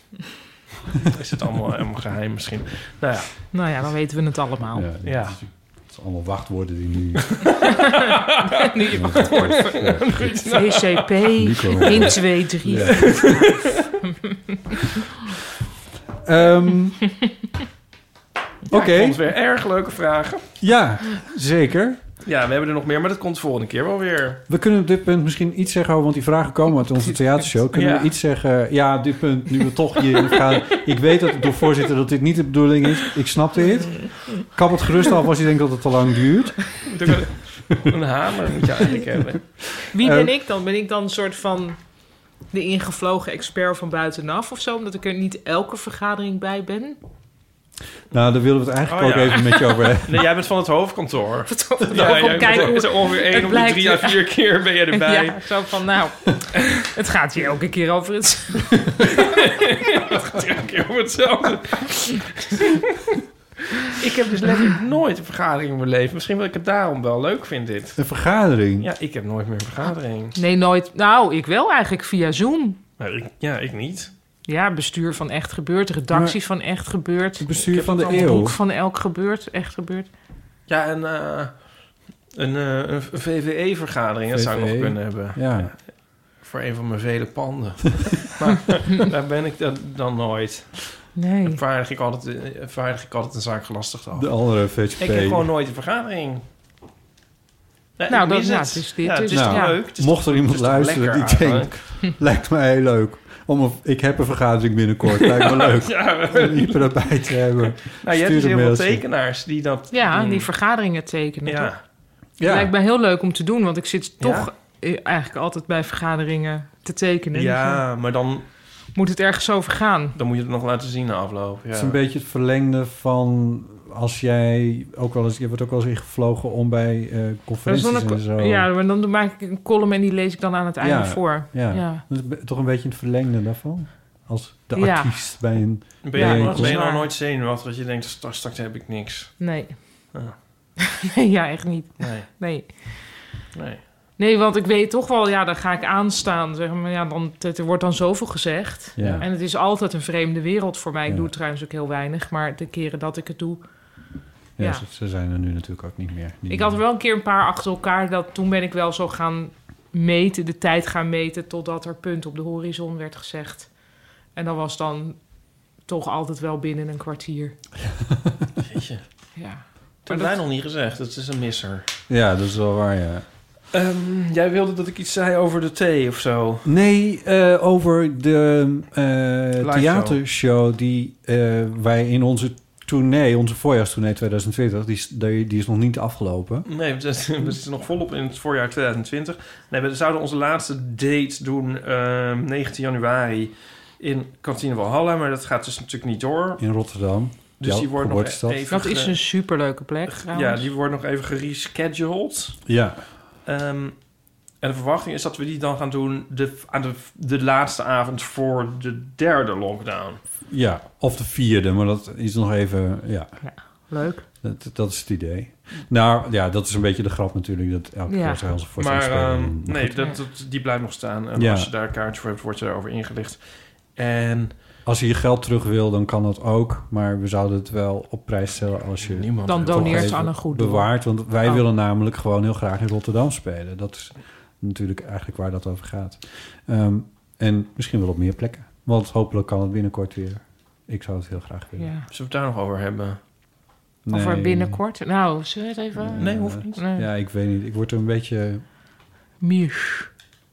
is het allemaal helemaal geheim misschien? Nou ja. Nou ja, dan weten we het allemaal. Ja, Ja. Het zijn allemaal wachtwoorden die nu... Nu je wachtwoord. VCP, Nico. 1, 2, 3. Ja. Ehm, Ja, Oké. ik vond het weer erg leuke vragen. ja, zeker. Ja, we hebben er nog meer, maar dat komt de volgende keer wel weer. We kunnen op dit punt misschien iets zeggen over... want die vragen komen uit onze theatershow. Kunnen Ja. we iets zeggen... ja, dit punt, nu we toch hierin gaan... ik weet dat door voorzitter dat dit niet de bedoeling is. Ik snap dit. Kap het gerust af als je denkt dat het te lang duurt. Een hamer moet je eigenlijk hebben. Wie Eh, ben ik dan? Ben ik dan een soort van de ingevlogen expert van buitenaf of zo? Omdat ik er niet elke vergadering bij ben? Nou, daar willen we het eigenlijk ook even met je over hebben. Oh, Nee, jij bent van het hoofdkantoor. hoofdkantoor. Kijk hoe- bent er ongeveer het één op de blijkt- drie à vier keer ben je erbij. Ja, zo van, nou, het gaat hier elke keer over het... Het gaat elke keer om hetzelfde. ik heb dus letterlijk nooit een vergadering in mijn leven. Misschien dat ik het daarom wel leuk vind dit. Een vergadering. Ja, ik heb nooit meer een vergadering. Nee, nooit. Nou, ik wel eigenlijk via Zoom. Maar ik, ja, ik niet. Ja, bestuur van Echt Gebeurd, redactie van Echt Gebeurd. Bestuur van de Het eeuw. boek van Elk Gebeurd, Echt Gebeurd. Ja, en, eh, een, eh, een VVE-vergadering, dat zou ik nog VVE. kunnen hebben. E? Ja. Voor een van mijn vele panden. maar daar ben ik dan, dan nooit. Nee. Dan vaardig ik altijd, eh, vaardig ik altijd een zaak gelastigd af. De andere VCP. Ik heb gewoon nooit een vergadering. Nee, Nou, ik dat- mis nou, het. het is dit, Ja, het dus- is toch ja. leuk. Het is Mocht er toch- iemand het is toch luisteren lekker die eigenlijk. denkt, lijkt mij heel leuk. Om een- ik heb een vergadering binnenkort, lijkt me leuk. Ja. Om Ieper erbij te hebben. Nou, je Stuur hebt dus een heel veel mailtje. tekenaars die dat Ja, doen. die vergaderingen tekenen. Ja. toch? Mm. Ja. Lijkt mij heel leuk om te doen, want ik zit Ja. toch eh, eigenlijk altijd bij vergaderingen te tekenen. ja, maar dan, Dus, eh, Moet het ergens over gaan? dan moet je het nog laten zien na afloop. Ja. Het is een beetje het verlengde van als jij ook wel eens, je wordt ook wel eens ingevlogen om bij eh Dus conferenties dan en zo. een- ja, maar dan maak ik een column en die lees ik dan aan het einde Ja, voor. ja. ja. Dat is be- toch een beetje het verlengde daarvan. Als de Ja. artiest bij een. ben je, bij een nou- ben je nou waar. nooit zenuwachtig dat je denkt, straks, straks heb ik niks. Nee. Ja. Nee, ja, echt niet. Nee, Nee. nee. Nee, want ik weet toch wel, ja, daar ga ik aanstaan. Zeg maar, ja, dan, het- er wordt dan zoveel gezegd. Ja. En het is altijd een vreemde wereld voor mij. Ik Ja. doe het trouwens ook heel weinig, maar de keren dat ik het doe. Ja, Ja. Ze, ze zijn er nu natuurlijk ook niet meer. Die- Ik had er wel een keer een paar achter elkaar. Dat, toen ben ik wel zo gaan meten, de tijd gaan meten... totdat er punt op de horizon werd gezegd. En dat was dan toch altijd wel binnen een kwartier. Jeetje. Dat Ja. hebben wij nog niet gezegd. Het is een misser. Ja, dat is wel waar, ja. Ehm, jij wilde dat ik iets zei over de thee of zo. Nee, eh, over de eh, show. theatershow die eh, wij in onze tournee, onze voorjaarstournee 2020, die is, die, die is nog niet afgelopen. Nee, we zitten we zitten nog volop in het voorjaar 2020. Nee, we zouden onze laatste date doen ehm 19 januari in Kantine Walhalla. Maar dat gaat dus natuurlijk niet door. In Rotterdam. Dus Jouw die wordt nog geboortestad. even... Dat is ge- een superleuke plek, Ja, trouwens. die wordt nog even gerescheduled. Ja, Ehm, en de verwachting is dat we die dan gaan doen de, aan de, de laatste avond voor de derde lockdown. ja, of de vierde, maar dat is nog even, ja, Leuk. dat, dat is het idee. Nou ja, dat is een beetje de grap natuurlijk, dat elke Ja. keer als wij onze voorstelling Maar spelen. ehm, Maar nee, goed, dat, dat- die blijft nog staan. En Ja. als je daar een kaartje voor hebt, word je daarover ingelicht. En Als je je geld terug wil, dan kan dat ook, maar we zouden het wel op prijs stellen als je... niemand... Dan wil- toch doneert ze even aan een goed doel. bewaard. Want wij Oh. willen namelijk gewoon heel graag in Rotterdam spelen. Dat is natuurlijk eigenlijk waar dat over gaat. Ehm, en misschien wel op meer plekken. Want hopelijk kan het binnenkort weer. Ik zou het heel graag willen. Ja. Zullen we het daar nog over hebben? Of er Nee. binnenkort. Nou, zullen we het even... Eh, Ja, ik weet niet. Ik word er een beetje... Misch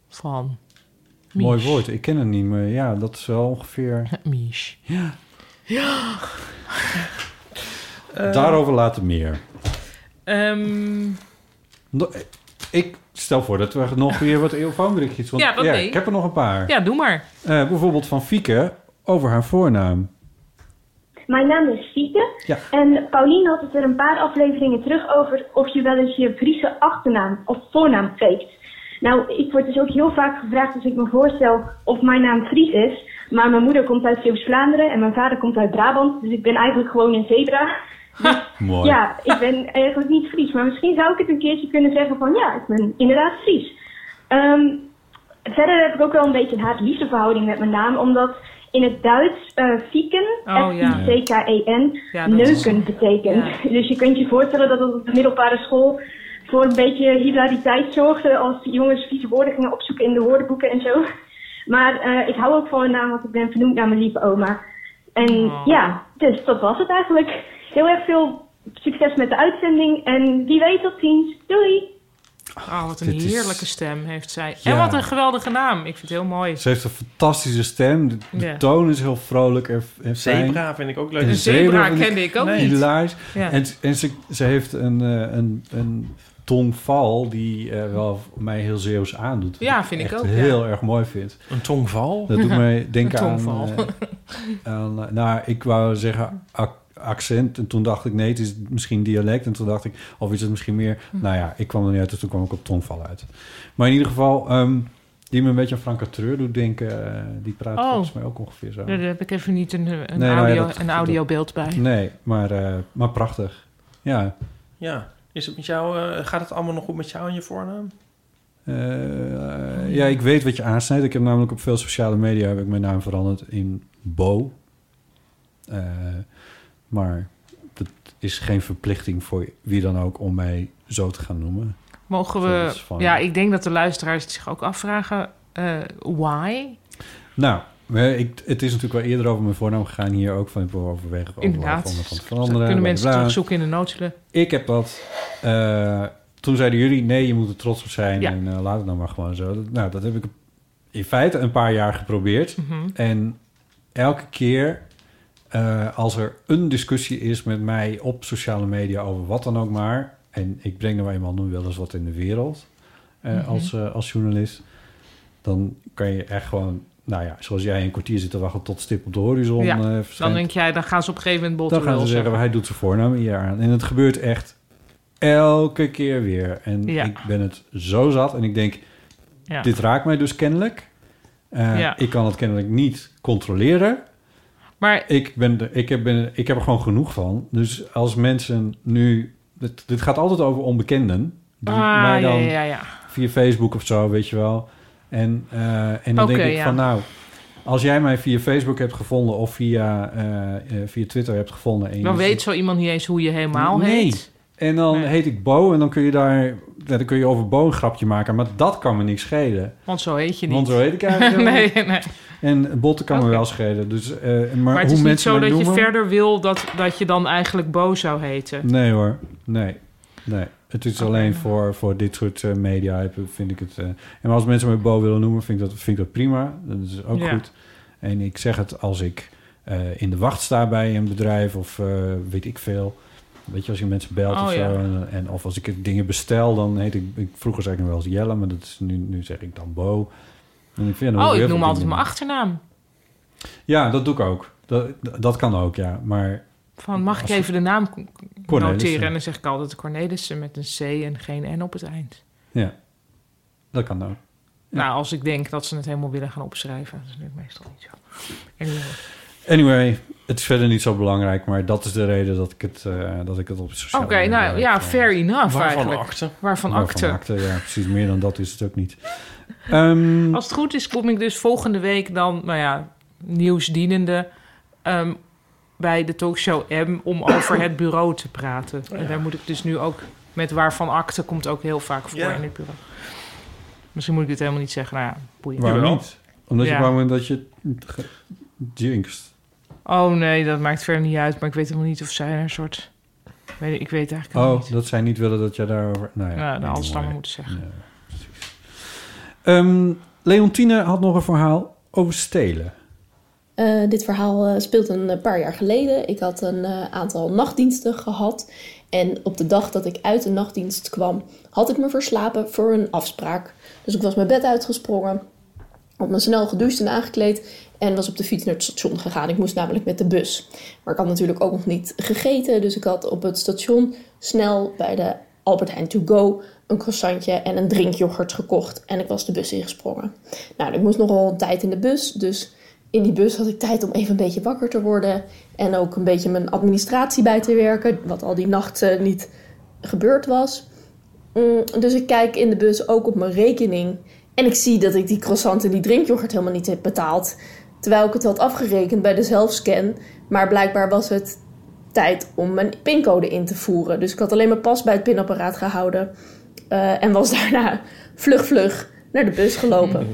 van. Mies. Mooi woord. Ik ken het niet, maar ja, dat is wel ongeveer... Mies. Ja. Ja. Eh, Daarover later meer. Ehm, No- eh, Ik stel voor dat we nog weer wat eeuwfoonberichtjes... Want, Ja, wat nee. Ik heb er nog een paar. ja, doe maar. Eh, bijvoorbeeld van Fieke over haar voornaam. Mijn naam is Fieke. Ja. En Pauline had het er een paar afleveringen terug over of je wel eens je Friese achternaam of voornaam faked. Nou, ik word dus ook heel vaak gevraagd als ik me voorstel of mijn naam Fries is. Maar mijn moeder komt uit Zeeuws-Vlaanderen en mijn vader komt uit Brabant. Dus ik ben eigenlijk gewoon een zebra. Mooi. Ja, ik ben eigenlijk niet Fries. Maar misschien zou ik het een keertje kunnen zeggen van ja, ik ben inderdaad Fries. Ehm, verder heb ik ook wel een beetje een haat-liefde verhouding met mijn naam. Omdat in het Duits eh fieken, Oh, ja. F-I-C-K-E-N, Ja, dat is- E neuken betekent. Dus je kunt je voorstellen dat het op de middelbare school voor een beetje hilariteit zorgde. Als de jongens vieze woorden gingen opzoeken in de woordenboeken en zo. Maar eh, ik hou ook van mijn naam, want ik ben vernoemd naar mijn lieve oma. En ja, dus dat was het eigenlijk. Heel erg veel succes met de uitzending. En wie weet tot ziens. Doei! Oh, wat een Dit is- heerlijke stem heeft zij. En Ja. wat een geweldige naam. Ik vind het heel mooi. Ze heeft een fantastische stem. De, de Ja. toon is heel vrolijk en, en fijn. Zebra vind ik ook leuk. En Een zebra vind kende ik ook niet. hilarisch. Ja. En, en ze, ze heeft een, eh, een, een tongval die eh, wel mij heel Zeeuws aandoet. Wat Ja, vind ik echt ook, ja. heel erg mooi vind. Een tongval? Dat doet mij denken Een aan... tongval. eh, aan, eh, nou, ik wou zeggen ac- accent. En toen dacht ik, nee, het is misschien dialect. En toen dacht ik, of is het misschien meer... Hm. Nou ja, ik kwam er niet uit, dus toen kwam ik op tongval uit. Maar in ieder geval, ehm, die me een beetje aan Frank Catreur doet denken. eh, die praat Oh. volgens mij ook ongeveer zo. Daar heb ik even niet een, een, Nee, nou ja, audio, dat- een audiobeeld bij. Nee, maar, eh, maar prachtig. Ja, Ja. Is het met jou, eh, gaat het allemaal nog goed met jou en je voornaam? Oh, Eh, ja, ik weet wat je aansnijdt. Ik heb namelijk op veel sociale media heb ik mijn naam veranderd in Bo. Eh, maar dat is geen verplichting voor wie dan ook om mij zo te gaan noemen. Mogen Zoals we... van- Ja, ik denk dat de luisteraars het zich ook afvragen... eh, Oh, why? Nou, eh, ik, het is natuurlijk wel eerder over mijn voornaam gegaan hier ook van ik wil overwegen over Inderdaad. om het van te Dat veranderen. kunnen mensen blablabla. terugzoeken in de noodzulen. Ik heb dat. eh, toen zeiden jullie, nee, je moet er trots op zijn Ja. en eh, laat het dan maar gewoon zo. Dat- Nou, dat heb ik in feite een paar jaar geprobeerd. Mhm. En elke keer eh, als er een discussie is met mij op sociale media over wat dan ook maar... en ik breng nou eenmaal nu wel eens wat in de wereld eh, Mhm. als, eh, als journalist... dan kan je echt gewoon, nou ja, zoals jij een kwartier zit te wachten tot stip op de horizon ja, eh, dan verschijnt. denk jij, dan gaan ze op een gegeven moment Dan gaan bottenlul ze zeggen, hij doet zijn voornaam hier aan. En het gebeurt echt elke keer weer. En Ja. ik ben het zo zat. En ik denk, Ja. dit raakt mij dus kennelijk. Eh, Ja. Ik kan het kennelijk niet controleren. Maar ik, ben er, ik, heb, ben, ik heb er gewoon genoeg van. Dus als mensen nu... Dit, dit gaat altijd over onbekenden. Die Ah, mij dan ja, ja, ja. via Facebook of zo, weet je wel. En, eh, en dan Oké, denk ik ja. van nou... Als jij mij via Facebook hebt gevonden of via, eh, eh, via Twitter hebt gevonden... En je Dan ziet- weet zo iemand niet eens hoe je helemaal nee. heet. En dan heet ik Bo en dan kun je daar... ja, dan kun je over Bo een grapje maken, maar dat kan me niks schelen. Want zo heet je niet. Want zo heet ik eigenlijk helemaal nee, niet. nee. En botten kan me wel schelen. Dus, eh, maar, Maar het hoe is niet mensen zo mij dat je noemen- verder wil dat, dat je dan eigenlijk Bo zou heten. Nee hoor, nee. nee. Het is alleen voor, voor dit soort eh, media heb- vind ik het... eh, en als mensen me Bo willen noemen, vind ik dat, vind ik dat prima. Dat is ook Ja. goed. En ik zeg het als ik eh, in de wacht sta bij een bedrijf of eh, weet ik veel. Weet je, als je mensen belt Oh, of zo. ja. En, en of als ik dingen bestel, dan heet ik... ik vroeger zei ik nog wel eens Jelle, maar dat is nu, nu zeg ik dan Bo. En ik vind, ja, dan oh, heel ik veel noem altijd dingen. mijn achternaam. Ja, dat doe ik ook. Dat, dat kan ook, ja. Maar Van, mag ik even de naam k- k- Cornelissen. noteren? En dan zeg ik altijd Cornelissen met een C en geen N op het eind. ja, dat kan ook. Nou, als ik denk dat ze het helemaal willen gaan opschrijven. Dat is natuurlijk meestal niet zo. Anyway. Anyway, het is verder niet zo belangrijk, maar dat is de reden dat ik het, eh, dat ik het op Oké, sociale nou ja, fair enough Waarvan eigenlijk. akte? Waarvan Waarvan akte. akte, Ja, precies. Meer dan dat is het ook niet. Mm. Ehm, Als het goed is, kom ik dus volgende week dan, nou ja, nieuwsdienende ehm, bij de talkshow M om over het bureau te praten. Oh ja. En daar moet ik dus nu ook met waarvan akte komt ook heel vaak voor Ja. in het bureau. Misschien moet ik dit helemaal niet zeggen. Nou ja, boeien. waarom niet? Omdat Ja. je bang bent dat je het ge- jinxt. Oh nee, dat maakt verder niet uit. Maar ik weet helemaal niet of zij er een soort weet, ik weet eigenlijk Oh, ook niet. dat zij niet willen dat jij daarover... Nou ja, Ja, de anyway. Alstammen moeten zeggen. Ja, precies. Ehm, Leontine had nog een verhaal over stelen. Eh, dit verhaal eh, speelt een eh, paar jaar geleden. Ik had een eh, aantal nachtdiensten gehad. En op de dag dat ik uit de nachtdienst kwam, had ik me verslapen voor een afspraak. Dus ik was mijn bed uitgesprongen, had me snel gedoucht en aangekleed en was op de fiets naar het station gegaan. Ik moest namelijk met de bus. Maar ik had natuurlijk ook nog niet gegeten, dus ik had op het station snel bij de Albert Heijn To Go een croissantje en een drinkyoghurt gekocht. En ik was de bus ingesprongen. Nou, ik moest nogal een tijd in de bus, dus in die bus had ik tijd om even een beetje wakker te worden. En ook een beetje mijn administratie bij te werken, wat al die nachten niet gebeurd was. Mm, dus ik kijk in de bus ook op mijn rekening. En ik zie dat ik die croissant en die drinkyoghurt helemaal niet heb betaald. Terwijl ik het had afgerekend bij de zelfscan. Maar blijkbaar was het tijd om mijn pincode in te voeren. Dus ik had alleen mijn pas bij het pinapparaat gehouden. eh, en was daarna vlug vlug naar de bus gelopen.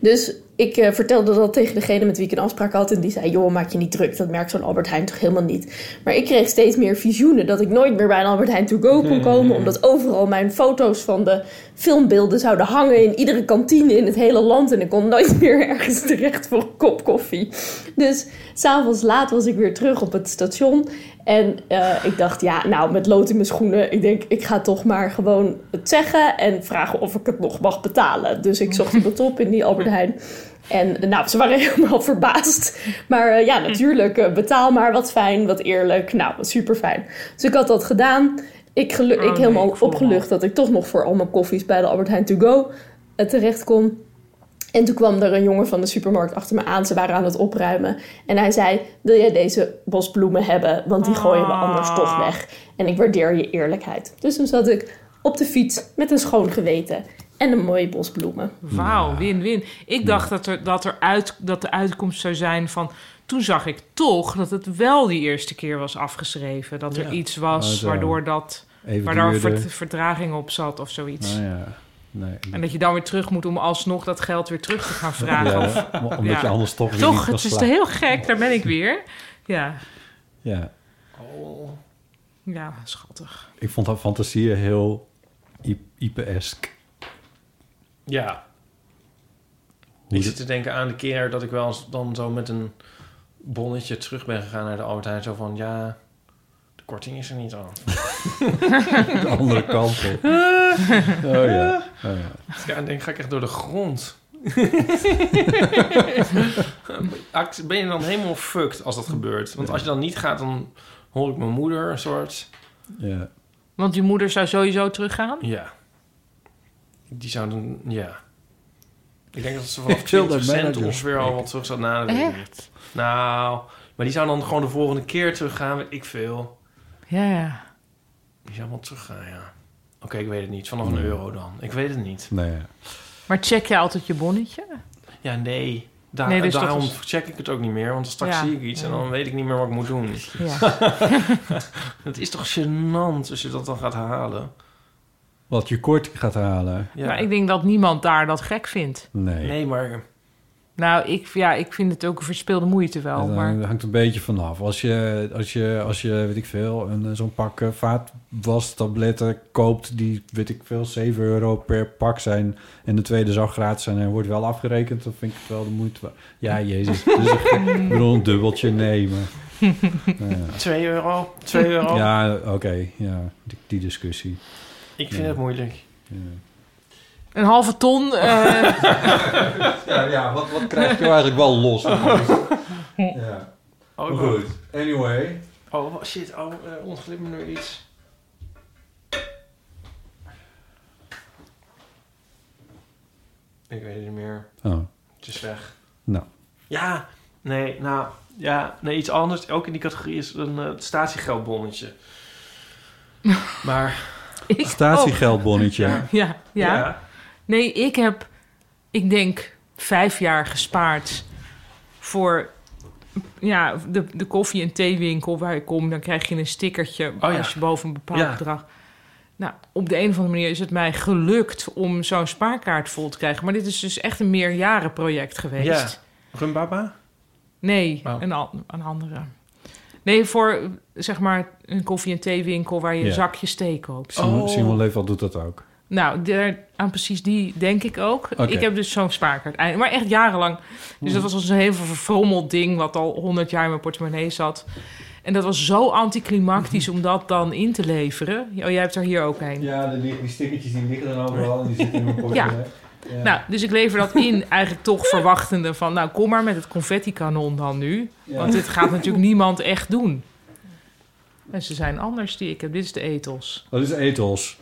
Dus ik eh, vertelde dat tegen degene met wie ik een afspraak had. En die zei, joh, maak je niet druk. Dat merkt zo'n Albert Heijn toch helemaal niet. Maar ik kreeg steeds meer visioenen dat ik nooit meer bij een Albert Heijn to go kon komen. Omdat overal mijn foto's van de filmbeelden zouden hangen. In iedere kantine in het hele land. En ik kon nooit meer ergens terecht voor een kop koffie. Dus s'avonds laat was ik weer terug op het station. En eh, ik dacht, ja, nou, met lood in mijn schoenen. Ik denk, ik ga toch maar gewoon het zeggen en vragen of ik het nog mag betalen. Dus ik zocht iemand op in die Albert Heijn. En eh, nou, ze waren helemaal verbaasd. Maar eh, Hm. ja, natuurlijk, eh, betaal maar. Wat fijn, wat eerlijk. Nou, super fijn. Dus ik had dat gedaan. Ik, gelu- Oh ik nee, helemaal ik voel me opgelucht dat ik toch nog voor al mijn koffies bij de Albert Heijn To Go eh, terecht kon. En toen kwam er een jongen van de supermarkt achter me aan. Ze waren aan het opruimen. En hij zei: Wil jij deze bosbloemen hebben? Want die gooien we anders Ah. toch weg. En ik waardeer je eerlijkheid. Dus toen zat ik op de fiets met een schoon geweten en een mooie bosbloemen. Wauw, win-win. Ik dacht dat, er, dat, er uit, dat de uitkomst zou zijn van... Toen zag ik toch dat het wel die eerste keer was afgeschreven. Dat er Ja. iets was Oh, zo. waardoor dat... Even waar daar duurde. vert- verdraging op zat of zoiets. Nou ja, nee. En dat je dan weer terug moet om alsnog dat geld weer terug te gaan vragen. Ja, of, om- omdat je anders toch weer niet Toch, kan het is slapen. heel gek. Daar ben ik weer. Ja, Ja, Oh. ja schattig. ik vond haar fantasieën heel I- Ipe-esk. Ja. Hoe Ik is zit te denken aan de keer dat ik wel eens dan zo met een bonnetje terug ben gegaan naar de Albert Heijn. Zo van, ja, de korting is er niet aan. De andere kant op. Oh ja, oh ja. Ja, en dan ga ik echt door de grond. Act- ben je dan helemaal fucked als dat gebeurt? Want als je dan niet gaat, dan hoor ik mijn moeder een soort... Ja. Want je moeder zou sowieso Oh, teruggaan? Ja. Die zou dan... Ja. Ik denk dat ze vanaf Ik wil daar 20 bijna cent door ongeveer al wat terug zou naderen. Echt? Nou, maar die zou dan gewoon de volgende keer teruggaan. weet Ik veel. Ja, ja. Die zou wel teruggaan, ja. Oké, ik weet het niet. Vanaf een euro dan. Ik weet het niet. Nee. Maar check je altijd je bonnetje? Ja, nee. Daar, Nee, dus dat daarom is- check ik het ook niet meer, want straks Ja. zie ik iets en Ja. dan weet ik niet meer wat ik moet doen. Het is toch gênant als je dat dan gaat halen? Wat je kort gaat halen. Ja. Maar Nou, ik denk dat niemand daar dat gek vindt. Nee. Nee, maar... Nou, ik, ja, ik vind het ook een verspeelde moeite wel. dat Maar hangt- hangt een beetje vanaf. Als je, als je, als je weet ik veel, een, eh, zo'n pak eh, vaatwastabletten koopt... die, weet ik veel, 7 euro per pak zijn... en de tweede zou gratis zijn en wordt wel afgerekend... dan vind ik het wel de moeite waard. Ja, jezus. Dus ik ik bedoel, een dubbeltje nemen. 2 euro, 2 euro. Ja, oké. ja, die, die discussie. Ik vind het moeilijk. een halve ton. eh, ja, ja wat, wat krijg je eigenlijk wel los? ja. Oh, Maar goed, anyway. Oh, shit. Oh, eh ontglipt me nu iets. Ik weet het niet meer. Oh, Het is weg. nou. Ja, nee, nou... Ja, nee, iets anders. Ook in die categorie is een eh, statiegeldbonnetje. Maar... ik- Statiegeldbonnetje. oh. Ja, ja, Ja. Nee, ik heb, ik denk, vijf jaar gespaard voor ja, de, de koffie- en theewinkel waar ik kom. Dan krijg je een stickertje Oh ja. als je boven een bepaald Ja. bedrag... Nou, op de een of andere manier is het mij gelukt om zo'n spaarkaart vol te krijgen. Maar dit is dus echt een meerjarenproject geweest. Ja. Rumbaba? Nee, Oh. een, an- een andere. Nee, voor zeg maar een koffie- en theewinkel waar je Ja. zakjes thee koopt. Simon, Oh. Simon Leefwald doet dat ook. Nou, daar, aan precies die denk ik ook. Oké. Ik heb dus zo'n spaarkaart. eind- Maar echt jarenlang. Dus dat was als een heel verfrommeld ding... wat al 100 jaar in mijn portemonnee zat. En dat was zo anticlimactisch om dat dan in te leveren. Oh, jij hebt er hier ook een. Ja, die, die stickertjes die liggen dan overal en die zitten in mijn Ja. Nou, dus ik lever dat in eigenlijk toch verwachtende van... nou, kom maar met het confetti-kanon dan nu. Ja. Want dit gaat natuurlijk niemand echt doen. En ze zijn anders die ik heb. Dit is de ethos. Dat Oh, is ethos.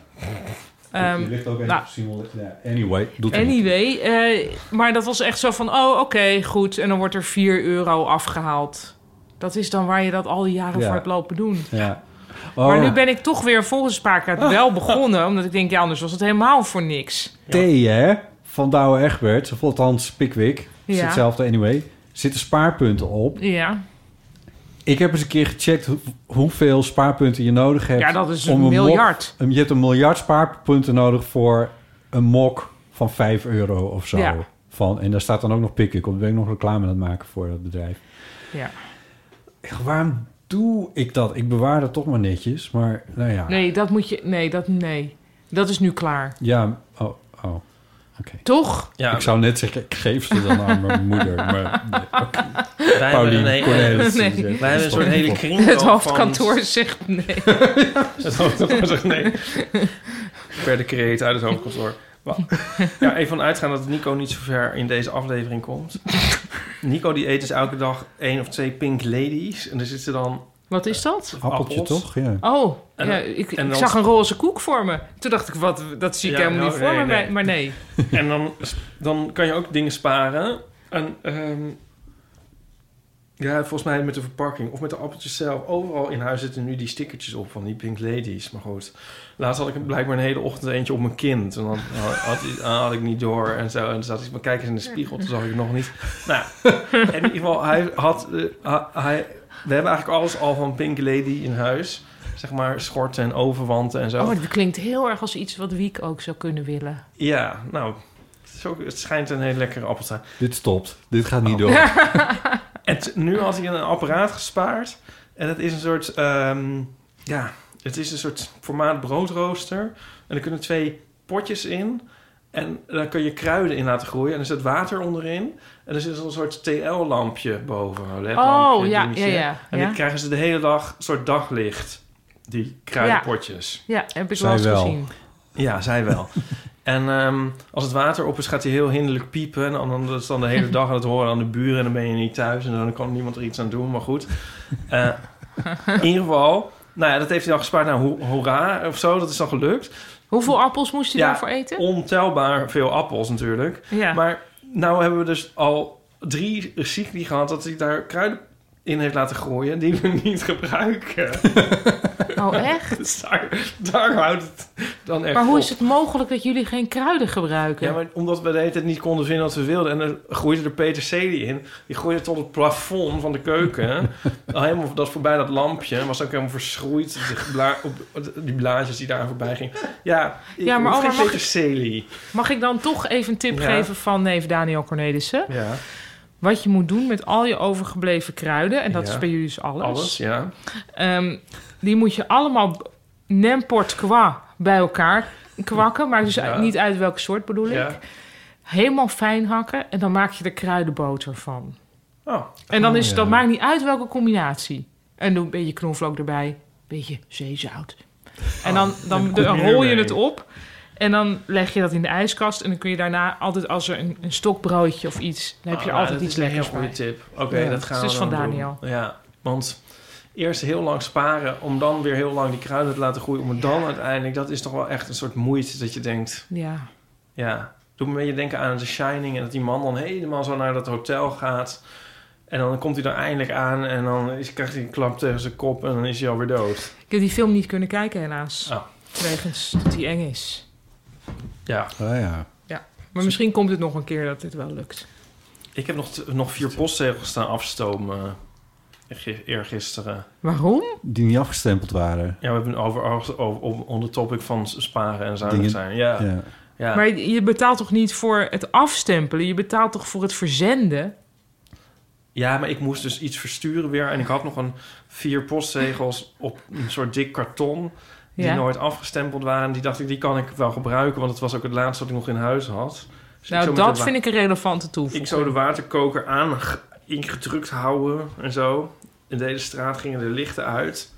Ehm, die ligt ook in nou. Simon. Ja, anyway, doet hij niet. Anyway, eh, maar dat was echt zo van... oh, oké, goed. En dan wordt er 4 euro afgehaald. Dat is dan waar je dat al die jaren Ja. voor hebt lopen doen. Ja. Maar Oh, nu ben ik toch weer volgens Spaarkaart wel begonnen. Omdat ik denk, ja, anders was het helemaal voor niks. thee, hè? Van Douwe Egbert, of althans Pickwick. Is Ja. hetzelfde anyway. Zitten spaarpunten op. Ja. Ik heb eens een keer gecheckt hoe- hoeveel spaarpunten je nodig hebt. Ja, dat is een mok- miljard. een- je hebt een miljard spaarpunten nodig voor een mok van 5 euro of zo. Ja. Van, en daar staat dan ook nog Pickwick op. Daar ben ik nog reclame aan het maken voor dat bedrijf. ja. Echt, waarom doe ik dat? Ik bewaar dat toch maar netjes. Maar nou ja. Nee, dat moet je... Nee, dat... Nee. Dat is nu klaar. Ja, oh, oh. Toch? ik zou net zeggen, ik geef ze dan aan mijn moeder. Maar nee, oké. Paulien nee, Cornelis. nee. die zegt, Wij hebben een soort hele kringloop Het hoofdkantoor van- zegt nee. Het hoofdkantoor zegt nee. Per decreet uit het hoofdkantoor. Wa- Ja, even uitgaan dat Nico niet zo ver in deze aflevering komt. Nico die eet dus elke dag één of twee pink ladies. En er zitten dan... Wat is dat? Appeltje appels. toch? Ja. Oh, En ja, dan- ik, en ik dan- zag een roze koek voor me. Toen dacht ik, wat, dat zie ik Ja, helemaal oh, niet voor nee, me, nee. maar- maar nee. En dan, dan kan je ook dingen sparen. En ehm, ja, volgens mij met de verpakking of met de appeltjes zelf. Overal in huis zitten nu die stickertjes op van die Pink Ladies. Maar goed, laatst had ik blijkbaar een hele ochtend eentje op mijn kind. En dan had, had, had ik niet door en zo. En dan zat ik maar kijken in de spiegel, toen zag ik het nog niet. Nou, en in ieder geval, hij had... eh, ha- hij, we hebben eigenlijk alles al van Pink Lady in huis. Zeg maar schorten en overwanten en zo. Oh, dat klinkt heel erg als iets wat Wiek ook zou kunnen willen. Ja, nou, het, is ook- het schijnt een hele lekkere appel te zijn. Dit stopt. Dit gaat niet door. En t- nu had hij een apparaat gespaard. En het is een soort, ehm, ja, het is een soort formaat broodrooster. En er kunnen twee potjes in. En daar kun je kruiden in laten groeien. En er zit water onderin. En er zit een soort TL-lampje boven. Een E ledlampje, Oh, ja, dingetje. ja, ja, En ja. dan krijgen ze de hele dag een soort daglicht. Die kruidenpotjes. Ja, heb ik wel eens gezien. Ja, zij wel. en ehm, als het water op is, gaat hij heel hinderlijk piepen. En dan, dat is dan de hele dag aan het horen aan de buren. En dan ben je niet thuis. En dan kan niemand er iets aan doen. Maar goed. Eh, in ieder geval, nou ja, dat heeft hij dan gespaard. Nou, ho- hoera of zo. Dat is dan gelukt. Hoeveel appels moest hij daarvoor eten? Ontelbaar veel appels natuurlijk. Ja. Maar nou hebben we dus al drie cycli gehad dat hij daar kruiden in heeft laten gooien die we niet gebruiken. Dus Oh, echt? daar, daar houdt het dan echt Maar hoe op. is het mogelijk dat jullie geen kruiden gebruiken? Ja, maar omdat we de hele tijd niet konden vinden wat we wilden. En dan groeide er peterselie in. Die groeide tot het plafond van de keuken. Al helemaal dat voorbij dat lampje. Was ook helemaal verschroeid. Die, bla- op, die blaadjes die daar voorbij gingen. Ja, ik Ja, maar hoef oh, maar geen mag- peterselie. Mag ik dan toch even een tip Ja. geven van neef Daniel Cornelissen? Ja. Wat je moet doen met al je overgebleven kruiden... en dat Ja. is bij jullie dus alles. Alles, ja. Ehm, die moet je allemaal nemport qua bij elkaar kwakken. Maar dus Ja. niet uit welke soort bedoel ik. Ja. Helemaal fijn hakken en dan maak je er kruidenboter van. Oh. En dan Oh, is het, dat ja. maakt niet uit welke combinatie. En doe een beetje knoflook erbij, beetje zeezout. En Oh, dan, dan, er komt dan meer rol je bij. het op en dan leg je dat in de ijskast. En dan kun je daarna altijd, als er een, een stokbroodje of iets, dan heb je Ah, altijd dat iets is een heel lekkers bij. goede tip. Oké, Ja. dat gaan Het we is van dan Daniel. doen. Ja, want eerst heel lang sparen... om dan weer heel lang die kruiden te laten groeien... om het dan uiteindelijk... dat is toch wel echt een soort moeite dat je denkt... Ja. Ja, doet me een beetje denken aan The Shining... en dat die man dan helemaal zo naar dat hotel gaat... en dan komt hij er eindelijk aan... en dan is, krijgt hij een klap tegen zijn kop... en dan is hij alweer dood. Ik heb die film niet kunnen kijken, helaas. Ah. Wegens dat hij eng is. Ja. Ah, ja. Ja. Maar misschien komt het nog een keer dat dit wel lukt. Ik heb nog, t- nog vier postzegels staan afstomen... eh, gi- eergisteren. Waarom? Die niet afgestempeld waren. Ja, we hebben over, over, over onder topic van sparen en zuinig Dingen- zijn. Ja. ja. ja. Maar je je betaalt toch niet voor het afstempelen? Je betaalt toch voor het verzenden? Ja, maar ik moest dus iets versturen weer. En ik had nog een vier postzegels op een soort dik karton. Die Ja. nooit afgestempeld waren. Die dacht ik, die kan ik wel gebruiken. Want het was ook het laatste wat ik nog in huis had. Dus ik nou, zo met dat de wa- vind ik een relevante toevoeging. Ik zou de waterkoker aan ingedrukt houden en zo. In de hele straat gingen de lichten uit.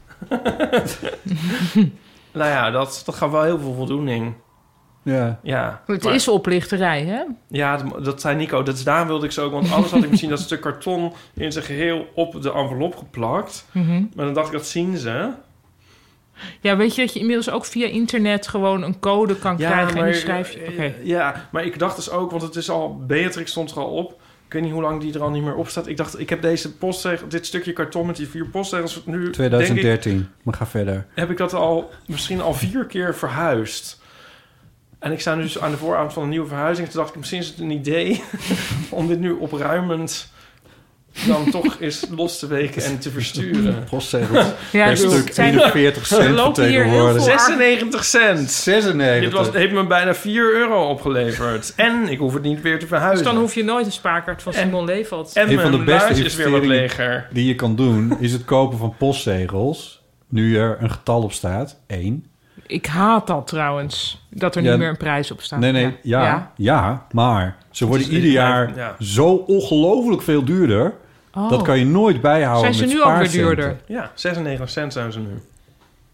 nou ja, dat, dat gaf wel heel veel voldoening. Ja. Ja, Het maar- is oplichterij, hè? ja, dat- dat zei Nico. Dat, daar wilde ik zo ook. Want anders had ik misschien dat stuk karton in zijn geheel op de envelop geplakt. Mhm. Maar dan dacht ik, dat zien ze. Ja, weet je dat je inmiddels ook via internet gewoon een code kan krijgen en die schrijf je... eh, Oké. Ja, maar ik dacht dus ook, want het is al... Beatrix stond er al op. Ik weet niet hoe lang die er al niet meer op staat. Ik dacht, ik heb deze postzegel, dit stukje karton met die vier postzegels nu... 2013. Denk ik, maar ga verder. heb ik dat al misschien al vier keer verhuisd. En ik sta nu dus aan de vooravond van een nieuwe verhuizing. Toen dacht ik, misschien is het een idee om dit nu opruimend dan toch eens los te weken en te versturen. Postzegels. Ja, per ik bedoel, stuk zijn- 41 er cent lopen hier heel vertegenwoordigd. veel 96 cent. 96. Dit was, heeft me bijna 4 euro opgeleverd. En ik hoef het niet weer te verhuizen. Dus dan hoef je nooit een spaarkaart van Simon Leveld. en een van de mijn beste luis is weer wat investeringen die je kan doen... is het kopen van postzegels. Nu er een getal op staat. 1. Ik haat dat trouwens, dat er Ja, niet meer een prijs op staat. Nee, nee, ja, ja. maar ze worden is- ieder jaar ja. zo ongelooflijk veel duurder. Oh. Dat kan je nooit bijhouden Zijn ze met nu ook weer spaarcenten. duurder? Ja, 96 cent zijn ze nu.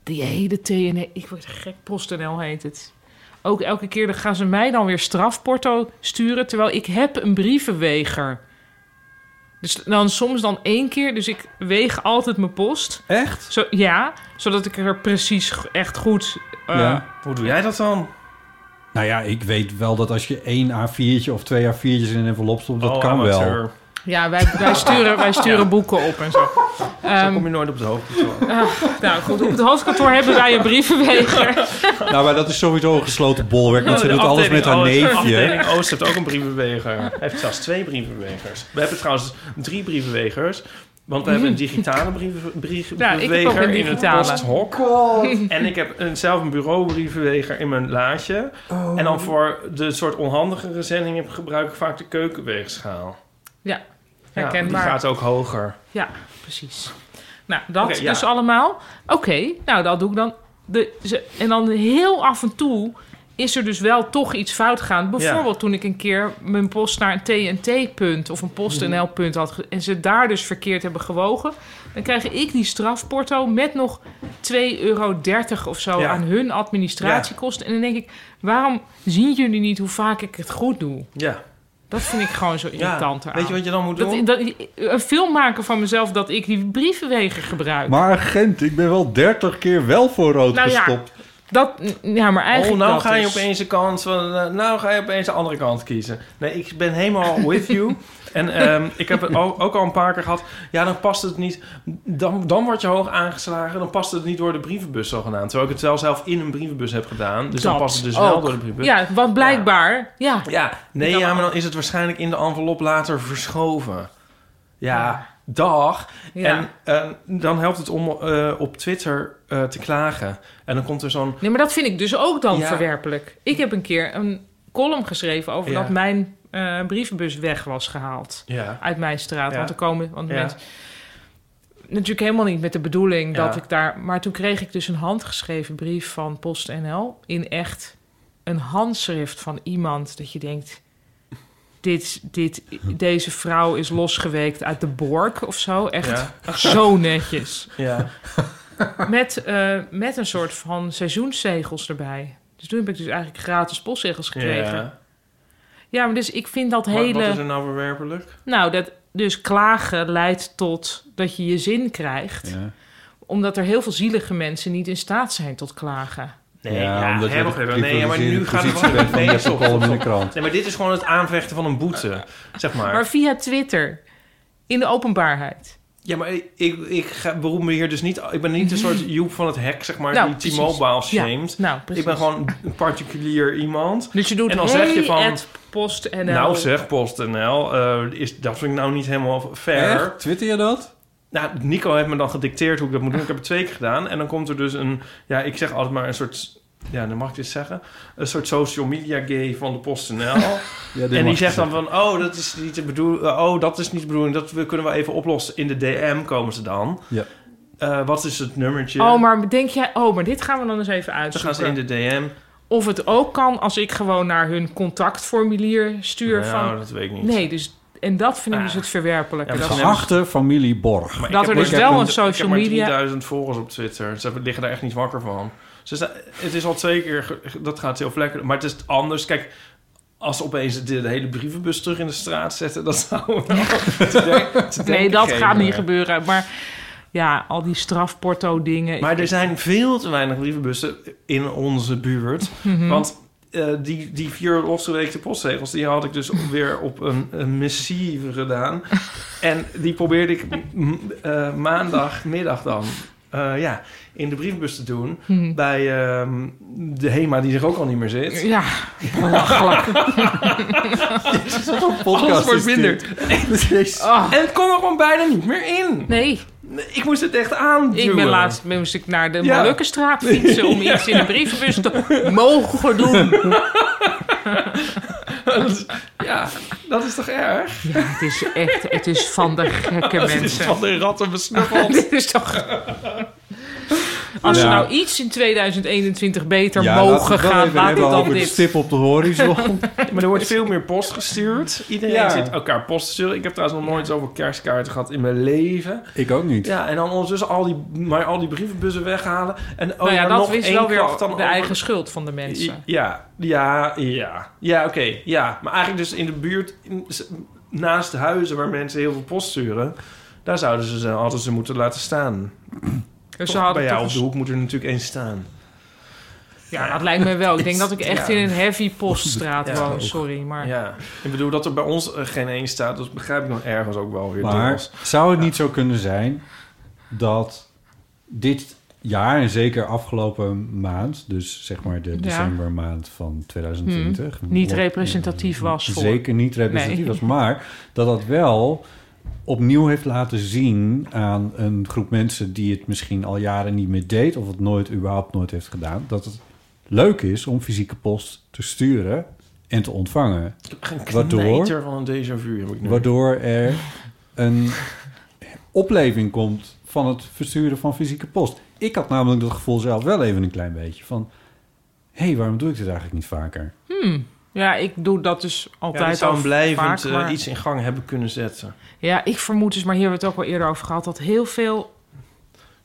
Die hele TNE, ik word gek, PostNL heet het. Ook elke keer dan gaan ze mij dan weer strafporto sturen... terwijl ik heb een brievenweger. Dus dan soms dan één keer, dus ik weeg altijd mijn post. Echt? Zo, ja, zodat ik er precies g- echt goed... eh, Ja. Hoe doe jij dat dan? Nou ja, ik weet wel dat als je één A4'tje of twee A4'tjes in een envelop stopt, dat Oh, kan amateur. wel. Ja, wij, wij sturen, wij sturen Ja. boeken op en zo. Dan Ehm, kom je nooit op de hoogte. ah, nou goed, op het hoofdkantoor hebben wij een brievenweger. Nou, maar dat is sowieso een gesloten bolwerk, want ze De doet alles afdeling met haar Oost- De neefje. Oh, afdeling Oost heeft ook een brievenweger. Hij heeft zelfs twee brievenwegers. We hebben trouwens drie brievenwegers. Want we hebben een digitale brieven, brieven- Ja, ik heb ook een brievenweger in het digitale. posthok. En ik heb een, zelf een bureaubrievenweger in mijn laadje. Oh. En dan voor de soort onhandigere zendingen gebruik ik vaak de keukenweegschaal. Ja, Ja, herkenbaar. die gaat ook hoger. Ja, precies. Nou, dat Oké, ja. dus allemaal. Oké, nou dat doe ik dan. De, ze- en dan heel af en toe is er dus wel toch iets fout gegaan. Bijvoorbeeld toen ik een keer mijn post naar een TNT-punt of een Mhm. PostNL-punt had... ge- en ze daar dus verkeerd hebben gewogen... dan krijg ik die strafporto met nog 2,30 euro of zo Ja. aan hun administratiekosten. En dan denk ik, waarom zien jullie niet hoe vaak ik het goed doe? Ja. Dat vind ik gewoon zo irritant eraan. Weet je wat je dan moet Dat- doen? dat- een film maken van mezelf dat ik die brievenwegen gebruik. Maar agent, ik ben wel 30 keer wel voor rood Nou ja, gestopt. dat, ja, maar Oh, eigenlijk nou dat ga je dus. opeens de kant van, eh, nou ga je opeens de andere kant kiezen. Nee, ik ben helemaal with you. En ehm, ik heb het ook, ook al een paar keer gehad. Ja, dan past het niet. Dan, dan word je hoog aangeslagen. Dan past het niet door de brievenbus zogenaamd. Terwijl ik het wel zelf in een brievenbus heb gedaan. Dus dan Dat past het dus wel ook. door de brievenbus. Ja, want blijkbaar, ja. Ja, nee, ja, maar dan is het waarschijnlijk in de envelop later verschoven. Ja, dag. Ja. En eh, dan helpt het om eh, op Twitter eh, te klagen. En dan komt er zo'n Nee, maar dat vind ik dus ook dan Ja. verwerpelijk. Ik heb een keer een column geschreven over Ja. dat mijn eh, brievenbus weg was gehaald. Ja. Uit mijn straat. Ja. Want er komen want Ja. mensen... Natuurlijk helemaal niet met de bedoeling Ja. dat ik daar... Maar toen kreeg ik dus een handgeschreven brief van PostNL... in echt een handschrift van iemand dat je denkt... Dit, dit, deze vrouw is losgeweekt uit de bork of zo. Echt Ja. zo netjes. Ja. Met, eh, met een soort van seizoenszegels erbij. Dus toen heb ik dus eigenlijk gratis postzegels gekregen. Ja, Ja. maar dus ik vind dat Maar hele... Wat is er nou verwerpelijk? Nou, dat, dus klagen leidt tot dat je je zin krijgt. Omdat er heel veel zielige mensen niet in staat zijn tot klagen. Nee, Ja, ja, omdat je hè, op wacht de even. Nee, ja, maar nu geprivilegeerde gaat het positie gewoon bent van nee, Jeppe stop, Kolm in de stop, stop. krant. Nee, maar dit is gewoon het aanvechten van een boete, zeg maar. Maar via Twitter, in de openbaarheid. Ja, maar ik, ik, ik ga, beroep me hier dus niet... Ik ben niet een soort Joep van het hek, zeg maar, Nou, die precies. T-Mobile Ja, shamed. nou, precies. ik ben gewoon een particulier iemand. Dus je doet En dan zeg je hey, van... at PostNL. Nou zeg, PostNL, eh, is, dat vind ik nou niet helemaal fair. Echt? Twitter je dat? Nou, Nico heeft me dan gedicteerd hoe ik dat moet doen. Ik heb het twee keer gedaan. En dan komt er dus een... Ja, ik zeg altijd maar een soort ja, dan mag ik dit zeggen. Een soort social media gay van de PostNL. dit en mag die je zegt dan van, oh, dat is niet de bedoeling. Oh, dat is niet de bedoeling. Dat we, kunnen we even oplossen. In de DM komen ze dan. Ja. Eh, wat is het nummertje? Oh, maar denk jij... Oh, maar dit gaan we dan eens even dan gaan uitzoeken. ze in de DM. Of het ook kan als ik gewoon naar hun contactformulier stuur Nou, van... dat weet ik niet. Ah. Nee, dus... En dat vind ik dus het verwerpelijke. Dat- Geachte familie Borg. Maar ik Dat heb maar- er dus ik heb wel maar- een social Ik heb media- maar 3000 volgers op Twitter. Ze liggen daar echt niet wakker van. Ze sta- het is al twee keer... ge- Dat gaat heel vlekker. Maar het is anders. Kijk, als ze opeens de, de hele brievenbus terug in de straat zetten... dat zou wel te denk- te nee, denken dat geven. gaat niet gebeuren. Maar ja, al die strafporto dingen. Maar er zijn veel te weinig brievenbussen in onze buurt. Mhm. Want eh, die, die vier losgeweekte postzegels... die had ik dus op- weer op een, een missieve gedaan. en die probeerde ik m- eh, maandagmiddag dan... eh, ja, in de brievenbus te doen. Mhm. Bij ehm, de HEMA, die er ook al niet meer zit. Ja, belachelijk. Alles wordt minder. Ah. En het kon er gewoon bijna niet meer in. Nee. Ik moest het echt aanduwen. Ik ben laatst moest ik naar de Ja. Molukkenstraat fietsen... om iets in de brievenbus te mogen doen. Ja, dat is toch erg? Ja, het is echt... Het is van de gekke Het is mensen. van de ratten besnuffeld. Dit is toch... Als ze Ja. nou iets in 2021 beter Ja, laten we mogen het wel gaan, even laat hebben het dan over de dit. Nou stip op de horizon. maar er wordt veel meer post gestuurd. Iedereen Ja. zit elkaar post te sturen. Ik heb trouwens nog nooit zoveel kerstkaarten gehad in mijn leven. ik ook niet. Ja, en dan ondertussen al die, maar al die brievenbussen weghalen. En oh, nou ja, maar dat nog is één wel weer klacht de dan over- eigen schuld van de mensen. Ja, ja, ja. Ja, oké. Ja, maar eigenlijk dus in de buurt, in- s- naast de huizen waar mensen heel veel post sturen... daar zouden ze ze altijd ze moeten laten staan. Dus ze Toch, hadden bij toch jou op eens- de hoek moet er natuurlijk één staan. Ja, dat lijkt me wel. Ik denk dat ik echt Ja. in een heavy poststraat Ja, ook. woon. Sorry, maar... Ja, ik bedoel dat er bij ons eh, geen één staat, dat begrijp ik dan ergens ook wel weer. Maar deels. zou het niet zo kunnen zijn dat dit jaar en zeker afgelopen maand, dus zeg maar de decembermaand van 2020, Hmm. Niet wat representatief was voor... zeker niet representatief Nee. was, maar dat dat wel opnieuw heeft laten zien aan een groep mensen die het misschien al jaren niet meer deed of het nooit überhaupt nooit heeft gedaan, dat het leuk is om fysieke post te sturen en te ontvangen. Ik heb geen knijter van een déjà vu, heb ik nu. Waardoor er een opleving komt van het versturen van fysieke post. Ik had namelijk dat gevoel zelf wel even een klein beetje van... hé, hey, waarom doe ik dit eigenlijk niet vaker? Hmm. Ja, ik doe dat dus altijd Ja, dat zou al een blijvend vaak, eh, maar- iets in gang hebben kunnen zetten. Ja, ik vermoed dus, maar hier hebben we het ook al eerder over gehad... dat heel veel...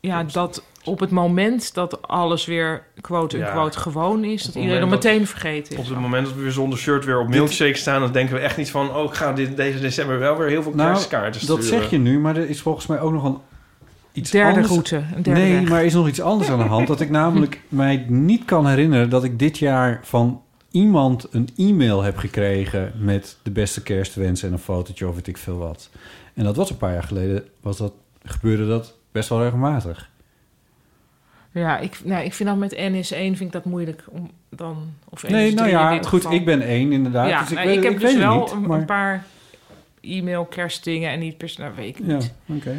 Ja, dat op het moment dat alles weer quote-unquote Ja. gewoon is... Op dat het iedereen er moment dat- meteen vergeten Op is. het moment dat we weer zonder shirt weer op milkshake staan... dan denken we echt niet van... oh, ik ga dit, deze december wel weer heel veel kerstkaarten sturen. Nou, dat zeg je nu, maar er is volgens mij ook nog een iets Derde anders. route, een derde nee, weg. maar er is nog iets anders aan de hand. Dat ik namelijk mij niet kan herinneren dat ik dit jaar van iemand een e-mail heb gekregen... met de beste kerstwensen en een fotootje of weet ik veel wat. En dat was een paar jaar geleden, was dat, gebeurde dat best wel regelmatig. Ja, ik, nou, ik vind dat met NS1 vind ik dat moeilijk om dan... Of NS3 Nee, nou ja, in dit goed, geval. ik ben één inderdaad. Ja, dus ik, nou, weet, ik heb ik dus weet het wel niet, een, maar- een paar e-mail kerstdingen en niet per se... Nou, weet ik Ja, niet. oké.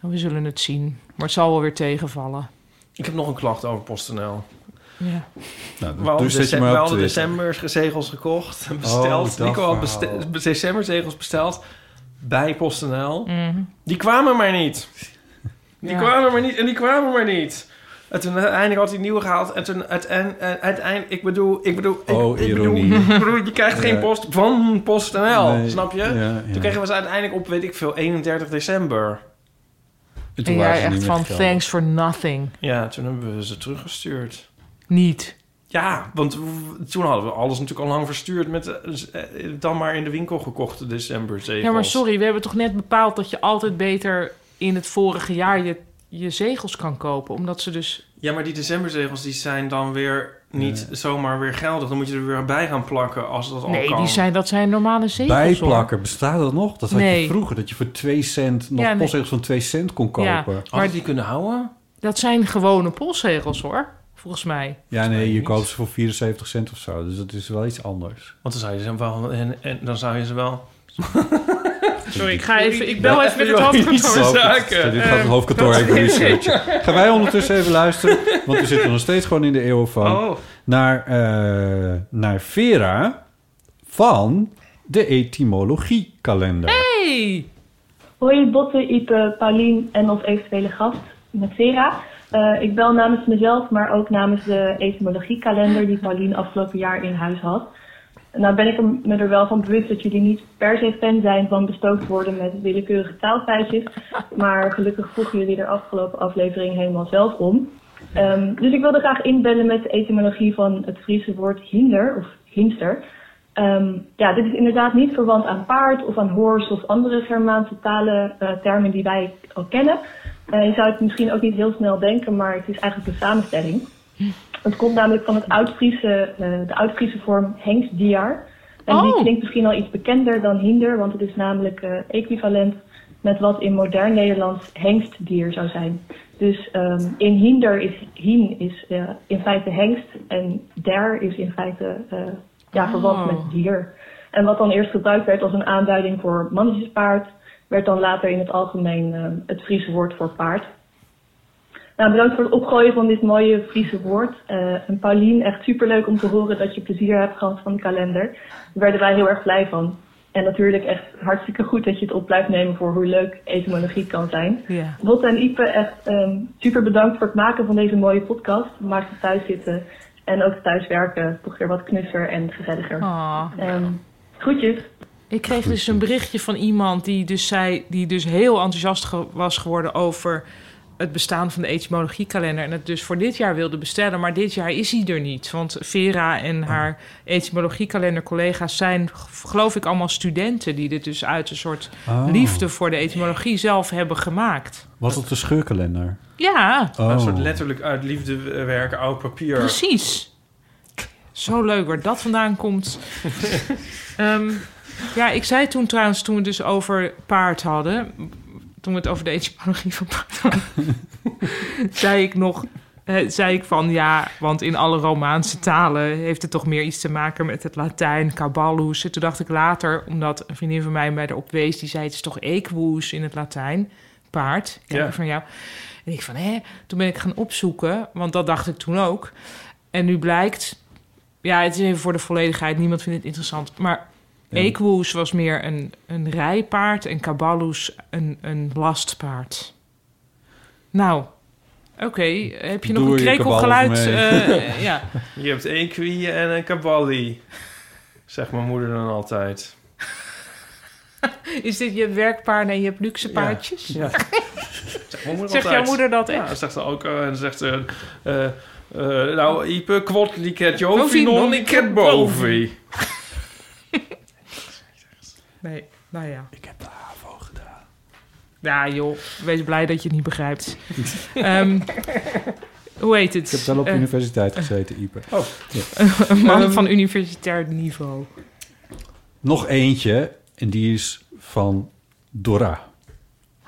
Nou, we zullen het zien. Maar het zal wel weer tegenvallen. Ik heb nog een klacht over PostNL. Ja. Nou, we hadden, dus zet je maar december, we op hadden Twitter. decemberzegels gekocht en besteld. Oh, dat Nico had verhaal. beste- decemberzegels besteld bij PostNL. Mhm. Die kwamen maar niet. Die Ja. kwamen maar niet en die kwamen maar niet. En toen uiteindelijk had hij nieuwe gehaald. En toen uiteindelijk... uiteindelijk ik bedoel... Ik bedoel ik, Oh, ik bedoel, ironie. ik bedoel, je krijgt geen Ja. post van PostNL. Nee, Snap je? ja, ja. Toen kregen we ze uiteindelijk op, weet ik veel, 31 december. En jij echt van thanks for nothing. Ja, toen hebben we ze teruggestuurd. Niet. Ja, want w- toen hadden we alles natuurlijk al lang verstuurd met eh, eh, dan maar in de winkel gekochte december zegels. Ja, maar sorry, we hebben toch net bepaald dat je altijd beter in het vorige jaar je, je zegels kan kopen. Omdat ze dus... Ja, maar die decemberzegels die zijn dan weer niet zomaar weer geldig. Dan moet je er weer bij gaan plakken als dat al Nee, kan. die zijn, dat zijn normale zegels. hoor. Bijplakker, bestaat dat nog? Dat had Nee. je vroeger, dat je voor 2 cent nog Ja, nee. postzegels van 2 cent kon kopen. Ja, maar- die kunnen houden? Dat zijn gewone postzegels hoor, volgens mij. Ja, nee, je koopt ze voor 74 cent of zo. Dus dat is wel iets anders. Want dan zou je ze wel en, en dan zou je ze wel Sorry, ik ga even. Ik bel even met het hoofdkantoor. Zaken. Dit gaat het Eh, hoofdkantoor dat- even research. Gaan wij ondertussen even luisteren, want we zitten nog steeds gewoon in de eeuwenfoon. Oh. Naar, eh, naar Vera van de etymologiekalender. Hey! Hoi Botte, Ipe, Paulien en of eventuele gast met Vera. Eh, ik bel namens mezelf, maar ook namens de etymologiekalender die Paulien afgelopen jaar in huis had. Nou ben ik er- me er wel van bewust dat jullie niet per se fan zijn van bestookt worden met willekeurige taalfeitjes. Maar gelukkig vroegen jullie er afgelopen aflevering helemaal zelf om. Ehm, dus ik wilde graag inbellen met de etymologie van het Friese woord hinder of hinster. Ehm, ja, dit is inderdaad niet verwant aan paard of aan horse of andere Germaanse talen, eh, termen die wij al kennen. Eh, je zou het misschien ook niet heel snel denken, maar het is eigenlijk een samenstelling. Het komt namelijk van het Oud-Friese, eh, de Oud-Friese vorm hengstdiar. En die Oh. klinkt misschien al iets bekender dan hinder, want het is namelijk eh, equivalent met wat in modern Nederlands hengstdier zou zijn. Dus ehm, in hinder is hien is eh, in feite hengst en der is in feite eh, ja, verwant Oh. met dier. En wat dan eerst gebruikt werd als een aanduiding voor mannetjespaard, werd dan later in het algemeen ehm, het Friese woord voor paard. Nou, bedankt voor het opgooien van dit mooie Friese woord. Eh, en Paulien, echt superleuk om te horen dat je plezier hebt gehad van de kalender. Daar werden wij heel erg blij van. En natuurlijk echt hartstikke goed dat je het op blijft nemen voor hoe leuk etymologie kan zijn. Ja. Botte en Ipe, echt ehm, super bedankt voor het maken van deze mooie podcast. Maak het thuis zitten en ook thuis werken toch weer wat knusser en gezelliger. Oh, Ehm, groetjes. Ik kreeg dus een berichtje van iemand die dus zei, die dus heel enthousiast ge- was geworden over het bestaan van de etymologiekalender en het dus voor dit jaar wilde bestellen, maar dit jaar is hij er niet, want Vera en haar etymologiekalender collega's zijn, g- geloof ik, allemaal studenten die dit dus uit een soort Oh. liefde voor de etymologie zelf hebben gemaakt. Was dat de scheurkalender? Ja. Oh. Een soort letterlijk uit liefde werken, oud papier. Precies. Zo leuk waar dat vandaan komt. Ehm, ja, ik zei toen trouwens, toen we het dus over paard hadden... toen we het over de etymologie van paard hadden... zei ik nog... eh, zei ik van ja, want in alle Romaanse talen heeft het toch meer iets te maken met het Latijn, caballus. En toen dacht ik later, omdat een vriendin van mij mij erop wees, die zei: Het is toch equus in het Latijn, paard. Kijk Ja. van jou. En ik van hè, toen ben ik gaan opzoeken, want dat dacht ik toen ook. En nu blijkt, ja, het is even voor de volledigheid, niemand vindt het interessant. Maar Ja. equus was meer een, een rijpaard en caballus een, een lastpaard. Nou, oké, heb je nog Doe een je krekelgeluid? kabal eh mee. ja. Je hebt equi en een caballi. Zegt mijn moeder dan altijd. Is dit je werkpaard en je hebt luxe paardjes? Ja. Zegt mijn moeder Zegt altijd. jouw moeder dat Ja, echt? zegt ze ook. eh, en zegt ze... eh, eh, nou, Ipe, kwot, liket, jovi, Jovi, non, non, liket, liket, bovi. Nee, nou ja. Ik heb de HAVO gedaan. Ja, joh. Wees blij dat je het niet begrijpt. Ehm, hoe heet het? Ik heb wel op Eh, universiteit gezeten, Ipe. Oh. Ja. Een man Ehm, van universitair niveau. Nog eentje, en die is van Dora.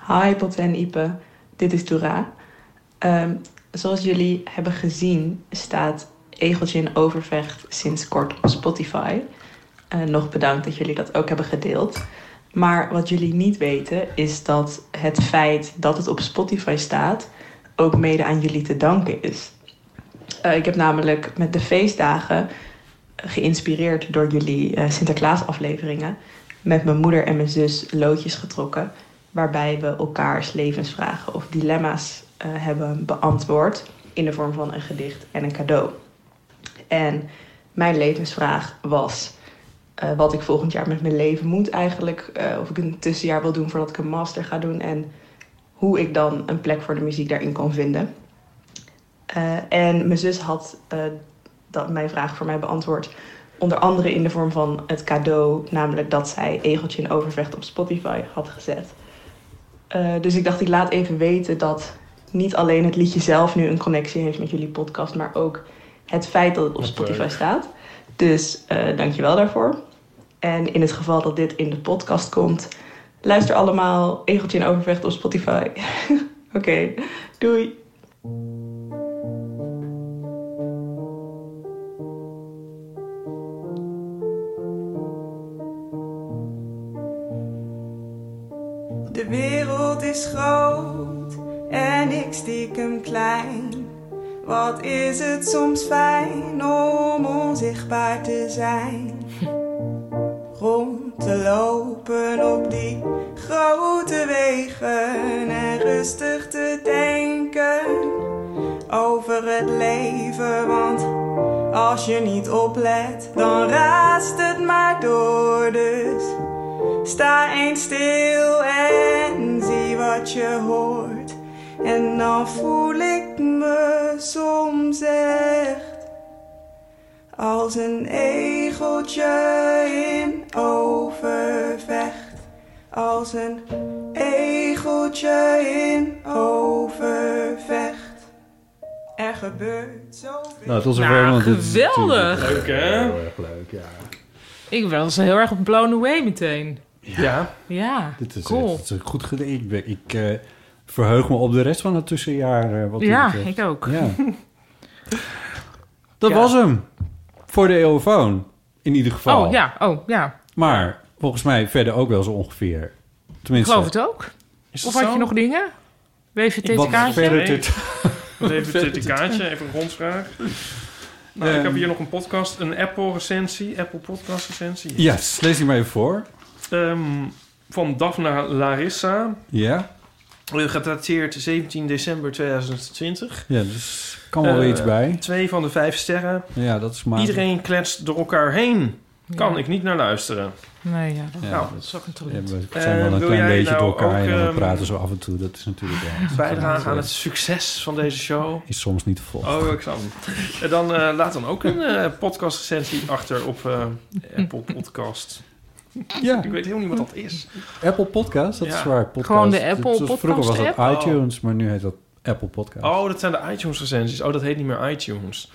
Hi Botte en Ipe, dit is Dora. Ehm, zoals jullie hebben gezien staat Egeltje in Overvecht sinds kort op Spotify. Eh, nog bedankt dat jullie dat ook hebben gedeeld. Maar wat jullie niet weten is dat het feit dat het op Spotify staat ook mede aan jullie te danken is. Eh, ik heb namelijk met de feestdagen, geïnspireerd door jullie eh, Sinterklaas-afleveringen, met mijn moeder en mijn zus loodjes getrokken. Waarbij we elkaars levensvragen of dilemma's eh, hebben beantwoord in de vorm van een gedicht en een cadeau. En mijn levensvraag was eh, wat ik volgend jaar met mijn leven moet eigenlijk. eh, of ik een tussenjaar wil doen voordat ik een master ga doen. En hoe ik dan een plek voor de muziek daarin kan vinden. Eh, en mijn zus had eh, dat mijn vraag voor mij beantwoord. Onder andere in de vorm van het cadeau, namelijk dat zij Egeltje in Overvecht op Spotify had gezet. Eh, dus ik dacht, ik laat even weten dat niet alleen het liedje zelf nu een connectie heeft met jullie podcast, maar ook het feit dat het op Wat Spotify leuk. staat. Dus eh dankjewel daarvoor. En in het geval dat dit in de podcast komt, luister allemaal Egeltje in Overvecht op Spotify. Oké, doei! De wereld is groot en ik stiekem klein. Wat is het soms fijn om onzichtbaar te zijn? Rond te lopen op die grote wegen en rustig te denken over het leven. Want als je niet oplet, dan raast het maar door. Dus sta eens stil en zie wat je hoort. En dan voel ik me soms echt als een egeltje in overvecht. Als een egeltje in overvecht. Er gebeurt zoveel. Nou, tot zover. Nou, want dit is natuurlijk- geweldig. Leuk, hè? Heel erg leuk, ja. Ik was heel erg blown away meteen. Ja. Ja, Dit is, cool. echt- dit is goed gedaan. Ik, ben- ik eh, verheug me op de rest van het tussenjaar. eh, wat dit ja, betreft. ik ook. Oh, Ja. Dat was hem. Voor de eeuwfoon. In ieder geval. Oh ja, oh ja. Maar volgens mij verder ook wel zo ongeveer. Ik Tenminste. geloof het ook. of had je nog dingen? WVT kaartje? verder dit? dit- Even dit een kaartje, even een rondvraag. Nou, ik Ehm. heb hier nog een podcast, een Apple-recensie, Apple Podcast-recensie. Ja, yes, lees die maar even voor. Ehm, van Daphna Larissa, Ja. eh, gedateerd 17 december 2020. Ja, dus kan wel Eh, weer iets bij. Twee van de vijf sterren. Ja, dat is maar. Iedereen kletst door elkaar heen. Kan Ja. ik niet naar luisteren. Nee, ja, dat, Ja, nou, dat dat is ook een Ja, talent. we zijn wel Eh, een wil klein jij beetje nou door elkaar heen en ook, we ehm, praten zo af en toe. Dat is natuurlijk wel... Bijdragen aan het succes van deze show. Is soms niet te volgen. Oh, ik snap hem. En dan eh, laat dan ook een podcast podcastrecensie achter op eh, Apple Podcast. Ja. eh, Ik weet helemaal niet wat dat is. Apple Podcast, dat Ja. is waar. Podcast. Gewoon de Dat- Apple dat- Vroeger was dat Podcast app? iTunes, maar nu heet dat Apple Podcast. Oh, dat zijn de iTunes recensies. Oh, dat heet niet meer iTunes.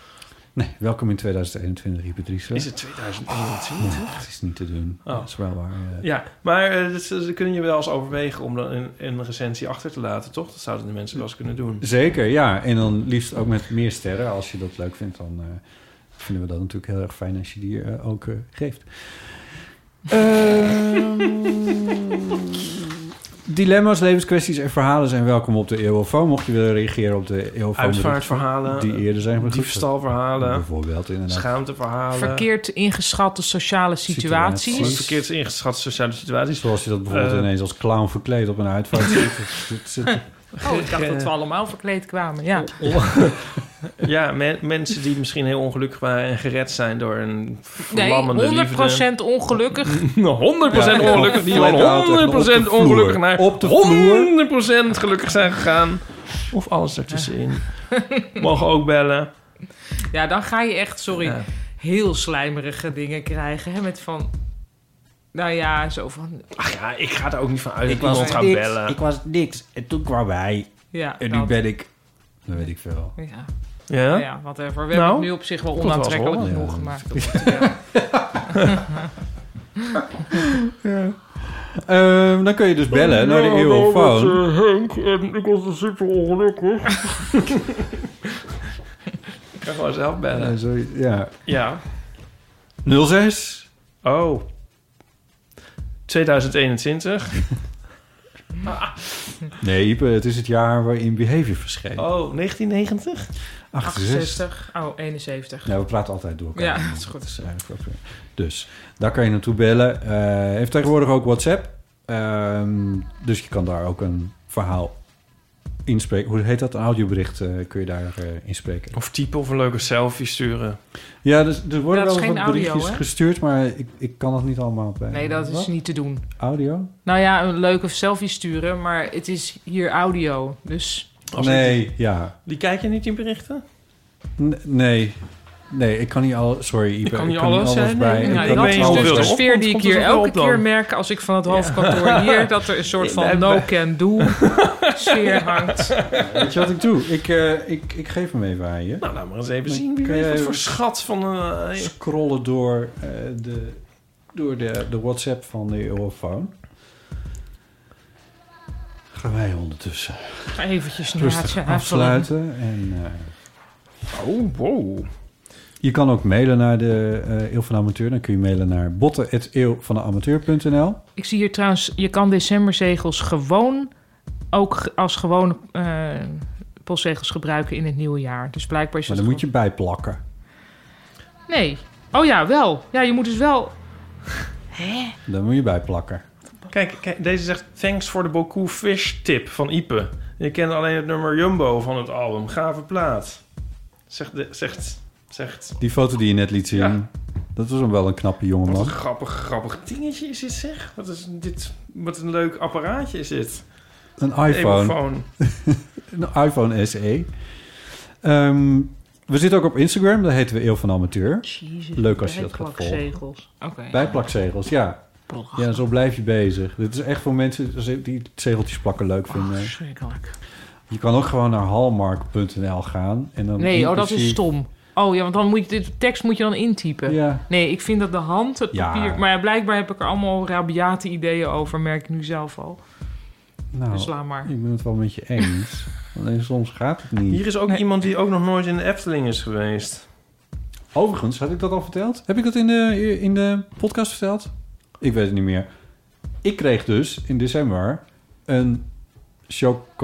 Nee, welkom in 2021, Hypertrice. Is het 2021? Ja, het is niet te doen. Oh. Dat is wel waar. eh. Ja, maar eh, dat, dat kun je wel eens overwegen om dan een, een recensie achter te laten, toch? Dat zouden de mensen wel eens kunnen doen. Zeker, ja. En dan liefst ook met meer sterren. Als je dat leuk vindt, dan eh, vinden we dat natuurlijk heel erg fijn als je die eh, ook eh, geeft. Ehm, Dilemma's, levenskwesties en verhalen zijn welkom op de Eeuwofoon. Mocht je willen reageren op de Eeuwofoon... Uitvaartverhalen, eh, Die eerder zijn gegeven. diefstalverhalen, Bijvoorbeeld, inderdaad. Schaamteverhalen. Verkeerd ingeschatte sociale situaties. Verkeerd ingeschatte sociale situaties. Zoals je dat bijvoorbeeld Eh, ineens als clown verkleed op een uitvaart ziet. Dat zit- Oh, ik dacht dat we allemaal verkleed kwamen, ja. Ja, men- mensen die misschien heel ongelukkig waren en gered zijn door een Nee, vlammende 100% liefde. ongelukkig. 100% Ja, ongelukkig. Die flat van out, echt op de 100% vloer. ongelukkig naar Op de 100% gelukkig zijn gegaan. Of alles ertussenin. Mogen ook bellen. Ja, dan ga je echt, sorry, Ja. heel slijmerige dingen krijgen. Hè, met van, nou ja, zo van... Ach ja, ik ga er ook niet van uit Ik dat iemand was gaat niks. bellen. Ik was niks. En toen kwam hij. Ja, en nu dat. ben ik... Dat weet ik veel. Ja. Ja? Nou ja, whatever. We hebben Nou, het nu op zich wel dat was onaantrekkelijk wel, ja. genoeg gemaakt. Ehm, dan kun je dus bellen naar de Eeuwofoon. eh, Henk en ik was super ongelukkig. ik kan gewoon zelf bellen. Ja, zo- ja. Ja. 06. Oh. 2021. Nee, Ipe, het is het jaar waarin Behavior verscheen. Oh, 1990? 68, oh, 71. Ja, we praten altijd door elkaar. Ja, dat is goed. is eigenlijk wel fair. Dus daar kan je naartoe bellen. Eh heeft tegenwoordig ook WhatsApp. Ehm, dus je kan daar ook een verhaal inspreken. Hoe heet dat? Een audiobericht eh, kun je daar eh, inspreken. Of typen of een leuke selfie sturen. Ja, dus er worden Dat is wel geen wat audio, berichtjes hè? gestuurd, maar ik, ik kan dat niet allemaal bij. Nee, dat is Wat? niet te doen. Audio? Nou ja, een leuke selfie sturen, maar het is hier audio. Dus nee, ja. Die kijk je niet in berichten? N- nee. Nee, ik kan niet al. Sorry, Ipe. Ik kan niet kan alles, hè? Nee, bij. nee, nee. kan Ik niet weet alles niet bij. dus de Komt- sfeer die ik komt hier het wel elke op dan? keer merk als ik van het hoofdkantoor hier... dat er een soort van Nee, no-can-do sfeer hangt. Weet je wat ik doe? Ik, eh, ik, ik geef hem even aan je. Nou, laat maar eens even zien. Wie Kun weet jij wat even voor schat van eh, een... Scrollen door, eh, de, door de, de WhatsApp van de Eurofoon. Gaan wij ondertussen. Ga eventjes een Rustig haartje afsluiten. En, eh, Oh, wow. Je kan ook mailen naar de eh, Eeuw van de Amateur. Dan kun je mailen naar botten.eeuwvandeamateur.nl. Ik zie hier trouwens, je kan decemberzegels gewoon ook ge- als gewone eh, postzegels gebruiken in het nieuwe jaar. Dus blijkbaar is Maar dat dan moet je bijplakken. gewoon- Nee. Oh ja, wel. Ja, je moet dus wel... Hè? Dan moet je bijplakken. Kijk, kijk, deze zegt thanks voor de Boku Fish tip van Ipe. Je kent alleen het nummer Jumbo van het album. Gave plaat. Zegt, de- zegt, zegt. Die foto die je net liet zien, dat was hem wel een knappe Wat een jongeman. grappig, grappig dingetje is dit zeg. Wat, is dit, wat een leuk apparaatje is dit. Een iPhone. Evophone. een iPhone SE. Ehm, we zitten ook op Instagram, daar heten we Eeuw van de Amateur. Leuk als je dat gaat volgen. Bijplakzegels. Oké. Bijplakzegels, ja. Prachtig. Ja, zo blijf je bezig. Dit is echt voor mensen die zegeltjes plakken leuk vinden. Verschrikkelijk. je kan ook gewoon naar hallmark.nl gaan. En dan Nee, oh, dat is inclusief- stom. Oh ja, want dan moet je, dit tekst moet je dan intypen. Ja. Nee, ik vind dat de hand, het Ja. papier... Maar ja, blijkbaar heb ik er allemaal rabiate ideeën over, merk ik nu zelf al. Nou, Dus laat maar. Ik ben het wel met je eens. Alleen soms gaat het niet. Hier is ook iemand die ook nog nooit in de Efteling is geweest. Overigens, had ik dat al verteld? Heb ik dat in de, in de podcast verteld? Ik weet het niet meer. Ik kreeg dus in december een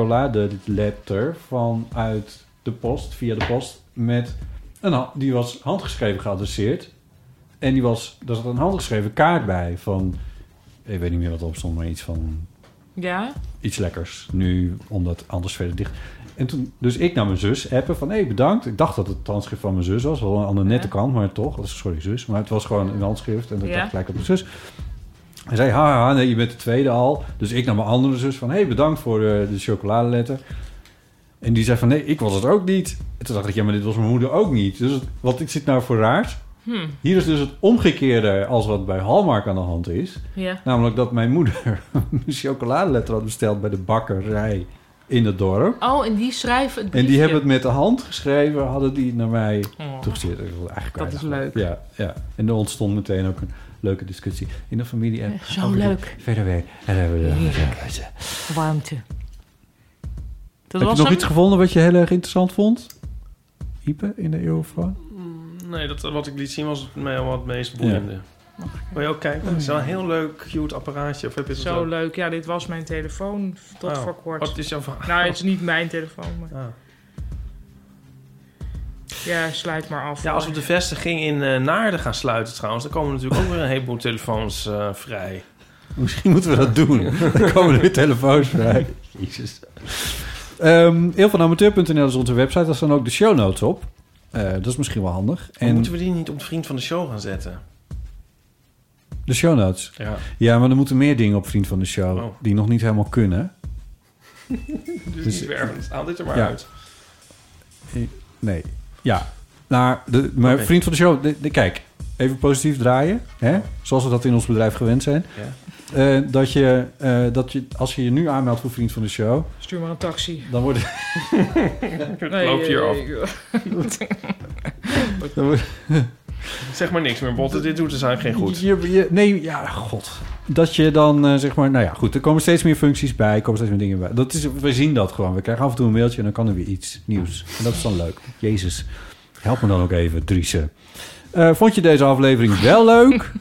chocoladeletter vanuit de post, via de post, met een ha- die was handgeschreven geadresseerd. En die was, daar zat een handgeschreven kaart bij van, ik weet niet meer wat erop stond, maar iets van Ja? iets lekkers nu, omdat anders verder dicht. En toen, dus ik naar mijn zus appen van, hé, hey, bedankt. Ik dacht dat het het handschrift van mijn zus was, wel een andere nette kant, maar toch. Sorry, zus. Maar het was gewoon een handschrift en dat Ja. dacht ik gelijk op mijn zus. Hij zei, haha, nee, je bent de tweede al. Dus ik naar mijn andere zus van, hé, hey, bedankt voor eh, de chocoladeletter. En die zei van, nee, ik was het ook niet. En toen dacht ik, ja, maar dit was mijn moeder ook niet. Dus het- wat ik zit nou voor raars? Hmm. Hier is dus het omgekeerde als wat bij Hallmark aan de hand is. Ja. Namelijk dat mijn moeder een chocoladeletter had besteld bij de bakkerij in het dorp. Oh, en die schrijven het En die briefje. hebben het met de hand geschreven, hadden die naar mij Oh. toegestuurd. Ik wilde eigenlijk Dat is eigenlijk- Ja, ja. En er ontstond meteen ook een leuke discussie in de familie. En Zo over de- leuk. Verder weer. En hebben we Heerlijk. ja, ja. Warmte. Heb Dat je was nog hem? iets gevonden wat je heel erg interessant vond? Ipe in de Eurofan? Nee, dat, wat ik liet zien was mij wel het meest boeiende. Wil je ook kijken? Het is wel een heel leuk, cute apparaatje. Of heb je dat Zo ook? leuk. Ja, dit was mijn telefoon tot Oh. voor kort. Oh, het is jouw Ah. va- Nou, het is niet mijn telefoon. Maar... Ja, sluit maar af. Ja, als we de vestiging in eh, Naarden gaan sluiten trouwens... dan komen natuurlijk ook weer een heleboel telefoons eh, vrij. Misschien moeten we dat doen. Dan komen er weer telefoons vrij. Jezus. Ehm Eeuwvanamateur.nl is onze website. Daar staan ook de show notes op. Eh, dat is misschien wel handig. En En... Oh, Moeten we die niet op de vriend van de show gaan zetten? de show notes. Ja. maar er moeten meer dingen op Vriend van de Show. Oh. Die nog niet helemaal kunnen. dus Dus- niet wervend. Haal dit er maar Ja. uit. Eh, Nee. Ja. Naar de, maar Oké. vriend van de show, de- de- kijk, even positief draaien. Hè? Zoals we dat in ons bedrijf gewend zijn. Ja. Eh, dat, je, eh, dat je, als je je nu aanmeldt voor vriend van de show, Stuur maar een taxi. dan wordt Nee, Loop hier af. eh, dan wordt- Zeg maar niks meer, Botte. Dit doet dus eigenlijk geen goed. Je, je- nee, ja, god. Dat je dan eh, zeg maar, nou ja, goed, er komen steeds meer functies bij, er komen steeds meer dingen bij. Dat is, we zien dat gewoon. We krijgen af en toe een mailtje en dan kan er weer iets nieuws. En dat is dan leuk. Jezus, help me dan ook even, Driesen. Eh, vond je deze aflevering wel leuk?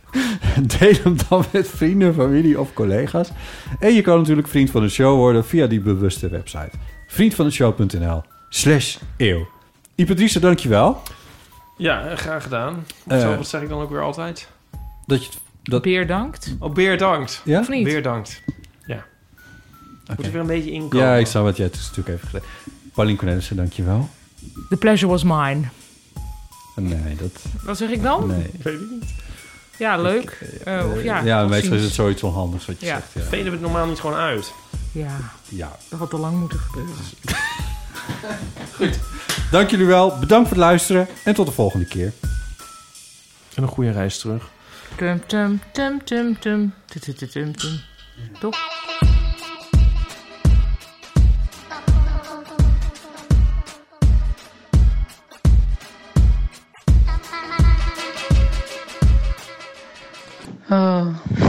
Deel hem dan met vrienden, familie of collega's. En je kan natuurlijk vriend van de show worden via die bewuste website. Vriendvandeshow.nl slash eeuw. Ipe Driessen, dankjewel. Ja, eh, graag gedaan. Eh. Zo, wat zeg ik dan ook weer altijd? Dat je, dat... Beerdankt. Oh, beerdankt. Ja? Of niet? Beerdankt. Ja. Moet er weer een beetje inkomen. Ja, ik zou wat jij het is natuurlijk even gezegd. Paulien Cornelissen, dankjewel. The pleasure was mine. Nee, dat... Wat zeg ik dan? Nee. Weet ik niet. Ja, leuk. Eh, of ja, Ja, tot meestal is ziens. het zoiets onhandigs wat je Ja. zegt. Ja. Velen we het normaal niet gewoon uit. Ja, ja. Dus- dat had al lang moeten gebeuren. Dank jullie wel. Bedankt voor het luisteren. En tot de volgende keer. En een goede reis terug. Tum, tum, tum, tum, tum. Tu, tu, tu, tum, tum. Toch? Oh.